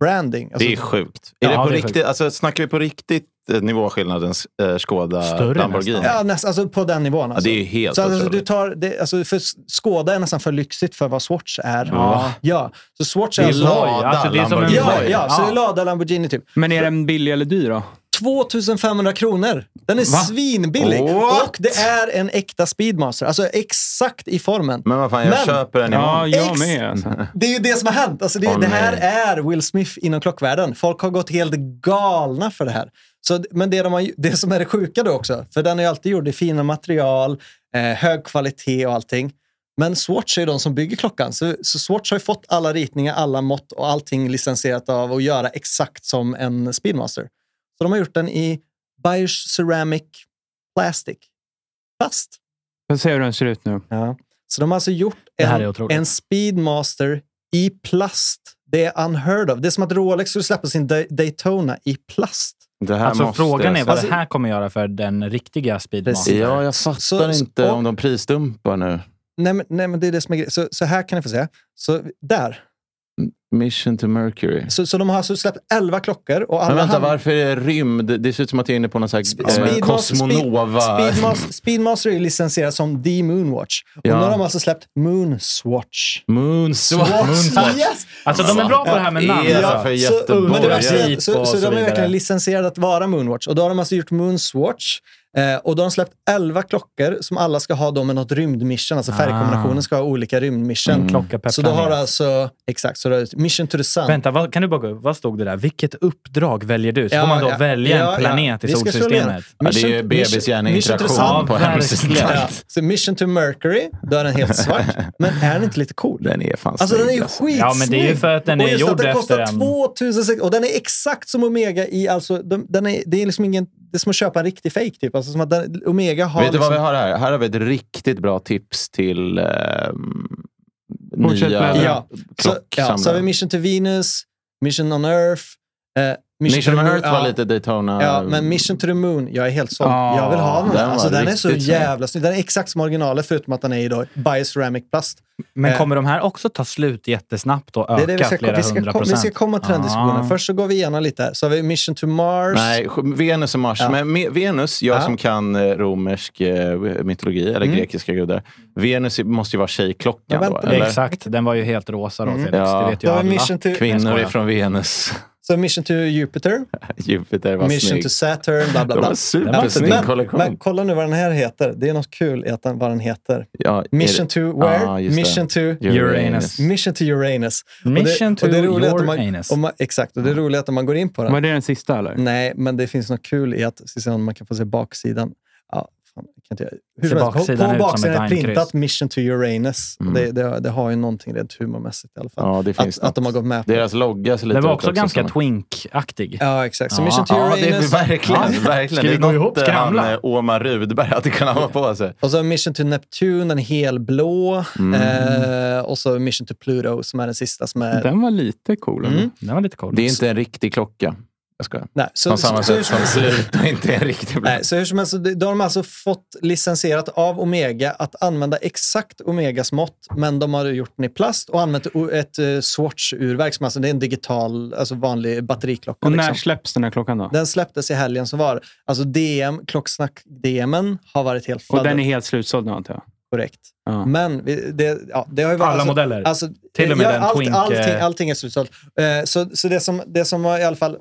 S2: branding. Alltså,
S1: Det är sjukt.
S3: Ja,
S1: är det på
S3: det är
S1: riktigt?
S3: sjukt.
S1: Alltså, snackar vi på riktigt eh, nivåskillnaden eh, Skoda
S3: Större
S1: Lamborghini?
S3: nästan.
S2: Ja, näst, alltså på den nivån.
S1: Ja,
S2: Alltså.
S1: det är ju helt
S2: så alltså,
S1: otroligt.
S2: du tar, det, alltså, för Skoda är nästan för lyxigt för vad Swatch är.
S3: Ja.
S2: Ja, så Swatch är...
S1: Det är
S2: alltså-
S1: lada
S3: Alltså, det är som en
S1: Lamborghini.
S2: ja,
S3: Voi.
S2: ja, så
S3: Ja.
S2: det är Lada Lamborghini typ.
S5: Men är den billig eller dyr då?
S2: 2500 kronor! Den är svinbillig!
S1: What?
S2: Och det är en äkta Speedmaster. Alltså exakt i formen.
S1: Men vad fan, jag
S2: Men-
S1: köper den
S5: Ja,
S1: imorgon.
S5: jag
S2: Ex-
S5: med. Alltså.
S2: Det är ju det som har hänt. Alltså det,
S1: Åh,
S2: det här
S1: nej.
S2: är Will Smith inom klockvärlden. Folk har gått helt galna för det här. Så, men det, de har, ju- det som är det sjuka då också, för den är ju alltid gjord i fina material, eh, hög kvalitet och allting. Men Swatch är ju de som bygger klockan. Så, så Swatch har ju fått alla ritningar, alla mått och allting licensierat av att göra exakt som en Speedmaster. Så de har gjort den i Bioceramic Plastic. Plast.
S5: Jag ser hur den ser ut
S2: Mm.
S5: nu.
S2: Så de har alltså gjort
S3: Det här är
S2: en,
S3: otroligt.
S2: en Speedmaster i plast. Det är unheard of. Det är som att Rolex skulle släppa sin Day- Daytona i plast.
S1: Det här
S3: Alltså,
S1: måste
S3: frågan är
S1: jag
S3: vad
S1: säga.
S3: det här kommer göra för den riktiga Speedmaster.
S2: Precis.
S1: Ja, jag fattar
S2: Så- så-
S1: inte
S2: och-
S1: om de prisdumpar nu.
S2: Nej, men, nej, men det är det som är grejen. Så, så här kan ni få se. Så, där.
S1: Mission to Mercury.
S2: Så, så de har alltså släppt 11 klockor. Och alla
S1: Men vänta,
S2: hand-
S1: varför är det rymd? Det ser ut som att jag är inne på någon sån
S2: Spe-
S1: här eh,
S2: Speedmaster-
S1: Cosmonova.
S2: Speed- Speedmaster, Speedmaster är ju licensierad som The Moonwatch. Och
S1: Ja.
S2: nu har de alltså släppt Moonswatch.
S1: Moonswatch.
S2: Yes!
S3: Alltså de är bra på det här med
S1: Ja,
S3: namn.
S1: ja,
S3: alltså.
S1: för
S2: Så,
S1: Göteborg.
S2: men det värsta är att-
S3: Och
S2: så,
S3: så
S2: så, de är
S3: vidare.
S2: verkligen licensierade att vara Moonwatch. Och då har de alltså gjort Moonswatch. Eh, och då har de släppt 11 klockor som alla ska ha då med något rymdmission. Alltså
S1: Ah.
S2: färgkombinationen ska ha olika rymdmission.
S1: Mm.
S3: Klocka per
S2: Så då har
S3: planet.
S2: du alltså, exakt, så då har du Mission to the Sun.
S3: Vänta, vad, kan du bara gå upp? Vad stod det där? Vilket uppdrag väljer du? Så får man då välja
S2: ja,
S3: en planet
S2: ja.
S3: i
S2: Vi ska slå
S3: solsystemet.
S2: igenom.
S1: Ja, det är ju
S2: Mission- Mission to the
S1: bebishjärneinteraktion
S2: Sun.
S3: Ja,
S1: på hemsidan.
S3: verkligen.
S2: Ja. Så Mission to Mercury, då är den helt svart. Men är den inte lite cool?
S1: Den är fan
S2: Alltså den är
S1: snygg,
S2: ju
S1: alltså.
S2: skitsnygg!
S3: Ja, men det är ju för att den
S2: och
S3: är
S2: just
S3: gjord
S2: att den kostar
S3: efter en-
S2: 2006 Och den är exakt som Omega i... Alltså, de, den är, det är liksom ingen... Det är som att köpa en riktig fake typ. Alltså som att den, Omega har...
S1: Vet du
S2: liksom,
S1: vad vi har här? Här har vi ett riktigt bra tips till ehm,
S5: Fortsätt
S1: nya
S5: bläddra.
S2: Ja. Så, ja, så har vi Mission to Venus, Mission on Earth. eh,
S1: Mission
S2: to the
S1: Earth
S2: Moon,
S1: var
S2: ja.
S1: lite Daytona.
S2: Ja, men Mission to the Moon, jag är helt såld.
S5: Ah,
S2: jag vill ha den.
S1: den
S2: Den,
S1: var
S2: alltså, den är så
S1: riktigt snygg.
S2: jävla snygg. Den är exakt som originalet förutom att den är i då bioceramic plast.
S3: Men
S2: Eh.
S3: kommer de här också ta slut jättesnabbt och
S2: Det
S3: öka
S2: är det vi, ska,
S3: flera
S2: vi, ska,
S3: hundra
S2: kom- vi
S3: procent?
S2: ska komma till den
S3: Ah.
S2: diskussionen. Först så går vi igenom lite. här. Så har vi Mission to Mars.
S1: Nej, sj- Venus och Mars.
S2: Ja.
S1: Men Me- Venus, jag
S2: Ja.
S1: som kan eh, romersk eh, mytologi, eller
S2: Mm.
S1: grekiska gudar. Venus måste ju vara tjejklockan
S2: Ja,
S1: då,
S2: vänta,
S1: eller?
S3: Exakt, den var ju helt rosa då
S2: Mm.
S3: Felix.
S1: Ja. ah,
S3: Det vet ju
S2: Då har
S3: alla.
S2: vi Mission to,
S3: Jag
S1: Kvinnor
S3: skojar.
S1: ifrån Venus.
S2: så Mission to Jupiter,
S1: Jupiter var
S2: Mission
S1: snygg.
S2: to Saturn, bla bla
S1: De
S2: bla.
S1: var supersnygg
S2: Men, men
S1: kollektion.
S2: kolla nu vad den här heter. Det är något kul i att den, vad den heter.
S1: Ja, är
S2: Mission
S1: det-
S2: to where?
S1: Ah, just det.
S2: mission to...
S3: Uranus.
S2: Mission to Uranus.
S3: Mission
S2: och det, och det
S3: to
S2: roliga är att om man,
S3: Uranus.
S2: om man, Exakt, och det roliga är att om man går in på den.
S5: Var det den sista eller?
S2: Nej, men det finns något kul i att ska se om man kan få se baksidan. Ja, fan, kan inte jag. Hur
S3: Ser
S2: som helst,
S3: baksidan
S2: på
S3: ut som
S2: baksidan
S3: ett
S2: är printat
S3: vagnkryss?
S2: Mission to Uranus.
S1: Mm.
S2: Det, det, det har ju någonting rent humormässigt i alla fall.
S1: Ja, det alltså-
S2: att,
S1: finns
S2: att de har gått med på det.
S1: Deras logga ser lite
S3: Den var
S1: ut
S3: också ganska
S1: som-
S3: twink-aktig.
S2: Ja, exakt. Så
S3: Ja,
S2: Mission to
S1: Ja, det är
S2: Uranus.
S1: verkligen.
S3: Ja.
S1: verkligen.
S3: Ska vi
S1: det är
S3: gå
S1: något
S3: ihop?
S1: eh,
S3: Skramla?
S1: han, eh, Åmar Rudberg hade kunnat ha på sig.
S2: Och så Mission to Neptune, en helblå.
S1: Mm.
S2: Eh, och så Mission to Pluto som är den sista som är...
S5: Den var lite cool. ändå.
S2: Mm.
S3: Den var lite cool.
S1: Det är inte en riktig klocka. Jag skojar.
S2: Nej, så,
S1: På samma
S2: så,
S1: sätt som Pluto inte är en riktig
S2: Nej, så hur som helst, de de har alltså fått licensierat av Omega att använda exakt Omegas mått, men de har gjort den i plast och använt o- ett eh, Swatch-urverk som alltså det är en digital, alltså vanlig batteriklocka.
S5: Och när
S2: liksom.
S5: släpps den här klockan då?
S2: Den släpptes i helgen som var. Alltså DM, Klocksnack-DMen har varit helt
S5: Och den är
S2: fladderkorrekt.
S5: helt slutsåld nu antar jag?
S2: korrekt.
S5: Ja.
S2: Men vi- det, ja, det har ju varit...
S3: Alla
S2: alltså,
S3: modeller.
S2: Alltså,
S3: Till och med
S2: ja,
S3: den
S2: allt,
S3: Twink, eh.
S2: allting, allting är slutsålt. Eh, Så, så det, som, det som var i alla fall...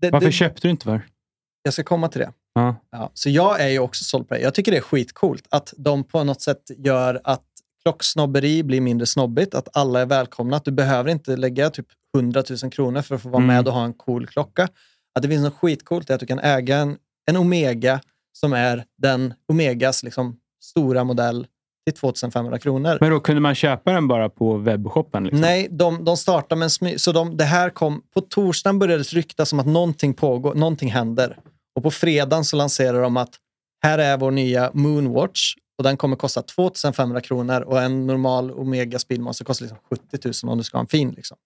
S2: Det,
S5: Varför
S2: det,
S5: köpte du inte för?
S2: jag ska komma till det.
S5: Ja.
S2: Ja, så jag är ju också såld på det. Jag tycker det är skitcoolt att de på något sätt gör att klocksnobberi blir mindre snobbigt, att alla är välkomna, att du behöver inte lägga typ 100 000 kronor för att få vara
S5: Mm.
S2: med och ha en cool klocka. Att det finns något skitcoolt i att du kan äga en, en Omega som är den Omegas liksom, stora modell till 2500 kronor.
S5: Men då kunde man köpa den bara på webbshoppen? Liksom?
S2: Nej, de, de startar med en smy... Så de, det här kom... På torsdagen började det ryktas om att någonting pågår, någonting händer. Och på fredagen så lanserar de att här är vår nya Moonwatch och den kommer kosta 2500 kronor och en normal Omega Speedmaster kostar liksom 70 000 om du ska ha en fin. Liksom.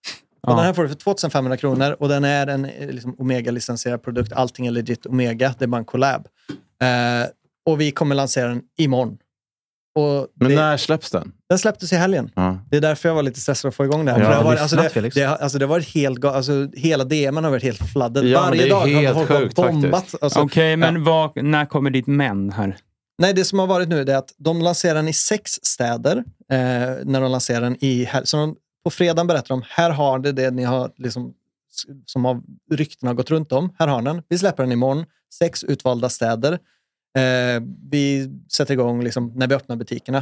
S2: Och
S5: Ja.
S2: Den här får du för 2500 kronor och den är en eh, liksom, Omega-licensierad produkt. Allting är legit Omega, det är bara en collab. Eh, och vi kommer lansera den imorgon. Och
S1: Men
S2: det,
S1: när släpps den?
S2: Den släpptes i helgen.
S1: Ja.
S2: Det är därför jag var lite stressad att få igång det här.
S1: Ja,
S2: För det, har
S3: har
S2: varit, alltså
S3: lyssnat,
S2: det,
S3: Felix.
S2: det, har- alltså det har varit helt, ga- alltså hela DMen har varit helt fladdat.
S1: Ja, men
S2: Varje
S1: det är
S2: dag har
S1: helt
S2: folk bara
S1: sjukt
S2: bombat. Alltså,
S5: Okej, men vad, när kommer ditt män här?
S2: Nej, det som har varit nu det är att de lanserar den i sex städer. Eh, när de lanserar den i... här- Så de, på fredagen berättar de, här har det det ni har liksom, som har, ryktena har gått runt om. Här har den. Vi släpper den imorgon. Sex utvalda städer. Eh, vi sätter igång liksom, när vi öppnar butikerna.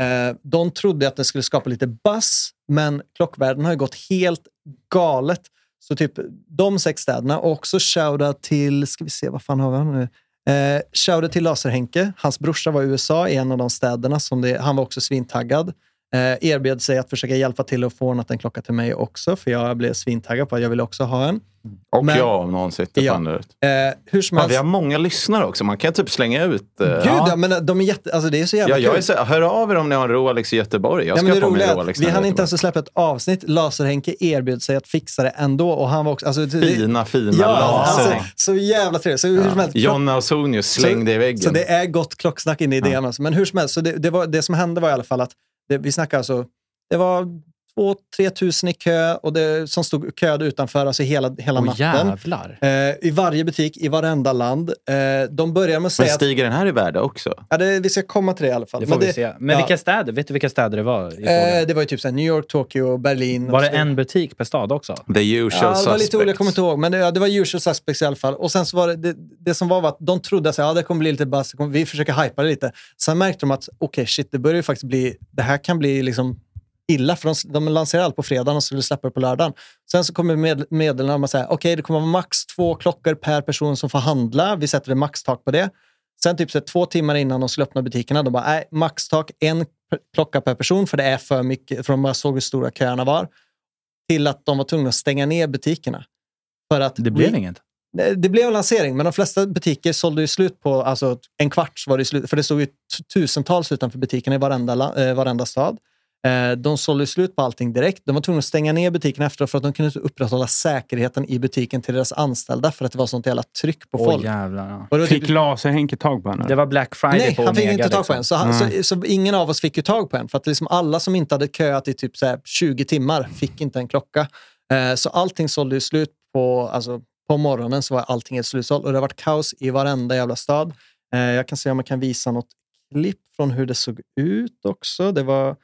S2: Eh, de trodde att det skulle skapa lite buzz, men klockvärlden har ju gått helt galet. Så typ de sex städerna och också shoutout till, ska vi se, vad fan har vi här nu? Eh, shoutout till Laserhenke. Hans brorsa var i USA i en av de städerna. Som det, han var också svintaggad. Eh, erbjöd sig att försöka hjälpa till att få ordnat en klocka till mig också, för jag blev svintaggad på att jag ville också ha en.
S1: Och
S2: Men-
S1: jag om någon sitter
S2: Ja.
S1: på andra ut.
S2: Eh, hur som
S1: Ja, vi
S2: helst.
S1: har många lyssnare också. Man kan typ slänga ut. eh,
S2: Gud, ja. men de är jätte, alltså det är så jävla
S1: Ja, jag är
S2: kul.
S1: så, hör av er om ni har en Rolex i Göteborg. Jag
S2: Ja,
S1: ska
S2: men det
S1: ha på mig
S2: roliga
S1: en
S2: är att
S1: Rolex.
S2: vi
S1: när jag
S2: hann
S1: är i
S2: inte ens
S1: Göteborg.
S2: släppa ett avsnitt. Laserhenke erbjöd sig att fixa det ändå. Och han var också, alltså, det-
S1: Fina, fina
S2: ja,
S1: laser.
S2: alltså, så jävla trevligt. Så, hur som helst,
S1: Jonna Ausonius, släng det i väggen.
S2: Så det är gott klocksnack inne i DM. Alltså. Men hur som helst, så det, det, var, det som hände var i alla fall att det, vi snackade alltså, det var 2-3 tusen i kö och det, som stod köade utanför alltså hela, hela
S3: Åh,
S2: natten.
S3: jävlar.
S2: Eh, I varje butik, i varenda land. Eh, de börjar med att
S1: Men
S2: säga att,
S1: stiger den här i värde också?
S2: ja, det, vi ska komma till det i alla fall.
S3: Det får
S2: Men
S3: vi
S2: det,
S3: se. Men
S2: ja.
S3: vilka städer? Vet du vilka städer det var? I
S2: Eh,
S3: frågan?
S2: det var ju typ så här New York, Tokyo, Berlin. och
S3: var det
S2: så vidare.
S3: en butik per stad också?
S1: The usual
S2: Ja, det var lite
S1: suspects.
S2: olika, jag kommer inte ihåg. Men det, ja, det var usual suspects i alla fall. Och sen så var det, det, det som var, var att de trodde att ja, det kommer bli lite buzz, det kommer- vi försöker hypa det lite. Sen märkte de att okej, shit, det börjar ju faktiskt bli, det här kan bli liksom illa. För de, de lanserade allt på fredagen och skulle släppa det på lördagen. Sen så kommer med, meddelandena om att säga, okej, det kommer vara max två klockor per person som får handla. Vi sätter ett maxtak på det. Sen typ så här, två timmar innan de skulle öppna butikerna, de bara, nej, maxtak en p- klocka per person, för det är för mycket, för de bara såg hur stora köerna var. Till att de var tvungna att stänga ner butikerna. För att
S3: Det blev inget.
S2: Nej, Det blev en lansering, men de flesta butiker sålde ju slut på alltså, en kvart. Så var det slut, för det stod ju t- tusentals utanför butikerna i varenda, la- eh, varenda stad. Eh, De sålde slut på allting direkt. De var tvungna att stänga ner butiken efteråt för att de kunde inte upprätthålla säkerheten i butiken till deras anställda för att det var sånt jävla tryck på
S3: Åh
S2: folk.
S3: jävlar. Ja.
S2: Och det var typ-
S5: Fick Laser-Henke tag på henne?
S3: Det var Black Friday
S2: Nej,
S3: på
S2: han fick
S3: Omega,
S2: inte tag på
S3: liksom.
S2: en. Så, han, så, så ingen av oss fick ju tag på en. För att liksom alla som inte hade köat i typ så här 20 timmar fick inte en klocka. Eh, så allting sålde ju slut på, alltså, på morgonen. så var allting ett slutsåld. Och det har varit kaos i varenda jävla stad. Eh, jag kan se om jag kan visa något klipp från hur det såg ut också. Det var...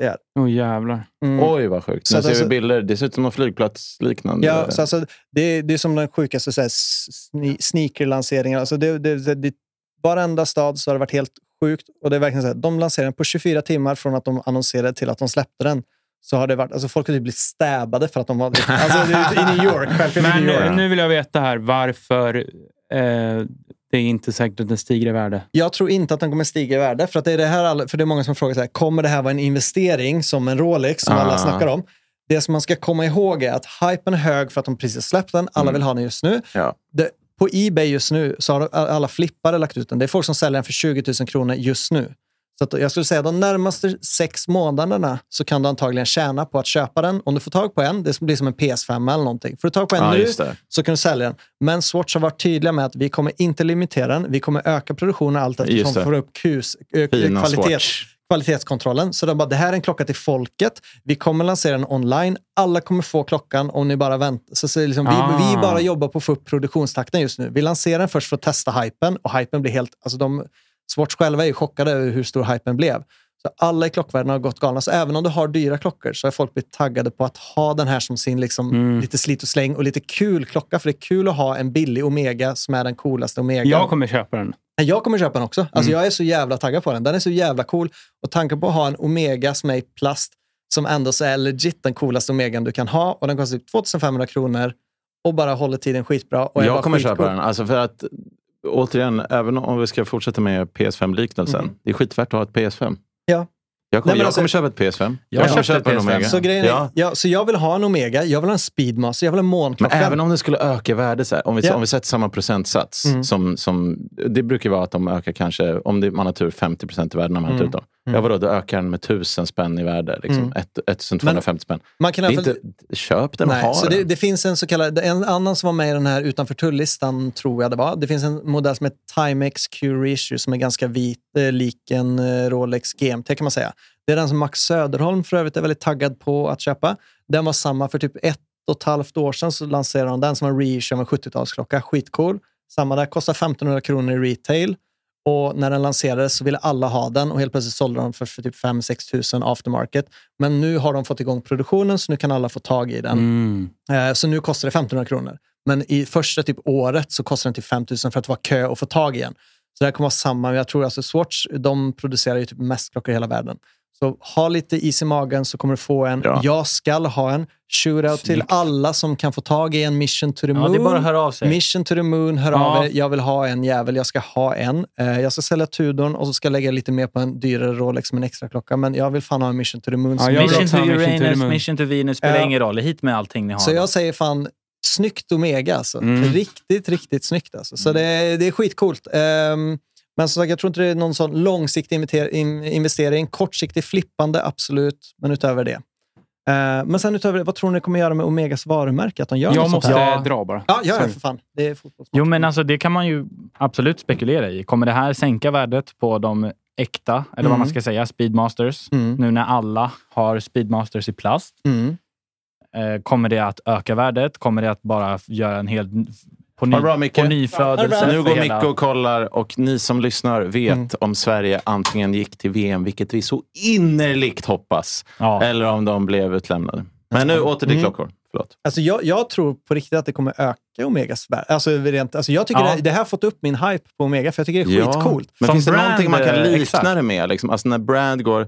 S2: se här.
S5: Åh jävlar.
S2: Mm.
S1: Oj, vad sjukt.
S2: Så
S1: Nu
S2: att
S1: ser vi
S2: alltså-
S1: bilder. Det ser ut som någon flygplatsliknande.
S2: Ja, så alltså, det, det är som den sjukaste så här, sne- sneakerlanseringen. Alltså, det, det, det, det, varenda stad så har det varit helt sjukt. Och det är verkligen så här, de lanserade den på 24 timmar från att de annonserade till att de släppte den. Så har det varit, alltså folk har typ blivit stäbade för att de var alltså, det är i New York. Självklart i
S5: Men
S2: New York.
S5: nu, nu vill jag veta här varför eh, det är inte säkert att den stiger i värde.
S2: Jag tror inte att den kommer stiga i värde. För, att det, är det, här, alla- för det är många som frågar så här, kommer det här vara en investering som en Rolex som alla
S1: Ah.
S2: snackar om. Det som man ska komma ihåg är att hypen är hög för att de precis har släppt den. Alla vill ha den just nu.
S1: Mm. Ja.
S2: Det, på Ebay just nu så har alla flippare lagt ut den. Det är folk som säljer den för 20 000 kronor just nu. Så att jag skulle säga de närmaste sex månaderna så kan du antagligen tjäna på att köpa den. Om du får tag på en, det blir som en PS5 eller någonting. Får du tag på en
S1: Ja,
S2: nu
S1: just det.
S2: så kan du sälja den. Men Swatch har varit tydliga med att vi kommer inte limitera den. Vi kommer öka produktionen allt eftersom
S1: Just
S2: vi
S1: det.
S2: får upp kus, ö,
S1: Fina
S2: kvalitet,
S1: Swatch.
S2: kvalitetskontrollen. Så de bara, det här är en klocka till folket. Vi kommer lansera den online. Alla kommer få klockan om ni bara väntar. Så, så liksom, vi,
S5: Ah.
S2: vi bara jobbar på att få upp produktionstakten just nu. Vi lanserar den först för att testa hypen och hypen blir helt... Alltså de, Swatch själva är ju chockade över hur stor hypen blev. Så alla i klockvärlden har gått galna. Så även om du har dyra klockor så har folk blivit taggade på att ha den här som sin liksom lite slit och släng och lite kul klocka. För det är kul att ha en billig Omega som är den coolaste Omega.
S5: Jag kommer köpa den.
S2: Jag kommer köpa den också.
S1: Mm.
S2: Alltså Jag är så jävla taggad på den. Den är så jävla cool. Och tanken på att ha en Omega som är i plast som ändå så är legit den coolaste Omegan du kan ha och den kostar typ 2500 kronor och bara håller tiden skitbra. Och är bara
S1: jag kommer
S2: skitcool.
S1: köpa den. Alltså för att, återigen, även om vi ska fortsätta med PS5-liknelsen. Det är skitvärt att ha ett PS5.
S2: Mm. Ja.
S1: Jag kommer,
S2: Nej, men
S1: jag
S2: alltså-
S1: kommer köpa ett PS5.
S3: Jag
S1: Jag kommer
S3: köpte
S1: köpa
S3: ett
S1: en
S3: PS5.
S1: Omega.
S2: Så, grejen är,
S1: ja.
S2: ja. så jag vill ha en Omega, jag vill ha en Speedmaster, jag vill ha en
S1: Men
S2: månklocka.
S1: även om det skulle öka i värde, så här, om, vi,
S2: Ja.
S1: om vi sätter samma procentsats.
S2: Mm.
S1: Som, som, det brukar vara att de ökar kanske, om det, man har tur, 50 procent i värde när man hämtar
S2: Mm.
S1: ut dem. Ja, vadå, då ökar den med 1000 spänn i värde. Liksom.
S2: Mm.
S1: Ett- 1250 spänn.
S2: Man kan i
S1: Det är
S2: alla fall-
S1: inte, köp den och
S2: Nej,
S1: ha
S2: så
S1: den.
S2: det, det finns en så kallad, en annan som var med i den här utanför tullistan, tror jag det var. Det finns en modell som heter Timex Q Reissue som är ganska vit, eh, lik en eh, Rolex GMT kan man säga. Det är den som Max Söderholm för övrigt är väldigt taggad på att köpa. Den var samma för typ ett och ett halvt år sedan så lanserade de den som en reissue av en 70-talsklocka. Skitcool. Samma där, kostar 1500 kronor i retail. Och när den lanserades så ville alla ha den och helt plötsligt sålde de för, för typ 5-6 tusen aftermarket. Men nu har de fått igång produktionen så nu kan alla få tag i den.
S3: Mm.
S2: Eh, Så nu kostar det 1500 kronor. Men i första typ året så kostar den typ 5000 för att det var kö och få tag i en. Så det här kommer vara samma. Jag tror alltså Swatch, de producerar ju typ mest klockor i hela världen. Så ha lite is i magen så kommer du få en.
S1: Bra.
S2: Jag ska ha en. Shootout till alla som kan få tag i en Mission to the
S3: Ja,
S2: Moon.
S3: det är bara att höra av sig.
S2: Mission to the Moon, hör
S5: Ja.
S2: av er. Jag vill ha en jävel. Jag ska ha en. Eh, Jag ska sälja Tudorn och så ska jag lägga lite mer på en dyrare Rolex med en extra klocka. Men jag vill fan ha en Mission to the Moon.
S5: Ja,
S2: som
S5: jag vill
S3: Mission
S5: också
S3: to
S5: ha Mission to the
S3: Uranus,
S5: Moon.
S3: Mission to Venus, spelar
S2: Ja.
S3: ingen roll. Hit med allting ni har.
S2: Så jag säger fan, snyggt Omega alltså.
S5: Mm.
S2: Riktigt, riktigt snyggt alltså. Så det, det är skitcoolt. Ehm, men som sagt, jag tror inte det är någon sån långsiktig inviter- in- investering. Kortsiktig flippande, absolut. Men utöver det. Ehm, men sen utöver det, vad tror ni kommer göra med Omegas varumärke? Att de gör något
S5: Jag
S2: sånt
S5: måste
S2: här?
S3: Ja.
S5: dra bara.
S2: Ja, gör det
S5: Sorry.
S2: för fan. Det är fotbollsmatch.
S3: Jo, men alltså det kan man ju absolut spekulera i. Kommer det här sänka värdet på de äkta, eller vad
S2: Mm.
S3: man ska säga, speedmasters?
S2: Mm.
S3: Nu när alla har speedmasters i plast.
S2: Mm.
S3: Eh, kommer det att öka värdet? Kommer det att bara göra en helt... På, ny,
S1: Ha det bra, Micke.
S3: på
S2: Ha det bra.
S3: nyfödelse?
S1: Nu
S3: för
S1: går
S3: hela-
S1: Micke och kollar och ni som lyssnar vet
S2: Mm.
S1: om Sverige antingen gick till VM, vilket vi så innerligt hoppas,
S3: Ja.
S1: eller om de blev utlämnade. Men nu åter till
S2: Mm.
S1: klockor. Förlåt.
S2: Alltså jag, jag tror på riktigt att det kommer öka Omegas värde. Alltså, rent, alltså jag tycker
S3: Ja.
S2: det, det här har fått upp min hype på Omega, för jag tycker det är skitcoolt.
S1: Men
S3: Som
S1: finns det
S3: brand,
S1: någonting man kan
S3: eh,
S1: likna
S3: exakt.
S1: det med? Liksom? Alltså när brand går...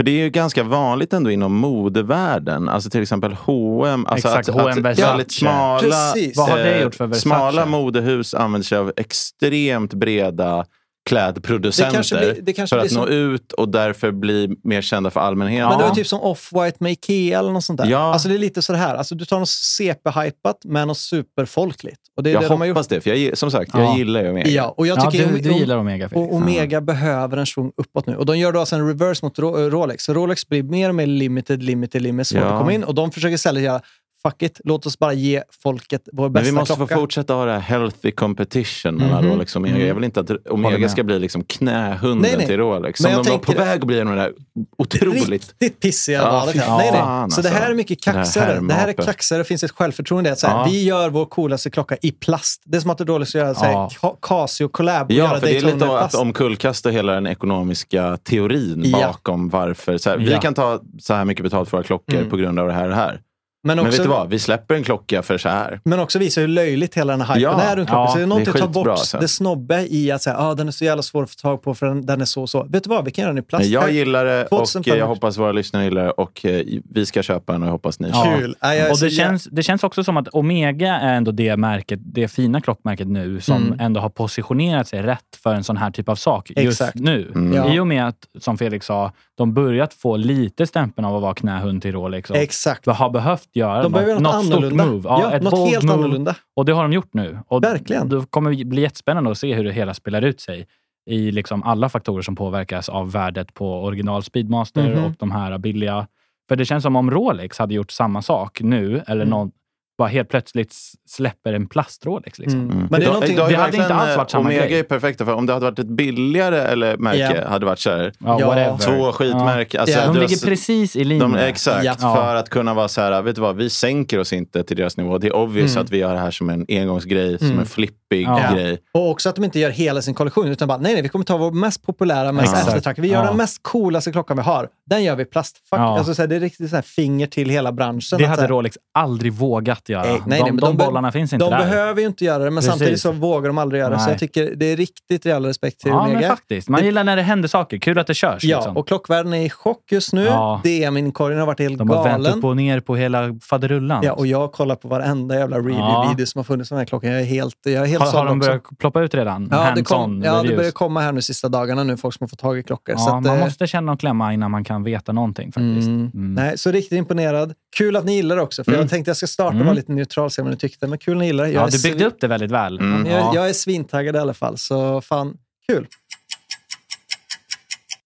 S1: För det är ju ganska vanligt ändå inom modevärlden. Alltså till exempel H&M. Alltså
S3: Exakt,
S1: att,
S3: H&M
S1: att
S3: Versace.
S1: väldigt smala,
S2: Precis.
S3: Vad har det gjort för Versace?
S1: smala modehus använder sig av extremt breda klädproducenter
S2: Det kanske blir- det kanske
S1: för att
S2: blir
S1: nå
S2: som-
S1: ut och därför bli mer kända för allmänheten.
S2: Men det var typ som Off-White med Ikea eller något sånt där.
S1: Ja.
S2: Alltså det är lite så det här. Alltså du tar något CP-hypat med något superfolkligt. Och det är
S1: jag
S2: det de har gjort.
S1: hoppas det, för jag, gi- som sagt, jag
S3: Ja.
S1: gillar ju Omega.
S2: Ja, och jag
S3: Ja,
S2: tycker
S3: du,
S2: Ome-
S3: du gillar Omega Felix.
S2: och Omega behöver en svung uppåt nu. Och de gör då alltså en reverse mot Ro- eh, Rolex. Så Rolex blir mer och mer limited, limited, limited. Svårt
S1: Ja.
S2: att komma in. Och de försöker istället göra fuck it, låt oss bara ge folket vår
S1: Men
S2: bästa
S1: vi måste
S2: klocka.
S1: få fortsätta ha det här healthy competition mellan
S2: Mhm.
S1: Rolex och Omega. Jag vill inte att Omega
S3: med.
S1: ska bli liksom knähunden
S2: Nej, nej.
S1: till Rolex.
S2: Men
S1: Som
S2: jag
S1: de var på
S2: tänker-
S1: väg att bli med det där otroligt...
S2: Riktigt pissiga
S1: Ja,
S2: valet
S1: fy
S2: här. Nej, nej.
S1: fan,
S2: så det
S1: alltså.
S2: här är mycket
S1: Det här
S2: kaxigare. Det här är
S1: härmapen.
S2: kaxigare. Det finns ett självförtroende. i Att så här,
S1: Ja.
S2: Vi gör vår coolaste klocka i plast. Det är som att Rolex ska göra så här,
S3: Ja.
S2: Ca- Casio collab. och
S1: Ja,
S2: göra
S1: för det är
S2: Daytona
S1: lite
S2: i
S1: att
S2: plast.
S1: omkullkasta hela den ekonomiska teorin
S2: Ja.
S1: bakom varför. Så här, Vi
S3: Ja.
S1: kan ta så här mycket betalt för våra klockor
S2: Mm.
S1: på grund av det här och det här.
S2: Men
S1: Men vet du
S2: också,
S1: vad? Vi släpper en klocka för så här.
S2: men också visa hur löjligt hela den här hypen
S1: Ja.
S2: är runt klockan.
S3: Ja,
S2: så det är
S1: det är
S2: något att ta
S1: skitbra
S2: bort
S1: alltså.
S2: det snobbe i att säga, ah, den är så jävla svår att få tag på för den, den är så och så. Vet du vad? Vi kan göra den i plast.
S1: Men
S2: Här-
S1: jag gillar det och
S2: 2500.
S1: eh, jag hoppas våra lyssnare gillar det. Och eh, vi ska köpa den och jag hoppas ni köper den.
S2: Kul. Nej, jag är
S3: Och
S2: så
S3: det
S2: jä-
S3: känns, det känns också som att Omega är ändå det märket, det fina klockmärket nu som
S2: Mm.
S3: ändå har positionerat sig rätt för en sån här typ av sak just
S2: Exakt.
S3: nu.
S1: Mm.
S2: Ja.
S3: I och med att, som Felix sa, de börjat få lite stämpeln av att vara knähund till Rolex. Och
S2: Exakt.
S3: har behövt göra
S2: De behöver göra
S3: något,
S2: något
S3: något stort
S2: annorlunda.
S3: move. Ja, ett
S2: något
S3: bold
S2: helt
S3: move.
S2: annorlunda.
S3: Och det har de gjort nu. Och
S2: Verkligen.
S3: Då kommer det bli jättespännande att se hur det hela spelar ut sig i liksom alla faktorer som påverkas av värdet på original Speedmaster
S2: Mhm.
S3: och de här billiga. För det känns som om Rolex hade gjort samma sak nu, eller
S2: Mm.
S3: någon bara helt plötsligt s- släpper en plast-Rolex. Liksom.
S2: Mm. Men det är
S1: Idag-
S2: någonting...
S1: idag är
S3: Det hade inte
S1: verkligen,
S3: alls varit samma
S1: Omega
S3: grej.
S1: är perfekta för om det hade varit ett billigare eller märke
S2: Ja.
S1: hade varit så här.
S3: Ja,
S2: Ja.
S3: whatever.
S1: Två skitmärken. Alltså,
S2: Ja.
S3: Ja.
S1: du
S3: De
S1: har-
S3: ligger precis i linje.
S1: de, exakt,
S2: Ja.
S1: för att kunna vara så här, vet du vad, vi sänker oss inte till deras nivå. Det är obvious
S2: Mm.
S1: att vi gör det här som en engångsgrej, som
S2: Mm.
S1: en flippig
S3: Ja.
S1: grej.
S2: Och också att de inte gör hela sin kollektion, utan bara nej, nej, vi kommer ta vår mest populära, mest
S3: Exakt.
S2: eftertraktade. Vi gör
S3: Ja.
S2: den mest coolaste klockan vi har. Den gör vi i plast. Fuck.
S3: Ja.
S2: Alltså, så här, det är riktigt så här, finger till hela branschen. Att,
S3: Det
S2: så
S3: hade
S2: här, eh,
S3: Rolex aldrig vågat göra.
S2: Nej, nej, nej,
S3: de,
S2: men
S3: de,
S2: de be-
S3: bollarna finns inte
S2: de
S3: där.
S2: behöver ju inte göra det, men
S3: Precis.
S2: samtidigt så vågar de aldrig göra det. Så
S3: Nej.
S2: jag tycker det är riktigt jävla respekt till
S3: ja, men
S2: Omega.
S3: faktiskt. Man
S2: Det-
S3: gillar när det händer saker. Kul att det körs.
S2: Ja,
S3: liksom.
S2: och klockvärlden är i chock just nu.
S3: Ja.
S2: DM-inkorgen har varit helt
S3: De har vänt
S2: galen.
S3: upp och ner på hela faderullan.
S2: Ja, och jag kollar på varenda jävla review-video som har funnits om den här klockan. Jag är helt, jag är helt
S3: har, har
S2: såld
S3: de
S2: också.
S3: börjat ploppa ut redan?
S2: Ja, det,
S3: Hands-on
S2: kom, ja, det
S3: reviews.
S2: börjar komma här nu sista dagarna nu, folk som har fått tag i klockor.
S3: Ja,
S2: så att,
S3: man
S2: eh,
S3: måste känna och klämma innan man kan veta någonting faktiskt.
S2: Mm.
S3: Mm.
S2: Nej, så riktigt imponerad. Kul att ni gillar det också. För
S1: Mm.
S2: Jag tänkte jag ska starta och vara lite neutral se vad ni tyckte. Men kul att ni gillar det. Jag
S3: Ja,
S2: är
S3: du byggde
S2: svin-
S3: upp det väldigt väl.
S1: Mm.
S2: Jag,
S3: Ja.
S2: jag är svintaggad i alla fall. Så fan, kul.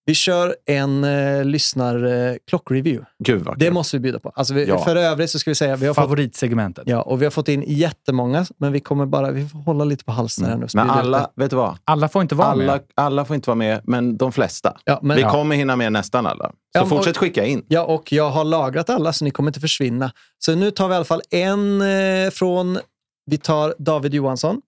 S2: Vi kör en eh, lyssnar eh, klockreview.
S1: Gud vad
S2: Det
S1: kul.
S2: måste vi bjuda på. Alltså vi,
S1: Ja.
S2: För övrigt så ska vi säga vi har fått,
S3: Favoritsegmentet.
S2: ja, och vi har fått in jättemånga, men vi kommer bara vi får hålla lite på halsen här nu. och
S1: Men
S2: sprida ut det.
S1: alla, vet du vad?
S3: Alla får inte vara
S1: Alla,
S3: med.
S1: alla får inte vara med, men de flesta.
S2: Ja, men,
S1: vi
S2: ja.
S1: kommer hinna med nästan alla. Så
S2: Ja, men-
S1: fortsätt skicka in.
S2: Ja, och jag har lagrat alla så ni kommer inte försvinna. Så nu tar vi i alla fall en eh, från, vi tar David Johansson.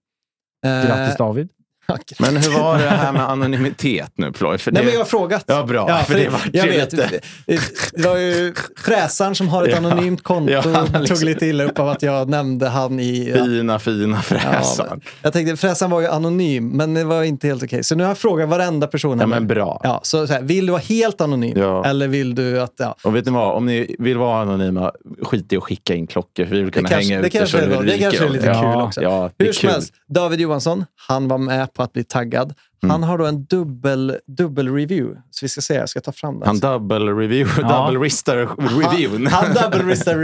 S2: Eh,
S3: Grattis David.
S2: ja, grattis.
S1: Men hur var det här med anonymitet nu Ploy? För
S2: Nej,
S1: det,
S2: men jag har frågat.
S1: Ja, bra. för det vart
S2: jag
S1: ju
S2: vet,
S1: lite...
S2: Det det var ju fräsaren som har ett
S1: Ja.
S2: anonymt konto
S1: Ja, han liksom-
S2: tog lite illa upp av att jag nämnde han i... Ja.
S1: Fina, fina
S2: Ja,
S1: fräsan.
S2: men- jag tänkte, fräsaren var ju anonym, men det var inte helt okej. Så nu har jag frågat varenda person.
S1: Ja,
S2: här.
S1: men bra.
S2: Ja, så, så här, vill du vara helt anonym?
S1: Ja.
S2: Eller vill du att... Ja.
S1: Och vet ni vad? Om ni vill vara anonyma, skit i att skicka in klockor. För vi vill kunna
S2: kanske-
S1: hänga
S2: det
S1: ut er
S2: kanske
S1: så
S2: är bra. Det
S1: ryker
S2: kanske är
S1: om
S2: lite
S3: kul
S2: också.
S1: Ja, det är
S2: Hur som
S1: kul.
S2: helst, David Johansson, han var med på att bli taggad.
S1: Mm.
S2: Han har då en dubbel, dubbel review. Så vi ska se, jag ska ta fram den.
S1: Han double review,
S3: Ja.
S1: double wrister review.
S2: Han, han dubbelristade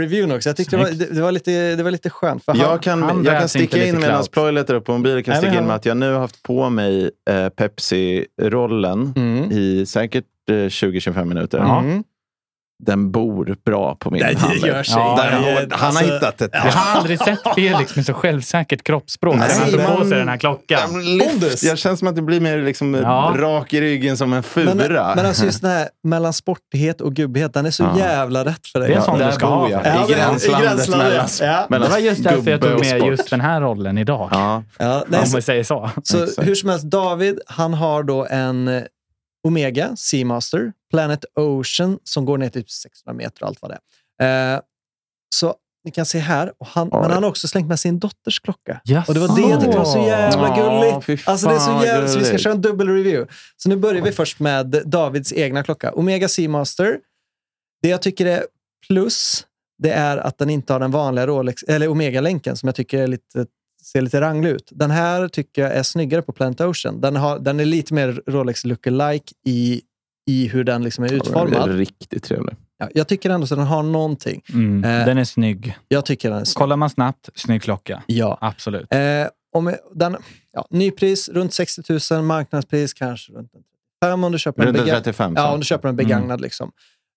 S2: reviewn också. Jag tyckte det var, det, det var lite, det var lite skönt. För han,
S1: jag kan,
S3: han
S1: jag kan
S3: väls inte
S1: sticka in
S3: lite
S1: medan
S3: clout.
S1: Ploy letar upp på mobilen. kan
S2: Nej,
S1: sticka
S2: men
S1: in med
S2: han-
S1: att jag nu har haft på mig eh, Pepsi-rollen
S2: Mm.
S1: i säkert eh, 20-25 minuter.
S2: Mm.
S1: Den bor bra på min
S2: Nej, det
S1: hand.
S2: gör sig.
S1: Ja,
S3: inte.
S1: där har- han
S2: Alltså,
S1: har hittat ett...
S3: Jag har aldrig sett Felix med så självsäkert kroppsspråk
S1: Nej,
S3: sen han tog på
S1: men-
S3: sig den här klockan.
S2: Pondus.
S1: Jag känns som att det blir mer liksom
S3: Ja.
S1: rak i ryggen som en fura.
S2: Men, men alltså just den här mellan sportighet och gubbighet, den är så
S1: Ja.
S2: jävla rätt för dig.
S3: Det är en
S1: Ja,
S3: sån
S1: där
S3: du ska
S1: bor
S3: ha.
S1: jag.
S3: Ja,
S1: I
S2: men-
S1: gränslandet mellan-
S2: Ja.
S3: Det
S1: mellan
S3: var just därför jag
S1: gubbe
S3: tog
S1: och
S3: med
S1: sport.
S3: just den här rollen idag.
S1: Ja,
S2: Ja, nej,
S3: Om
S2: så
S3: vi säger så.
S2: så
S1: exakt.
S2: hur som helst, David han har då en eh, Omega Seamaster, Planet Ocean, som går ner till typ 600 meter och allt vad det är. Eh, så ni kan se här, och han, men
S1: Oj.
S2: han har också slängt med sin dotters klocka.
S3: Jaså.
S2: Och det var det jag tyckte var så jävla
S1: Ja, fy
S2: gulligt.
S1: fan
S2: Alltså det är så
S1: vad
S2: jävla, så vi ska
S1: gulligt.
S2: köra en dubbel review. Så nu börjar vi först med Davids egna klocka. Omega Seamaster. Det jag tycker är plus, det är att den inte har den vanliga Rolex, eller Omega-länken som jag tycker är lite ser lite ranglig ut. Den här tycker jag är snyggare på Planet Ocean. Den, har, den är lite mer Rolex lookalike i, i hur den liksom är
S1: Ja, den är
S2: utformad.
S1: riktigt trevlig.
S2: Ja, jag tycker ändå att den har någonting.
S3: Mm.
S2: Eh.
S3: Den är snygg.
S2: Jag tycker den är snygg.
S3: Kollar man snabbt, snygg klocka.
S2: Ja.
S3: Absolut.
S2: Eh, om den, ja, nypris runt 60 000, marknadspris kanske runt 5 om du köper en
S1: Runt
S2: bega-
S1: 35.
S2: Ja,
S1: så. Mm.
S2: om du köper en begagnad. Liksom.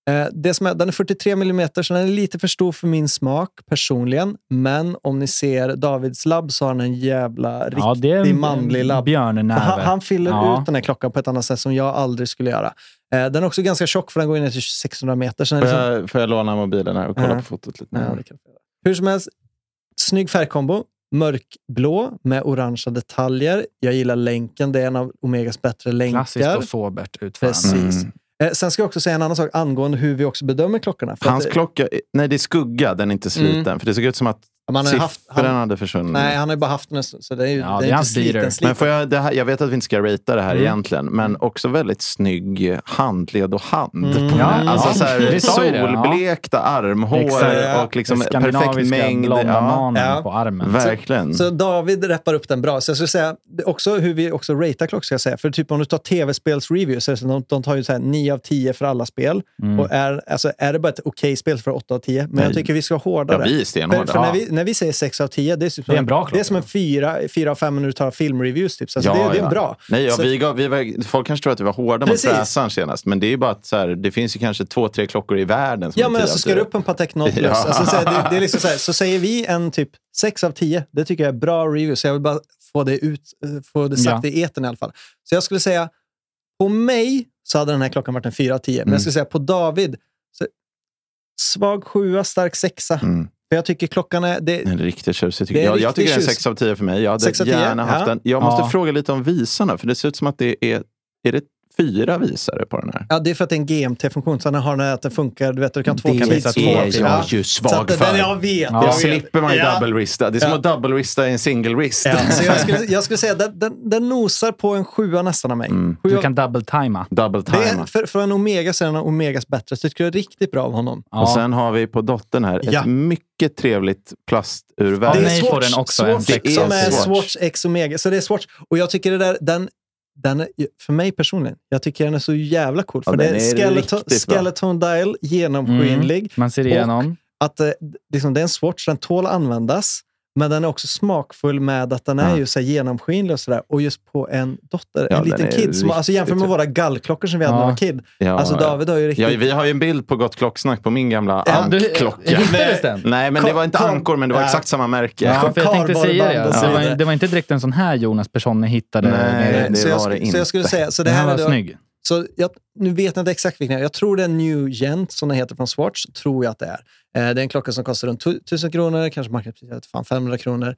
S2: Eh, det som är, den är 43 mm, så den är lite för stor för min smak personligen. Men om ni ser Davids labb så har han en jävla riktig
S3: Ja, det är en
S2: manlig labb.
S3: björnnäve.
S2: Han, han fyller
S3: Ja.
S2: ut den här klockan på ett annat sätt som jag aldrig skulle göra. Eh, den är också ganska tjock för den går in till 600 meter. Så den är
S1: Får
S2: liksom,
S1: jag, får jag låna mobilen här och kolla
S2: Ja.
S1: på fotot lite?
S2: Ja, det kan jag göra. Hur som helst, snygg färgkombo. Mörkblå med orangea detaljer. Jag gillar länken. Det är en av Omegas bättre länkar.
S3: Klassiskt och Mm. sobert utförande.
S2: Precis. Eh, sen ska jag också säga en annan sak angående hur vi också bedömer klockorna. För
S1: Hans
S2: att, Mm.
S1: klocka, nej det är skugga, den är inte sliten. För det såg ut som att
S2: man har ju
S1: siffrorna
S2: haft, han,
S1: hade försvunnit.
S2: nej, han har ju bara haft den en stund, så det är ju
S3: Ja,
S2: det är
S3: det är
S2: inte
S3: hans
S2: sliten,
S3: beater.
S1: men
S2: sliten.
S1: får jag, det här, jag vet att vi inte ska ratea det här
S3: Mm.
S1: egentligen, men också väldigt snygg handled och hand.
S2: Mm.
S1: På
S2: Ja,
S1: den. alltså
S3: ja.
S1: så här,
S3: Vi sa ju det, ja.
S1: solblekta armhår
S3: Exakt.
S1: och liksom perfekt
S3: Skandinaviska
S1: mängd.
S3: blonda manen
S2: Ja.
S3: på armen.
S1: verkligen.
S2: Så David rappar upp den bra. Så jag skulle säga det är också hur vi också ratear klockor. Ska jag säga. För typ om du tar tv-spels-review, så är det så att de, de tar ju så här 9 av 10 för alla spel.
S3: Mm.
S2: Och är, alltså, är det bara ett okej spel för 8 av 10? Men jag
S1: Nej.
S2: tycker vi ska ha
S1: ja,
S2: hårdare.
S1: vi är
S2: För,
S1: stenhårda.
S2: för när, vi, när vi säger 6 av 10, det är, typ som
S3: Det är en bra
S2: det är
S3: klocka.
S2: som en 4, fyra av 5 när du tar filmreviews. Typ. Så alltså,
S1: Ja,
S2: det, det är
S1: ja.
S2: en bra.
S1: Nej, ja,
S2: Så-
S1: vi gav, vi var, folk kanske tror att vi var hårda
S2: Precis.
S1: mot Fräsaren senast, men det är ju bara att så här, det finns ju kanske två, tre klockor i världen som
S2: Ja,
S1: är
S2: men
S1: tio
S2: alltså,
S1: av
S2: ska
S1: tio.
S2: du upp en Patek Nautilus?
S1: Ja.
S2: Alltså, så, här, det, det är liksom så, här, så säger vi en typ 6 av 10. Det tycker jag är bra review. Så jag vill bara få det, ut, eh, få det sagt
S3: Ja.
S2: i etern i alla fall. Så jag skulle säga, på mig så hade den här klockan varit en 4 av 10. Men
S1: Mm.
S2: jag skulle säga på David, så, svag 7, stark 6.
S1: Mm.
S2: För jag tycker klockan är... Det,
S1: En riktigt tjusig tycker
S2: Det är
S1: jag. Jag
S2: riktigt
S1: tycker det är en
S2: tjus.
S1: 6 av 10 för mig. Jag hade
S2: Sex av tio?
S1: gärna haft
S2: Ja.
S1: en. Jag måste
S3: Ja.
S1: fråga lite om visarna, för det ser ut som att det är, är det fyra visare på den här?
S2: Ja, det är för att det är en GMT-funktion. Sen har den här att den funkar, du vet, du kan två
S1: Det
S2: kan visa två.
S1: är
S2: till.
S1: jag
S2: Ja.
S1: ju svag
S2: Så att den-
S1: för.
S2: Jag vet.
S3: Ja.
S1: Det
S2: jag vet.
S1: slipper man ju
S2: Ja.
S1: double wrista. Det är som
S2: Ja.
S1: att double wrista i en single wrist.
S2: Ja, så jag, skulle, jag skulle säga den, den, den nosar på en sjua nästan av mig.
S1: Mm.
S2: Sjua-
S3: Du kan double-tajma.
S1: Double
S2: det är,
S1: time.
S2: för, för en Omega så är den Omegas bättre. Så det tycker jag är riktigt bra av honom.
S3: Ja.
S1: Och sen har vi på dottern här
S2: Ja.
S1: ett mycket trevligt plasturverk.
S3: Ja,
S2: Det är
S3: nej,
S2: Swatch-
S3: får den också en
S2: Swatch
S3: sexa
S2: som
S3: av
S2: är
S3: tio.
S2: Swatch X Omega. Så det är Swatch. Och jag tycker det där, den, den är, för mig personligen, jag tycker den är så jävla cool.
S1: Ja,
S2: För det
S1: den
S2: är
S1: är
S2: skeleton,
S1: riktigt bra.
S2: skeleton dial, genomskinlig.
S3: Man ser igenom.
S2: Att, eh, liksom, det är en Swatch, den tål att användas. Men den är också smakfull med att den är
S1: Ja.
S2: ju så här genomskinlig och sådär. Och just på en dotter,
S1: Ja,
S2: en liten
S1: den är
S2: kid. Som, alltså
S1: riktigt
S2: jämfört med
S1: trevlig.
S2: våra gallklockor som vi hade
S3: Ja.
S2: när jag var kid.
S1: Ja,
S2: Alltså David har ju riktigt...
S1: ja, vi har ju en bild på Gott Klocksnack på min gamla
S2: Ja,
S3: du-
S1: ankklocka.
S3: hittades den?
S1: Nej, men det var inte
S2: Kom- kom-
S1: ankor, men det var
S2: Ja.
S1: exakt samma märke. Alltså,
S3: Ja, för jag tänkte säga det.
S2: Kardborreband och så
S3: Det var,
S2: vidare.
S3: det var inte direkt en sån här Jonas Persson hittade.
S1: Nej,
S3: nere.
S1: det
S2: så, jag,
S1: var det
S2: sk- så jag skulle
S1: inte.
S2: säga, så det
S3: Den
S2: här är
S3: var
S2: då-
S3: snygg.
S2: Så jag, nu vet jag inte exakt vilken det är. Jag tror det är New Gent som den heter från Swatch. Tror jag att det är. Eh, det är en klocka som kostar runt 1000 kronor, kanske marknadspris jag vet fan 500 kronor.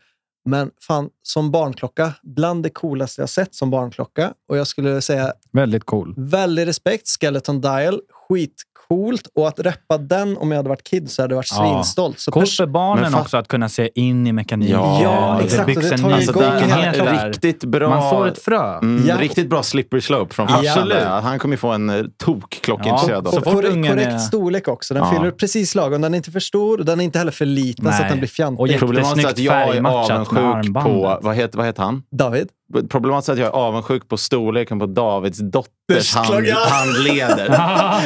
S2: Men fan, som barnklocka, bland det coolaste jag sett som barnklocka. Och jag skulle säga
S3: Väldigt cool.
S2: väldig respekt, Skeleton Dial, skitcoolt. Och att reppa den om jag hade varit kid så hade jag varit
S3: Ja.
S2: svinstolt. Så
S3: Coolt
S2: pers-
S3: för barnen
S1: Men fa-
S3: också att kunna se in i mekaniken.
S1: Ja, Ja,
S3: det
S1: exakt,
S2: och
S3: byggs
S2: det
S3: en
S2: tar ju
S1: Alltså,
S2: igång
S1: där,
S3: nyfikenhet
S2: hela-
S3: där.
S1: riktigt bra...
S3: Man får ett frö.
S1: Mm,
S2: Ja.
S1: Riktigt bra slippery slope från farsan.
S3: Absolut.
S1: där. Han kommer ju få en eh, tokklockintresserad
S3: Ja,
S1: av.
S3: så
S2: och
S3: fort
S2: korrekt,
S3: ungen
S2: korrekt
S3: är-
S2: storlek också. Den
S1: Ja.
S2: fyller precis lagom. Den är inte för stor och den är inte heller för liten så att
S3: Nej.
S2: den blir fjantig.
S3: Och jätte-
S1: Problematiskt är att
S3: Snyggt
S1: jag är
S3: färgmatchat med
S1: avundsjuk på...
S3: armbandet.
S1: Vad heter, vad heter han?
S2: David?
S1: Problematiskt är att jag är avundsjuk på storleken på Davids dotters hand,
S2: Klockan.
S1: handleder.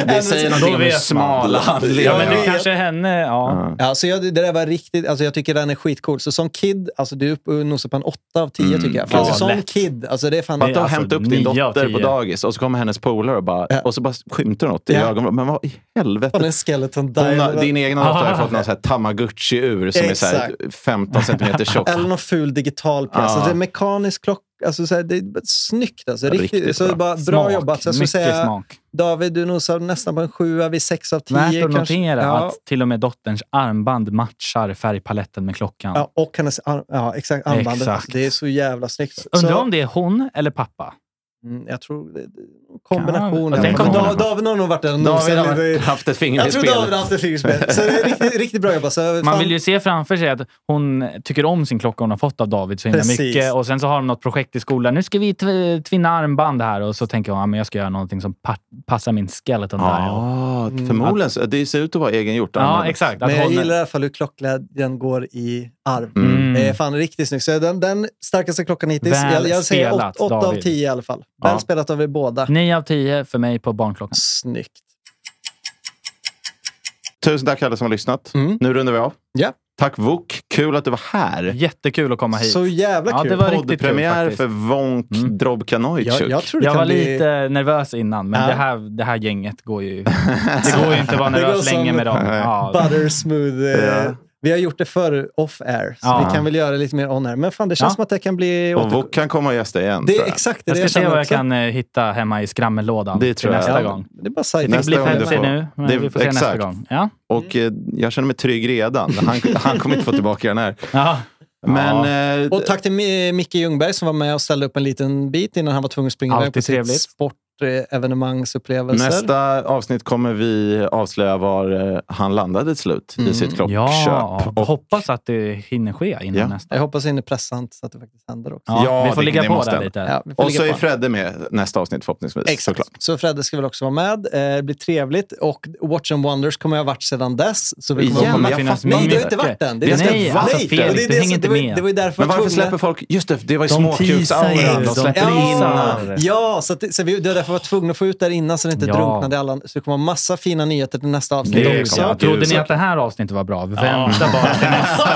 S1: Det säger
S3: Då
S1: någonting om hur
S3: vet man.
S1: smala handleder
S3: Ja, men
S1: är.
S3: det kanske är henne. Ja.
S1: Ja.
S2: Ja, så jag, det där var riktigt, alltså jag tycker den är skitcool. Så som kid, alltså du är uppe och nosar på en 8 av 10
S1: Mm.
S2: tycker jag. För
S3: Ja,
S2: alltså, som
S3: lätt.
S2: kid, alltså det är fan...
S3: Men-
S1: Fatta att
S3: Alltså,
S1: hämta upp din
S3: nio av
S1: dotter på
S3: tio.
S1: dagis och så kommer hennes polare och bara,
S2: Ja.
S1: och så bara skymtar något i
S2: Ja.
S1: ögonvrån. Men vad i
S2: fan en
S1: helvete?
S2: skeleton
S1: Hon har,
S2: dial.
S1: din egna dotter har
S3: Ah.
S1: ju fått någon så här tamagotchi-ur som är så här 15 centimeter tjock.
S2: Eller någon ful digital pjäs.
S1: Ja.
S2: Alltså, det är mekanisk klocka. Alltså, så här, det är bara snyggt. Alltså, riktigt,
S1: Riktigt
S2: så det är bara bra
S3: Smak.
S2: jobbat. Så jag skulle
S3: Mycket
S2: säga,
S3: smak.
S2: David, du nosar nästan på en 7 vid 6 av 10.
S3: Värt att
S2: kanske.
S3: notera
S2: ja,
S3: att till och med dotterns armband matchar färgpaletten med klockan.
S2: Ja, och hennes arm, ja, exakt, armbandet.
S3: Exakt.
S2: Det är så jävla snyggt.
S3: Undrar
S2: Så-
S3: om det är hon eller pappa?
S2: Mm, jag tror det, det,
S3: Ja,
S2: kombinationen.
S3: tänk om
S2: Men
S3: hon-
S2: Da- David har nog varit där och
S1: David
S2: nosat
S1: har
S2: lite.
S1: haft ett finger i
S2: Jag tror David
S1: spelet.
S2: har haft ett fingerspel. Så det är riktigt, riktigt bra jobbat. Så,
S3: Man
S2: fan,
S3: vill ju se framför sig att hon tycker om sin klocka hon har fått av David så himla
S2: Precis.
S3: mycket. Och sen så har de något projekt i skolan. Nu ska vi tv- tvinna armband här. Och så tänker hon att men jag ska göra någonting som pa- passar min skeleton dial.
S1: Ja, förmodligen. så- Det ser ut att vara egengjort.
S3: Ja, exakt. Att
S2: Men jag
S3: hon,
S2: gillar i alla fall hur klockglädjen går i arv.
S3: Mm.
S2: Det är fan riktigt snyggt. Så den, den starkaste klockan hittills.
S3: Väl
S2: jag, jag säger
S3: spelat,
S2: 8 av
S3: David.
S2: 10 i alla fall. Väl
S3: Ja. Mm.
S2: spelat av er båda.
S3: 9 av 10 för mig på barnklockan.
S2: Snyggt.
S1: Tusen tack alla som har lyssnat.
S2: Mm.
S1: Nu rundar vi av.
S2: Ja.
S1: Tack Vuk. Kul att du var här.
S3: Jättekul att komma hit.
S2: Så jävla
S3: Ja,
S2: kul.
S3: det var riktigt kul
S1: Poddpremiär
S3: faktiskt.
S1: för Vonk
S3: Mm.
S1: Drobkanojczuk.
S2: jag, jag tror det
S3: Jag
S2: kan
S3: var
S2: bli...
S3: lite nervös innan, men
S2: Ja.
S3: det, här, det här gänget går ju... Det går ju inte att vara
S2: Det går
S3: nervös
S2: som-
S3: länge med dem.
S1: Nej.
S3: Ja.
S2: butter smooth. eh,
S1: Ja.
S2: Vi har gjort det förr off air, så
S3: Ja.
S2: vi kan väl göra det lite mer on air. Men fan, det känns
S3: Ja.
S2: som att det kan bli...
S1: Och Vuk kan komma och gästa igen.
S2: det
S1: tror
S2: är
S1: jag.
S2: exakt det
S3: Jag ska se
S2: känner
S3: vad jag
S2: också.
S3: kan eh, hitta hemma i skrammellådan
S1: Det
S3: till
S1: tror jag.
S3: nästa
S2: Ja,
S3: gång.
S2: Det är bara side
S3: Det
S1: Nästa
S3: blir
S1: gång du
S3: fancy
S1: får-
S3: nu, men
S1: Det-
S3: vi får se nästa
S1: exakt.
S3: gång. Ja.
S1: Och eh, jag känner mig trygg redan. Han, han kommer inte få tillbaka den här.
S3: Ja.
S1: Men, eh,
S2: Och tack till Mi- Micke Ljungberg som var med och ställde upp en liten bit innan han var tvungen att springa iväg
S3: Alltid
S2: på sitt
S3: trevligt.
S2: sportevenemangsupplevelser.
S1: Nästa avsnitt kommer vi avslöja var eh, han landade till slut i sitt klockköp.
S3: Ja,
S1: och,
S3: hoppas att det hinner ske innan
S1: Ja.
S3: nästa.
S2: Jag hoppas jag hinner pressa han så att det faktiskt händer också.
S3: Ja,
S1: Ja,
S3: vi får
S1: det-
S3: ligga
S1: det
S3: på
S1: måste
S3: där
S1: jag.
S3: lite.
S2: Ja, vi får
S1: och
S2: ligga
S1: så är
S2: på han.
S1: Fredde med nästa avsnitt förhoppningsvis.
S2: Exakt.
S1: såklart.
S2: Så Fredde ska väl också vara med. Eh, Det blir trevligt. Och Watch and Wonders kommer jag ha varit sedan dess. Så vi kommer
S1: Igen?
S2: att komma
S1: Jag
S3: finnas
S1: fattar
S2: Nej,
S3: med.
S2: du har inte varit den. Det är
S1: Vi har
S2: det-
S1: inte
S3: Nej, alltså
S1: varit
S2: Och
S3: Felix,
S2: det är
S3: du
S2: det-
S3: hänger inte
S2: det var- Det var
S3: med.
S2: ju därför
S1: Men varför
S2: jag var tvungen-
S1: släpper folk... Just det, det var ju
S3: De
S1: småkuksauran.
S3: teasar ju.
S1: De
S3: De
S1: släpper
S3: teasar.
S1: in...
S3: in.
S2: Ja, så, att, det- så vi, det var därför jag var tvungen att få ut det här innan så det inte
S3: Ja.
S2: drunknade i alla. Så det kommer vara massa fina nyheter till nästa avsnitt
S3: Det
S2: också.
S3: också.
S1: klart.
S3: Trodde
S1: Gud,
S3: ni att det här avsnittet var bra? Vänta bara till nästa.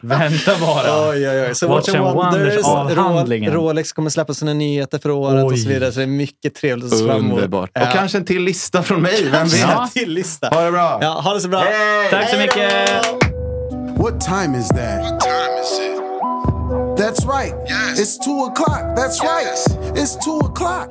S3: Vänta bara.
S2: Oj, oj, oj. Så
S3: Watch and Wonders
S2: Ro-
S3: avhandlingen.
S2: Rolex kommer släppa sina nyheter för året och så vidare. Så det är mycket trevligt att se fram emot.
S1: Underbart.
S2: Ja.
S1: Och kanske en till lista från mig. Vem vet?
S3: Ja.
S2: en till lista.
S1: Ha det bra.
S2: Ja, ha det så bra.
S1: Hej!
S3: Tack så mycket.
S4: What time is that?
S6: What time is it?
S4: That's right.
S6: Yes.
S4: It's two o'clock. That's
S6: Yes.
S4: right. It's two o'clock.